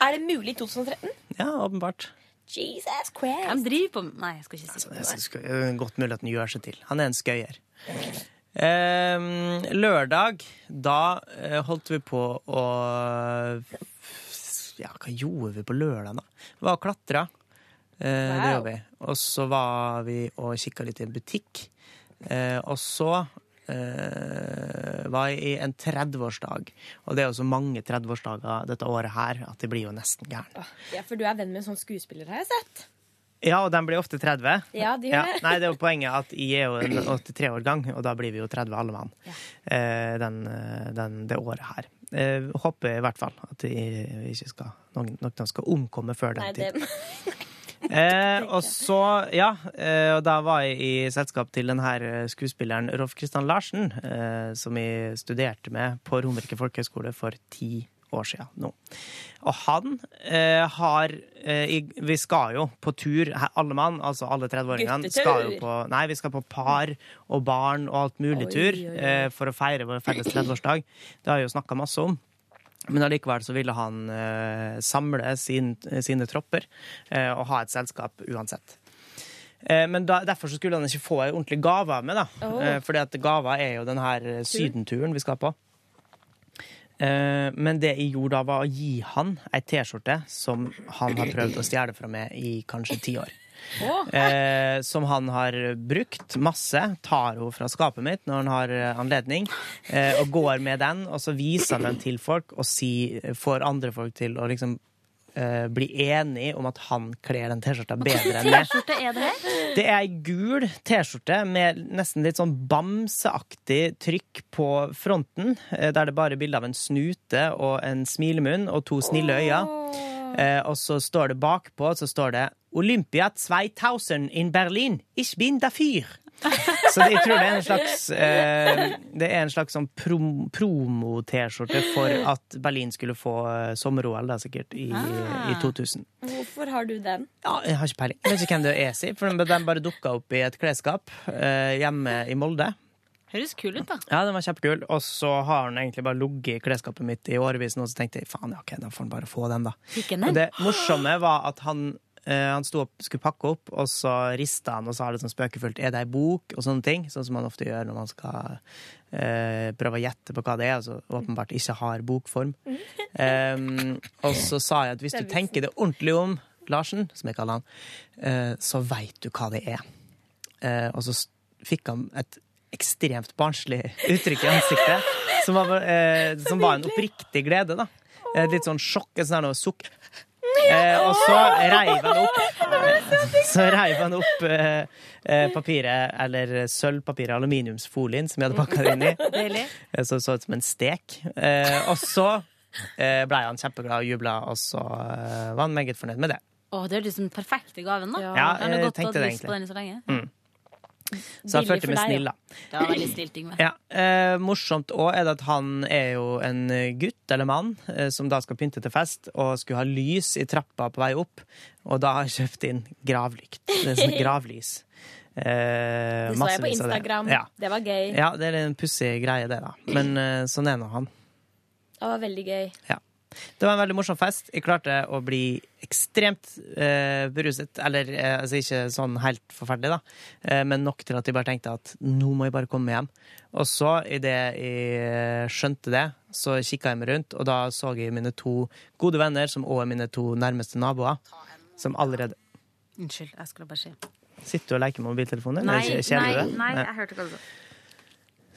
Speaker 14: Er det mulig i 2013?
Speaker 2: Ja, åpenbart.
Speaker 14: Jesus Christ.
Speaker 12: Han driver på Nei, jeg skal ikke si
Speaker 2: Jeg
Speaker 12: det.
Speaker 2: synes det er godt mulig at han gjør seg til. Han er en skøyer. Ehm, lørdag, da eh, holdt vi på å Ja, hva gjorde vi på lørdag, da? Vi var og klatra. Eh, Det
Speaker 15: Wow.
Speaker 2: gjorde vi. Og så var vi og kikka litt i en butikk. Eh, og så eh, var jeg i en 30-årsdag. Og det er jo så mange 30-årsdager dette året her at jeg blir jo nesten gæren.
Speaker 14: Ja, for du er venn med en sånn skuespiller, har jeg sett.
Speaker 2: Ja, og de blir ofte 30.
Speaker 14: Ja, de gjør det.
Speaker 2: Nei, det er jo poenget at jeg er jo en 83-årgang, og da blir vi jo 30 alle mann eh, den, eh, den, det året her. Eh, håper i hvert fall at jeg ikke skal, noen, noen skal omkomme før den
Speaker 14: Nei,
Speaker 2: tid.
Speaker 14: det
Speaker 2: Eh, og så, ja, eh, og da var jeg i selskap til den her eh, skuespilleren Rolf Kristian Larsen, eh, som jeg studerte med på Romerike folkehøgskole for ti år siden nå. Og han eh, har eh, i- Vi skal jo på tur, he- alle mann, altså alle 30-åringene.
Speaker 15: Guttetur.
Speaker 2: skal jo på Nei, vi skal på par og barn og alt mulig
Speaker 15: Oi,
Speaker 2: tur
Speaker 15: oi, oi.
Speaker 2: eh, for å feire vår felles 30-årsdag. Det har jeg jo snakka masse om. Men allikevel så ville han eh, samle sin, sine tropper eh, og ha et selskap uansett. Eh, men da, derfor så skulle han ikke få ei ordentlig gave med, da.
Speaker 15: Åh.
Speaker 2: Eh, fordi at gava er jo den her eh, sydenturen vi skal på. Eh, Men det jeg gjorde da, var å gi han ei T-skjorte som han har prøvd å stjele fra meg i kanskje ti år. Eh, som han har brukt masse. Tar hun fra skapet mitt når han har eh, anledning, eh, og går med den. Og så viser han den til folk og si, får andre folk til å liksom eh, bli enig om at han kler den T-skjorta bedre enn meg.
Speaker 12: T-skjorte er det her?
Speaker 2: Det er ei gul T-skjorte med nesten litt sånn bamseaktig trykk på fronten. eh, Der det bare er bilde av en snute og en smilemunn og to snille øyne. Eh, og så står det bakpå så står det 'Olympia 2000 in Berlin. Ich bin dafür'. Så jeg tror det er en slags eh, Det er en slags sånn prom promo-T-skjorte for at Berlin skulle få eh, sommer-OL, da, sikkert, i, i 2000.
Speaker 14: Hvorfor har du den?
Speaker 2: Ja, jeg har ikke peiling. Jeg vet ikke hvem det er, si, for den- den bare dukka opp i et klesskap eh, hjemme i Molde.
Speaker 12: Høres kul ut, da.
Speaker 2: Ja, den var kjempekul. Og så har den egentlig bare ligget i klesskapet mitt i årevis nå, så tenkte jeg faen, ja, ok, da får han bare få den, da.
Speaker 12: Fikk han den?
Speaker 2: Og det morsomme var at han eh, han sto opp, skulle pakke opp, og så rista han og sa litt sånn spøkefullt 'er det ei bok?' og sånne ting. Sånn som man ofte gjør når man skal eh, prøve å gjette på hva det er, og så åpenbart ikke har
Speaker 12: [LAUGHS]
Speaker 2: bokform. Em, og så sa jeg at hvis du tenker det ordentlig om Larsen, som jeg kaller han, eh, så veit du hva det er. Eh, og så s- fikk han et ekstremt barnslig uttrykk i ansiktet, som var, eh, som var en oppriktig glede, da. Eh, litt sånn sjokk, et sånt her noe sukk. Eh, og så reiv han opp så reiv han opp eh, eh, papiret, eller sølvpapiret, aluminiumsfolien, som jeg hadde pakka det inn i.
Speaker 12: Deilig.
Speaker 2: Eh, Så det så ut som en stek. Eh, og så eh, blei han kjempeglad og jubla, og så eh, var han meget fornøyd med det.
Speaker 12: Å, det høres ut som den perfekte gaven, da.
Speaker 2: Ja,
Speaker 12: Han har
Speaker 2: jeg
Speaker 12: gått og
Speaker 2: tenkte
Speaker 12: hatt
Speaker 2: det
Speaker 12: lyst på den
Speaker 2: egentlig.
Speaker 12: så lenge.
Speaker 2: Mm. Så han
Speaker 12: Billig
Speaker 2: følte
Speaker 12: for
Speaker 2: meg
Speaker 12: deg,
Speaker 2: snill,
Speaker 12: ja.
Speaker 2: da.
Speaker 12: Det var veldig snilt, Yngve.
Speaker 2: Ja, eh, Morsomt òg er det at han er jo en gutt eller mann eh, som da skal pynte til fest, og skulle ha lys i trappa på vei opp, og da har jeg kjøpt inn gravlykt. Det er sånn
Speaker 12: [LAUGHS]
Speaker 2: gravlys. Eh,
Speaker 14: Det så jeg på
Speaker 2: massevis av det.
Speaker 14: Instagram.
Speaker 2: Ja.
Speaker 14: Det var gøy.
Speaker 2: ja, det er en pussig greie, det, da. Men eh, sånn er nå han.
Speaker 14: Det var veldig gøy.
Speaker 2: Det var en veldig morsom fest. Jeg klarte å bli ekstremt eh, beruset. Eller eh, altså ikke sånn helt forferdelig, da, eh, men nok til at jeg bare tenkte at nå må jeg bare komme meg hjem. Og så, idet jeg skjønte det, så kikka jeg meg rundt, og da så jeg mine to gode venner, som òg er mine to nærmeste naboer, som allerede
Speaker 12: Unnskyld, jeg skulle bare si
Speaker 2: Sitter du og leker med mobiltelefonen?
Speaker 12: Nei,
Speaker 2: Eller
Speaker 12: nei,
Speaker 2: kjeder du deg?
Speaker 12: nei,
Speaker 2: Nei.
Speaker 12: jeg hørte hva du sa.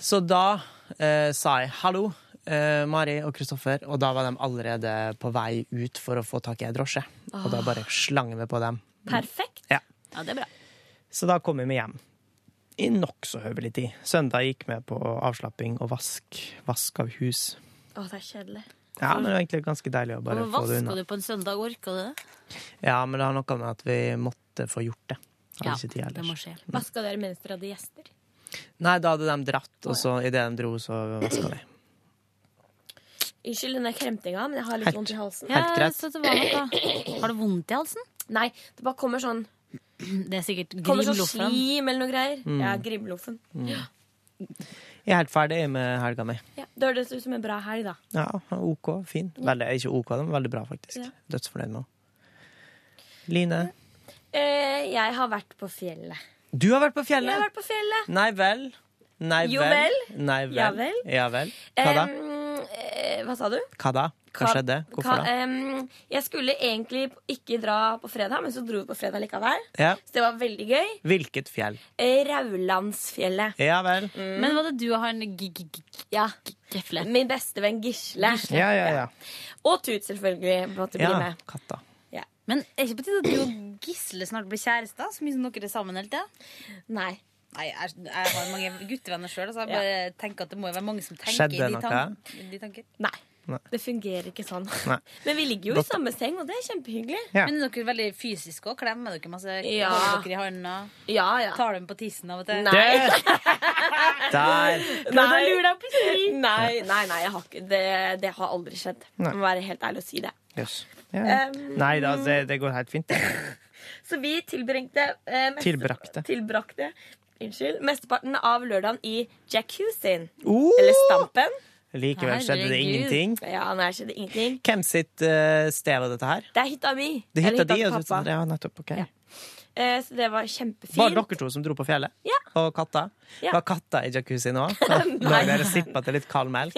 Speaker 2: Så da eh, sa jeg hallo, eh, Mari og Kristoffer, og da var de allerede på vei ut for å få tak i ei drosje. Og da
Speaker 12: Ah.
Speaker 2: bare slang vi på dem.
Speaker 14: Perfekt.
Speaker 2: Ja.
Speaker 12: Ja, det er bra.
Speaker 2: Så da kom vi med hjem. I nokså høvelig tid. Søndag gikk vi på avslapping og vask. Vask av hus.
Speaker 14: Å, det er kjedelig.
Speaker 2: Ja, men det var egentlig ganske deilig å bare få
Speaker 12: Og
Speaker 2: det
Speaker 12: vaska
Speaker 2: unna.
Speaker 12: du på en søndag, orka du det?
Speaker 2: Ja, men det har noe med at vi måtte få gjort det. Hadde
Speaker 12: Ja,
Speaker 2: ikke tid
Speaker 12: det
Speaker 2: ellers.
Speaker 12: må skje.
Speaker 14: Vaska dere mens dere hadde gjester?
Speaker 2: Nei, da hadde de dratt, og så idet de dro, så
Speaker 12: [CLEARS THROAT]
Speaker 2: vaska vi.
Speaker 14: Unnskyld denne kremtinga, men jeg har litt
Speaker 2: Helt-
Speaker 14: vondt i halsen.
Speaker 2: helt Ja, greit. så
Speaker 12: det var noe. Har du vondt i halsen?
Speaker 14: Nei, det bare kommer sånn
Speaker 12: Det er sikkert
Speaker 14: Kommer sånn
Speaker 12: grimloffen.
Speaker 14: slim eller noe greier.
Speaker 2: Mm.
Speaker 14: Ja, grimloffen.
Speaker 2: Mm. Jeg er helt ferdig med helga mi.
Speaker 14: Ja, det høres ut som en bra helg, da.
Speaker 2: Ja, OK. Fin. Veldig, ikke OK, den var veldig bra, faktisk.
Speaker 14: Ja.
Speaker 2: Dødsfornøyd med henne. Line,
Speaker 14: Eh, jeg har vært på fjellet.
Speaker 2: du har vært på
Speaker 14: Jeg har
Speaker 2: fjellet!
Speaker 14: vært på fjellet.
Speaker 2: Nei vel. Nei
Speaker 14: Jo
Speaker 2: vel.
Speaker 14: vel.
Speaker 2: Nei vel.
Speaker 14: Ja vel.
Speaker 2: Ja vel. Hva da?
Speaker 14: Em, eh, hva eh, sa du?
Speaker 2: Hva da? Hva skjedde? Hvorfor da?
Speaker 14: em, jeg skulle egentlig ikke dra på fredag, men så dro vi på fredag likevel.
Speaker 2: Ja.
Speaker 14: Så det var veldig gøy.
Speaker 2: Hvilket fjell?
Speaker 14: Eh, Raulandsfjellet.
Speaker 2: Ja vel.
Speaker 14: Mm.
Speaker 12: Men var det du og han g- g- g-
Speaker 14: Ja.
Speaker 12: Gefle?
Speaker 14: Min beste venn Gisle.
Speaker 2: Ja, ja, ja.
Speaker 14: Og Tut, selvfølgelig. Måtte bli
Speaker 2: Ja,
Speaker 14: med.
Speaker 2: katta.
Speaker 14: Ja.
Speaker 12: Men er ikke på tide at du og Gisle snart blir kjærester? Så mye som dere er sammen hele tida?
Speaker 14: Nei.
Speaker 12: Nei, jeg, jeg har mange guttevenner sjøl, så jeg
Speaker 14: Ja.
Speaker 12: bare tenker at det må jo være mange som tenker
Speaker 2: Skjedde
Speaker 12: i de,
Speaker 2: noe?
Speaker 12: tan i de tanker.
Speaker 14: Nei.
Speaker 2: Nei.
Speaker 7: Det fungerer ikke sånn.
Speaker 2: Nei.
Speaker 7: [LAUGHS] Men vi ligger jo
Speaker 2: Godt.
Speaker 7: i samme seng, og det er kjempehyggelig.
Speaker 2: Ja.
Speaker 12: Men er dere veldig fysiske òg? Klemmer dere masse?
Speaker 7: Ja.
Speaker 12: Holder dere i hånda?
Speaker 7: Ja, ja.
Speaker 12: Tar dem på tissen av og til?
Speaker 7: Nei.
Speaker 2: [LAUGHS] Der!
Speaker 12: Prøvde å lure deg på
Speaker 7: [LAUGHS]
Speaker 12: si.
Speaker 7: Nei, nei, nei jeg har ikke, det, det har aldri skjedd.
Speaker 2: Nei.
Speaker 7: Jeg må være helt ærlig og si det.
Speaker 2: Jøss. Ja.
Speaker 7: Um,
Speaker 2: Nei da, det, det går helt fint.
Speaker 7: Så vi tilbringte eh, meste-
Speaker 2: Tilbrakte.
Speaker 7: tilbrakte Unnskyld. Mesteparten av lørdagen i jacuzzien.
Speaker 2: Oh!
Speaker 7: Eller Stampen.
Speaker 2: Likevel skjedde det ingenting.
Speaker 7: Ja, nei, det skjedde ingenting.
Speaker 2: Hvem sitt eh, sted var dette her?
Speaker 7: Det er hytta mi.
Speaker 2: Det
Speaker 7: Eller
Speaker 2: hytta di? altså,
Speaker 7: til
Speaker 2: og du-
Speaker 7: pappa.
Speaker 2: Ja, nettopp. ok.
Speaker 7: Eh, så det var kjempefint.
Speaker 2: Var det dere to som dro på fjellet?
Speaker 7: Ja.
Speaker 2: Og katta?
Speaker 7: Ja.
Speaker 2: Var katta i jacuzzien
Speaker 7: [LAUGHS]
Speaker 2: òg? Lå
Speaker 7: Nei.
Speaker 2: dere sippa til litt kald melk?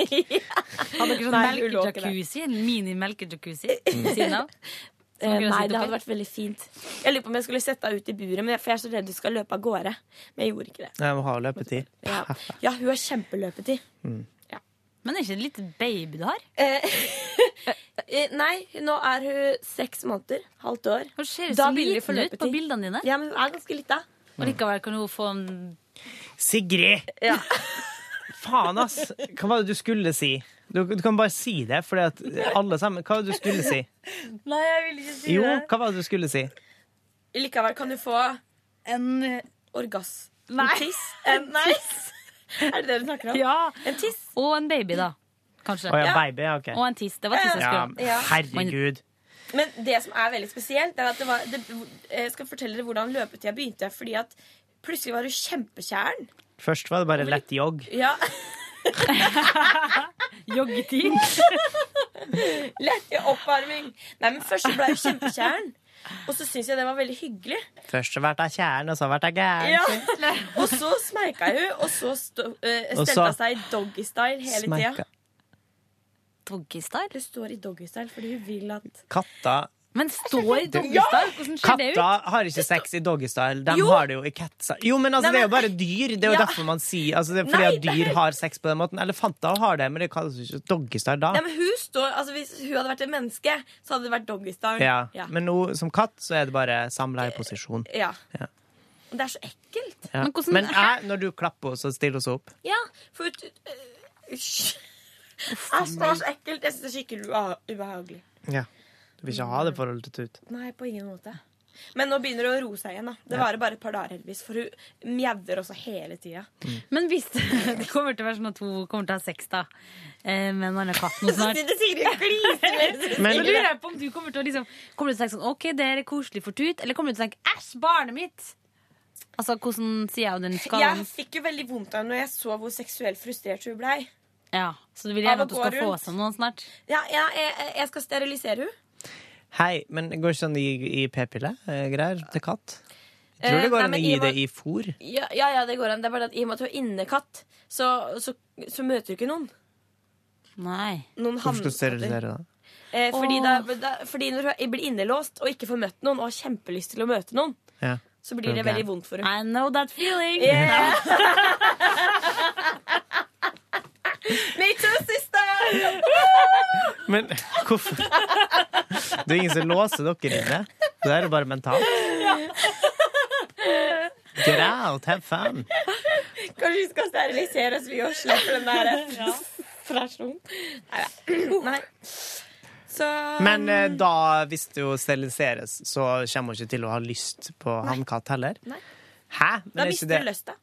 Speaker 12: Hadde dere sånn
Speaker 7: Nei, hun lå ikke
Speaker 12: melkejakkusi? En
Speaker 7: [LAUGHS]
Speaker 12: mini-melkejakkusi ved siden av? Som
Speaker 7: Eh,
Speaker 12: dere
Speaker 7: nei,
Speaker 12: sitter
Speaker 7: det hadde
Speaker 12: oppi?
Speaker 7: vært veldig fint. Jeg lurer på om jeg skulle sette henne ut i buret, men jeg, for jeg er så redd hun skal løpe av gårde. Men jeg gjorde ikke det.
Speaker 2: Nei, må ha løpetid.
Speaker 7: Ja, [LAUGHS] ja hun har kjempeløpetid.
Speaker 2: Mm.
Speaker 12: Men er det ikke en liten baby du har?
Speaker 7: Eh, [LAUGHS] Nei, nå er hun seks måneder. Halvt år.
Speaker 12: Hun ser jo
Speaker 7: Da
Speaker 12: så
Speaker 7: vil vi få
Speaker 12: liten ut på
Speaker 7: løpetid.
Speaker 12: bildene dine.
Speaker 7: Ja, men hun er ganske lita.
Speaker 2: Mm.
Speaker 12: Og likevel kan hun få en
Speaker 2: Sigrid!
Speaker 7: Ja.
Speaker 2: Faen, ass! Hva var det du skulle si? Du, du kan bare si det, for alle sammen Hva var det du skulle si?
Speaker 7: Nei, jeg vil ikke si
Speaker 2: Jo,
Speaker 7: det.
Speaker 2: hva var det du skulle si?
Speaker 7: Likevel kan du få en orgasm. En tiss. [LAUGHS] En tiss. Er det det du snakker om?
Speaker 12: Ja.
Speaker 7: En tiss.
Speaker 12: Og en baby, da. Kanskje.
Speaker 2: Å ja, baby, ja, ok.
Speaker 12: Og en tiss. Det var tiss jeg
Speaker 2: Ja,
Speaker 12: skulle ha.
Speaker 2: herregud.
Speaker 7: Men det som er veldig spesielt, er at det var det, Jeg skal fortelle dere hvordan løpetida begynte. Fordi at plutselig var hun kjempekjæren.
Speaker 2: Først var det bare lett jogg.
Speaker 7: Ja. [LAUGHS]
Speaker 12: Joggetid.
Speaker 7: Lett i oppvarming. Nei, men først så ble hun kjempekjæren. Og så syntes jeg det var veldig hyggelig.
Speaker 2: Først har vært deg kjæren, og så har vært deg
Speaker 7: Ja.
Speaker 2: gæren.
Speaker 7: Og så smeika hun, og så sto, eh,
Speaker 2: Og så-
Speaker 7: stelte hun seg i doggystyle hele
Speaker 2: Smeika.
Speaker 7: tida.
Speaker 12: Doggystyle?
Speaker 7: Det står i doggystyle fordi hun vil at
Speaker 2: Katta
Speaker 12: Men står i
Speaker 2: Du-
Speaker 12: doggystyle? Hvordan ser det
Speaker 2: Katta
Speaker 12: ut?
Speaker 2: har ikke sex i doggystyle. De
Speaker 12: Jo.
Speaker 2: har det jo i catsa. Jo, men altså,
Speaker 12: Nei,
Speaker 2: det er
Speaker 12: men-
Speaker 2: jo bare dyr. Det er jo
Speaker 7: Ja.
Speaker 2: derfor man sier altså, det er Fordi
Speaker 7: Nei,
Speaker 2: at
Speaker 7: det er
Speaker 2: dyr
Speaker 7: helt-
Speaker 2: har sex på den måten. Elefanter har det, men det kalles jo ikke doggystyle da.
Speaker 7: Nei, men hun står, altså Hvis hun hadde vært et menneske, så hadde det vært doggystyle.
Speaker 2: ja.
Speaker 7: Ja.
Speaker 2: Men nå, som katt så er det bare samleieposisjon.
Speaker 7: ja.
Speaker 2: Ja.
Speaker 7: Og Det er så ekkelt.
Speaker 2: Ja. Men jeg, når du klapper henne, så stiller hun seg opp.
Speaker 7: Ja, for ut- ut- øh, [LAUGHS] Hysj. Æsj, det er så ekkelt. Jeg syns det er skikkelig ubeha- ubehagelig.
Speaker 2: Ja. Du vil ikke ha det forholdet til Tut.
Speaker 7: Nei, på ingen måte. Men nå begynner det å roe seg igjen. da Det
Speaker 2: Ja.
Speaker 7: varer bare et par dager, heldigvis. For hun mjauer også hele tida.
Speaker 12: [LAUGHS] Men hvis [LAUGHS] det kommer til å være sånn at hun kommer til å ha sex da eh, med en annen katt nå snart
Speaker 7: Det sier de gliser
Speaker 12: Så lurer jeg på om du kommer til å liksom Kommer du til å tenke sånn OK, det her er koselig for Tut, eller kommer du til å tenke æsj, barnet mitt? Altså, hvordan sier jeg jo den skalaen?
Speaker 7: Jeg fikk jo veldig vondt av henne når jeg så hvor seksuelt frustrert hun blei.
Speaker 12: Ja, så du vil
Speaker 7: Av å
Speaker 12: gjerne at du
Speaker 7: gå
Speaker 12: skal få sånn
Speaker 7: rundt.
Speaker 12: seg noen snart?
Speaker 7: Ja, ja, jeg, jeg skal sterilisere henne.
Speaker 2: Hei, men det går ikke sånn i, i p-pille-greier eh, til katt? Jeg
Speaker 7: Eh,
Speaker 2: tror det
Speaker 7: nei,
Speaker 2: går an å
Speaker 7: men
Speaker 2: gi
Speaker 7: i og
Speaker 2: det
Speaker 7: med-
Speaker 2: i fôr.
Speaker 7: Ja, ja, ja, det går an. Det er bare det at i og med at hun er innekatt, så, så, så møter hun ikke noen.
Speaker 12: Nei.
Speaker 7: noen
Speaker 2: Hvorfor skal du
Speaker 7: hannkatter.
Speaker 2: sterilisere det?
Speaker 7: Eh, fordi,
Speaker 12: Åh.
Speaker 7: da, da, fordi når hun blir innelåst og ikke får møtt noen, og har kjempelyst til å møte noen,
Speaker 2: Ja.
Speaker 7: så blir det
Speaker 2: Ok.
Speaker 7: veldig vondt for henne.
Speaker 12: I know that feeling.
Speaker 7: Yeah. Me too, sister!
Speaker 2: Men hvorfor Det er ingen som låser dere inne. Det er jo bare mentalt. Get out, have fun.
Speaker 7: Kanskje vi skal sterilisere oss, vi òg, slipper den [LAUGHS] der frustrasjonen. Nei, ja. [CLEARS THROAT] Nei. Så
Speaker 2: Men eh, da, hvis det jo steriliseres, så kommer hun ikke til å ha lyst på hannkatt heller.
Speaker 7: Nei.
Speaker 2: Hæ? Men
Speaker 7: Da
Speaker 2: er ikke
Speaker 7: mister
Speaker 2: det,
Speaker 7: du lysta.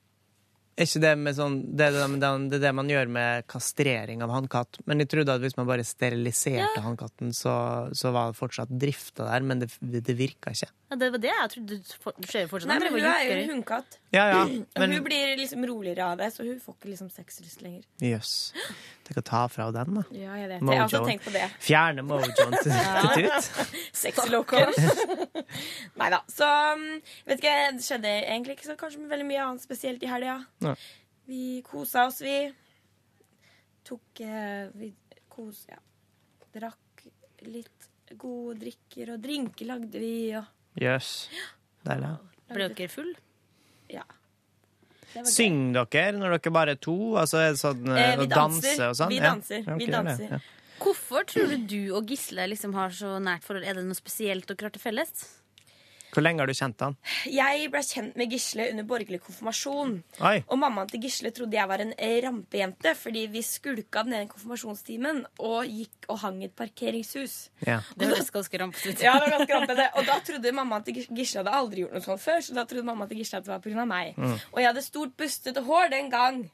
Speaker 2: er ikke det, med sånn, det, er det, det- det er det man gjør med kastrering av hannkatt. Men jeg trodde at hvis man bare steriliserte hannkatten, så, så var det fortsatt drifta der, men det, det virka ikke.
Speaker 12: Ja, det var det jeg trodde. Du for- du ser jo fortsatt
Speaker 7: Nei, men
Speaker 12: at
Speaker 7: hun
Speaker 12: det var
Speaker 7: er jo
Speaker 12: jukker.
Speaker 7: en hundkatt.
Speaker 2: Ja, ja,
Speaker 7: Men
Speaker 2: men
Speaker 7: hun blir liksom roligere av det, så hun får ikke liksom sexlyst lenger.
Speaker 2: jøss. Tenk å ta fra henne den, da.
Speaker 7: Ja, jeg vet det. Jeg har også
Speaker 2: Mojoen.
Speaker 7: tenkt på det.
Speaker 2: Fjerne mojoen
Speaker 7: [LAUGHS]
Speaker 2: til, til Tut.
Speaker 7: Sexy locals. [LAUGHS] Nei da. Så um, vet ikke, det skjedde egentlig ikke så kanskje veldig mye annet spesielt i helga.
Speaker 2: Nei.
Speaker 7: Vi kosa oss, vi. Tok eh, Vi kos... Ja. Drakk litt gode drikker, og drinker lagde vi, og
Speaker 2: Jøs. Deilig.
Speaker 12: Ble dere full?
Speaker 7: ja. Det var gøy.
Speaker 2: Syng dere når dere bare er to? Altså er det sånn
Speaker 7: Eh, vi
Speaker 2: å
Speaker 7: danser.
Speaker 2: danse og sånn?
Speaker 7: Vi
Speaker 2: Ja.
Speaker 7: danser.
Speaker 2: Ja, ok,
Speaker 7: Vi
Speaker 2: det er det.
Speaker 7: danser.
Speaker 2: Ja.
Speaker 12: Hvorfor tror du du og Gisle liksom har så nært forhold? Er det noe spesielt dere har til felles?
Speaker 2: Hvor lenge har du kjent han?
Speaker 7: Jeg ble kjent med Gisle under borgerlig konfirmasjon.
Speaker 2: Oi.
Speaker 7: Og mammaen til Gisle trodde jeg var en rampejente, fordi vi skulka den ene konfirmasjonstimen og gikk og hang i et parkeringshus.
Speaker 2: Ja.
Speaker 12: Det høres ganske rampete ut.
Speaker 7: Ja, det var
Speaker 12: [LAUGHS]
Speaker 7: ganske rampete. Og da trodde mammaen til Gis- Gisle hadde aldri gjort noe sånt før, så da trodde mammaen til Gisle at det var pga. meg.
Speaker 12: Mm.
Speaker 7: Og jeg hadde stort bustete hår den gang.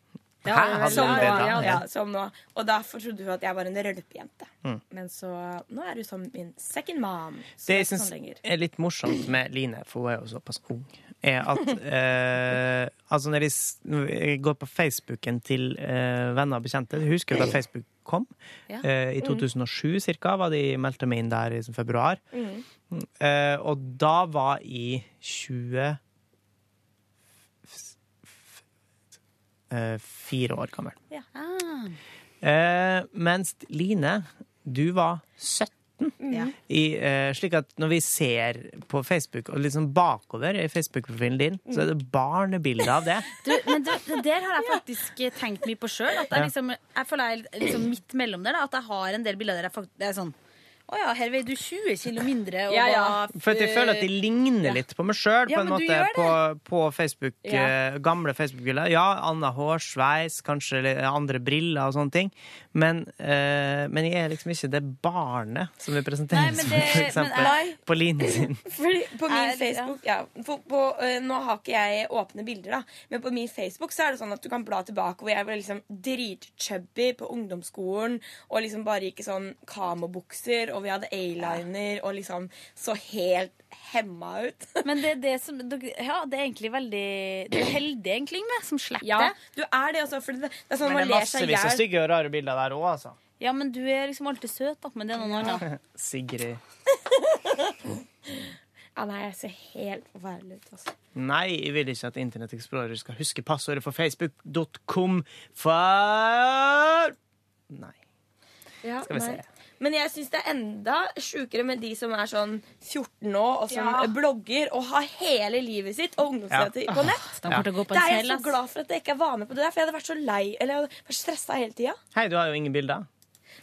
Speaker 12: Hæ? Hadde
Speaker 7: som,
Speaker 12: du
Speaker 7: nå,
Speaker 12: det da?
Speaker 7: ja, ja, som nå. Og derfor trodde hun at jeg var en rølpejente.
Speaker 2: Mm.
Speaker 7: Men så nå er hun som min second mom. Så
Speaker 2: Det
Speaker 7: det
Speaker 2: jeg
Speaker 7: er ikke
Speaker 2: syns
Speaker 7: sånn lenger.
Speaker 2: er litt morsomt med Line, for hun er jo såpass ung, er at eh, Altså, når jeg s- når jeg går på Facebooken til eh, venner og bekjente Du husker jo da Facebook kom?
Speaker 13: Ja.
Speaker 2: Eh, I
Speaker 13: Mm.
Speaker 2: 2007 cirka var de meldte meg inn der i sånn februar.
Speaker 13: Mm.
Speaker 2: Eh, og da var jeg 20 eh, Fire år gammel.
Speaker 7: Ja.
Speaker 2: Eh, mens Line, du var 17. I, eh, slik at når vi ser på Facebook, og liksom bakover i Facebook-profilen din, så er det barnebilde av det.
Speaker 12: Du, men du, det der har jeg faktisk eh, tenkt mye på sjøl.
Speaker 2: Ja.
Speaker 12: Liksom, jeg føler jeg er liksom midt mellom der. Da, at jeg har en del bilder der jeg faktisk det er sånn Å ja, her veier du 20 kilo mindre. Og
Speaker 2: Ja, ja.
Speaker 12: var,
Speaker 2: For at jeg føler at de ligner litt på meg sjøl, på
Speaker 12: Ja,
Speaker 2: en
Speaker 12: men du
Speaker 2: måte,
Speaker 12: gjør det.
Speaker 2: på, på Facebook,
Speaker 12: Ja.
Speaker 2: eh, gamle Facebook-bilder. Ja, anna hårsveis, kanskje litt andre briller og sånne ting, men, eh, men jeg er liksom ikke det barnet som vi
Speaker 7: Nei,
Speaker 2: presenterer
Speaker 7: men
Speaker 2: som,
Speaker 7: det-
Speaker 2: for eksempel,
Speaker 7: men-
Speaker 2: på Line
Speaker 12: [LAUGHS]
Speaker 2: sin.
Speaker 7: Fordi på min
Speaker 12: Er-
Speaker 7: Facebook ja, for på, eh, Nå har ikke jeg åpne bilder, da, men på min Facebook så er det sånn at du kan bla tilbake hvor jeg var liksom dritchubby på ungdomsskolen og liksom bare gikk i sånn kamobukser, og vi hadde a-liner og liksom så helt hemma ut. [LAUGHS]
Speaker 12: Men det er det som dere- Ja, det er egentlig veldig Du er heldig egentlig med, som slipper
Speaker 7: Ja,
Speaker 12: det.
Speaker 7: du er det, altså. For det, det er sånn
Speaker 2: Men det
Speaker 7: man
Speaker 2: er
Speaker 7: ler seg i
Speaker 2: massevis av
Speaker 7: hjel.
Speaker 2: stygge og rare bilder der òg, altså.
Speaker 12: Ja, men du er liksom alltid søt, da. Men det er noe annet.
Speaker 2: Sigrid.
Speaker 7: Ja, nei, jeg ser helt forferdelig ut, altså.
Speaker 2: Nei, jeg vil ikke at Internett Explorer skal huske passordet for facebook.com for Nei.
Speaker 7: Ja,
Speaker 2: Skal vi se.
Speaker 7: nei. Men jeg syns det er enda sjukere med de som er sånn 14 nå og som
Speaker 12: Ja.
Speaker 7: blogger og har hele livet sitt og ungdomsrettigheter
Speaker 12: Ja.
Speaker 7: på
Speaker 12: Åh,
Speaker 7: nett.
Speaker 12: de kommer til å gå på en
Speaker 7: Da er jeg
Speaker 12: smell,
Speaker 7: så
Speaker 12: ass.
Speaker 7: glad for at jeg ikke var med på det der, for jeg hadde vært så lei eller jeg hadde vært stressa hele tida.
Speaker 2: Hei, du har jo ingen bilder.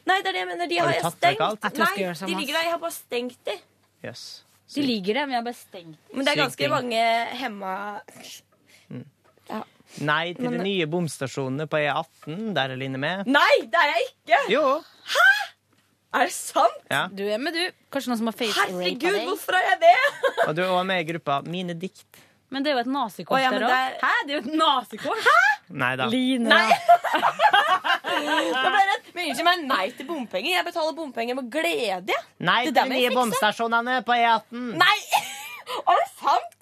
Speaker 7: Nei, det er det jeg mener. De
Speaker 2: Har
Speaker 7: har,
Speaker 2: du
Speaker 7: jeg
Speaker 2: tatt vekk
Speaker 7: stengt.
Speaker 2: alt? Jeg tror jeg skal
Speaker 7: Nei,
Speaker 2: gjøre som
Speaker 7: de
Speaker 2: oss.
Speaker 7: ligger der. Jeg har bare stengt de.
Speaker 2: Jøss.
Speaker 12: De ligger der, men jeg har bare stengt.
Speaker 7: Men det er ganske
Speaker 2: Sykt.
Speaker 7: mange hemma
Speaker 2: Nei til
Speaker 7: Men-
Speaker 2: de nye bomstasjonene på E18. Der er Line med.
Speaker 7: Nei, det er jeg ikke!
Speaker 2: Jo.
Speaker 7: Hæ? Er det sant?
Speaker 2: Ja.
Speaker 12: Du er med, du. Kanskje noen som har face rape
Speaker 7: Herregud, hvorfor er jeg det?
Speaker 2: Og du er også med i gruppa Mine dikt.
Speaker 12: Men det er jo et nazikort
Speaker 7: Å, ja, men
Speaker 12: der òg.
Speaker 7: det
Speaker 12: Hæ? Det er jo et nazikort! Hæ?
Speaker 2: Nei da.
Speaker 12: Line.
Speaker 7: Nå ble jeg redd. Men unnskyld meg, nei til bompenger. Jeg betaler bompenger med glede.
Speaker 2: Nei til
Speaker 7: Det der
Speaker 2: de
Speaker 7: må jeg
Speaker 2: nye
Speaker 7: fikse.
Speaker 2: bomstasjonene på E18.
Speaker 7: Nei! [LAUGHS] Er det sant?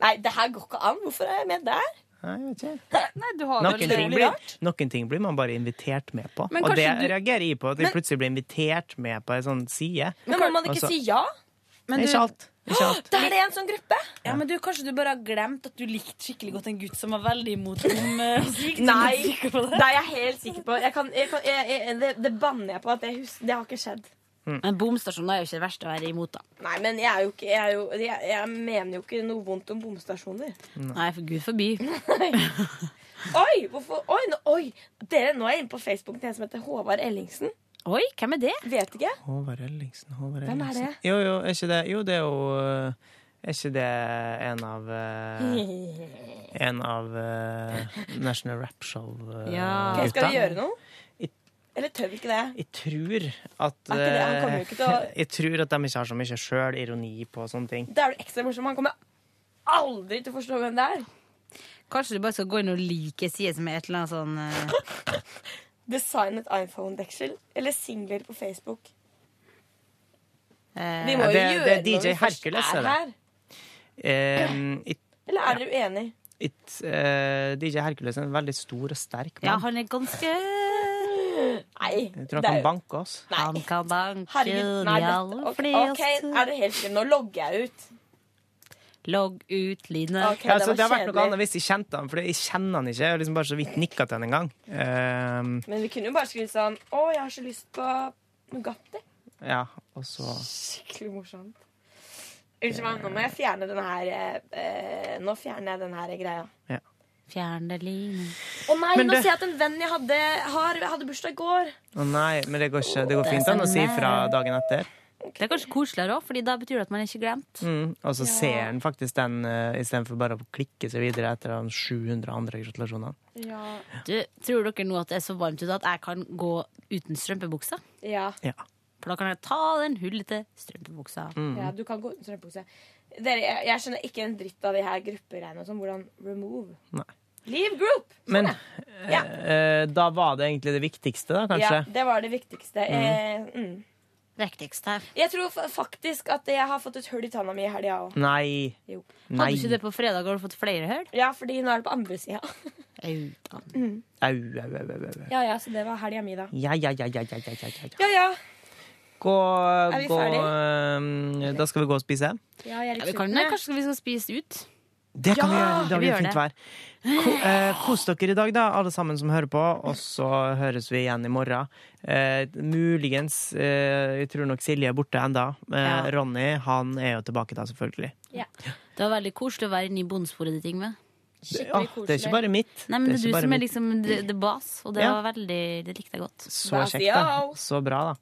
Speaker 7: Nei, det her går ikke an. Hvorfor er jeg med der?
Speaker 2: Nei, jeg vet ikke.
Speaker 12: Nei, du har
Speaker 2: Noen
Speaker 12: vel
Speaker 2: ting, blir, noen ting blir man bare invitert med på,
Speaker 12: Men
Speaker 2: og det
Speaker 12: kanskje du-
Speaker 2: reagerer jeg på. At jeg
Speaker 12: Men-
Speaker 2: plutselig blir invitert med på en sånn side.
Speaker 7: Men må man
Speaker 2: Og
Speaker 7: ikke
Speaker 2: så-
Speaker 7: si ja?
Speaker 2: Nei, Ikke alt. Ikke alt.
Speaker 7: Da er det en sånn gruppe.
Speaker 12: Ja, men du, Kanskje du bare har glemt at du likte skikkelig godt en gutt som var veldig imot eh, altså,
Speaker 7: [LAUGHS]
Speaker 12: rom?
Speaker 7: Nei, det er jeg helt sikker på. Jeg kan, jeg kan, jeg, jeg, det, det banner jeg på at det, hus, det har ikke skjedd.
Speaker 12: [LAUGHS] Men bomstasjonen er jo ikke det verste å være imot, da.
Speaker 7: Nei, men jeg, er jo ikke, jeg, er jo, jeg, jeg mener jo ikke noe vondt om bomstasjoner.
Speaker 12: Nei, for gud forby.
Speaker 7: Oi, hvorfor? Oi, nå, oi. Dere, nå er jeg inne på Facebook til en som heter Håvard Ellingsen.
Speaker 12: Oi, hvem er det?
Speaker 7: Vet ikke.
Speaker 2: Håvard Ellingsen, Håvard
Speaker 7: Hvem er
Speaker 2: Ellingsen.
Speaker 7: det?
Speaker 2: Jo, jo, er ikke det, jo, det er jo øh, Er ikke det en av øh, En av øh, National Rap eh, Show-gutta?
Speaker 12: Ah.
Speaker 7: Ok, skal vi gjøre noe? Eller tør vi ikke det?
Speaker 2: Jeg tror at
Speaker 7: Er ikke det? Han kommer jo ikke til å-
Speaker 2: øh, Jeg tror at de ikke har så mye sjølironi på sånne ting.
Speaker 7: Da er du ekstra morsom. Han kommer aldri til å forstå hvem det er.
Speaker 12: Kanskje du bare skal gå inn og like side som er et eller annet sånn eh,
Speaker 7: [LAUGHS] Design et iPhone-deksel. Eller singler på Facebook.
Speaker 12: eh,
Speaker 7: Vi
Speaker 2: Ja,
Speaker 7: må
Speaker 2: det- det
Speaker 7: jo gjøre
Speaker 2: er DJ
Speaker 7: når vi først
Speaker 2: Hercules,
Speaker 7: er
Speaker 2: er det.
Speaker 7: her.
Speaker 2: Ehm, it,
Speaker 7: Eller er dere uenige? [GASPS]
Speaker 2: it, øh, DJ Hercules er en veldig stor og sterk
Speaker 12: Ja,
Speaker 2: mann.
Speaker 12: han er ganske
Speaker 7: Nei.
Speaker 2: Jeg tror han kan banke oss.
Speaker 12: Han kan banke
Speaker 7: Herregud, nei,
Speaker 12: de
Speaker 7: dette,
Speaker 12: aller
Speaker 7: ok, ok,
Speaker 12: fleste.
Speaker 7: er det helt stille? Nå logger jeg ut.
Speaker 12: Logg ut, Line.
Speaker 7: Ok,
Speaker 2: Ja, altså,
Speaker 7: det
Speaker 2: det har
Speaker 7: var
Speaker 2: vært noe annet
Speaker 7: kjedelig.
Speaker 2: hvis jeg kjente han, for jeg kjenner han ikke. Jeg har liksom bare så vidt nikka til han en gang. Ehm,
Speaker 7: Men vi kunne jo bare skrevet sånn Å, jeg har så lyst på Nugatti.
Speaker 2: ja, og så
Speaker 7: Skikkelig morsomt. Unnskyld meg, nå må jeg fjerne den her eh, eh, Nå fjerner jeg den her greia.
Speaker 12: Fjern det, Line.
Speaker 7: Å nei,
Speaker 2: Men
Speaker 7: nå
Speaker 2: det-
Speaker 7: ser jeg at en venn jeg hadde, har, hadde bursdag i går.
Speaker 2: Å nei, men det går, ikke, det går
Speaker 7: Det er sånn,
Speaker 2: fint an å
Speaker 7: så
Speaker 2: si fra dagen etter.
Speaker 12: Det er kanskje koseligere òg, Fordi da betyr det at man er ikke glemt.
Speaker 2: Mm. Og så ser han faktisk den uh, istedenfor bare å klikke seg videre etter de 700 andre
Speaker 7: Sånn,
Speaker 2: gratulasjonene.
Speaker 12: Du, tror dere nå at det er så varmt ute at jeg kan gå uten strømpebuksa?
Speaker 7: Ja.
Speaker 2: Ja.
Speaker 12: For da kan jeg ta den hullete strømpebuksa.
Speaker 2: Mm.
Speaker 7: Ja, du kan gå uten strømpebukse. Dere, jeg, jeg skjønner ikke en dritt av de her gruppereiene og sånn. Hvordan remove?
Speaker 2: Nei.
Speaker 7: Leave group! Sånn,
Speaker 2: Men
Speaker 7: Ja.
Speaker 2: eh, da var det egentlig det viktigste, da, kanskje.
Speaker 7: Ja, det var det
Speaker 2: Mm.
Speaker 7: viktigste. Eh, mm.
Speaker 12: Viktigste.
Speaker 7: Jeg tror fa- faktisk at jeg har fått et hull i tanna mi i helga òg.
Speaker 2: Nei.
Speaker 7: Jo.
Speaker 2: Nei.
Speaker 12: på fredag? Har du fått flere hull?
Speaker 7: Ja, fordi nå er det på andre sida.
Speaker 12: Au, da.
Speaker 7: Mm.
Speaker 2: Au, au, au, au, au.
Speaker 7: Ja ja, så det var helga mi, da.
Speaker 2: Ja, ja, ja, ja, ja, ja, ja, ja.
Speaker 7: Ja ja.
Speaker 2: Gå,
Speaker 7: Er vi
Speaker 2: gå
Speaker 7: ferdig?
Speaker 2: eh, Da skal vi gå og spise.
Speaker 7: ja jeg er
Speaker 12: Ja,
Speaker 7: litt
Speaker 12: vi kan,
Speaker 7: sulten,
Speaker 12: nei,
Speaker 7: jeg.
Speaker 12: kanskje vi skal spise ut?
Speaker 2: Det kan vi gjøre. Da
Speaker 12: vi
Speaker 2: blir det
Speaker 12: gjør
Speaker 2: fint vær. Ko, eh, kos dere i dag, da, alle sammen som hører på. Og så høres vi igjen i morgen. Eh, muligens eh, Jeg tror nok Silje er borte enda Eh,
Speaker 12: Ja.
Speaker 2: Ronny han er jo tilbake da, selvfølgelig.
Speaker 12: Det var veldig koselig å være inne i bondesporet ditt, Ingve.
Speaker 2: Ja, det er ikke bare mitt.
Speaker 12: Nei, men
Speaker 2: det
Speaker 12: det
Speaker 2: er ikke
Speaker 12: er du
Speaker 2: bare
Speaker 12: som er
Speaker 2: mitt.
Speaker 12: liksom the, the boss, og det,
Speaker 2: Ja.
Speaker 12: var veldig, det likte jeg godt.
Speaker 2: Så kjekt, da. Så bra, da.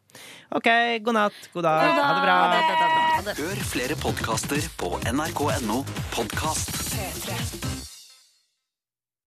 Speaker 2: OK, god natt. God dag. Ha det bra.
Speaker 9: Hør flere podkaster på nrk.no podkast.
Speaker 16: P3.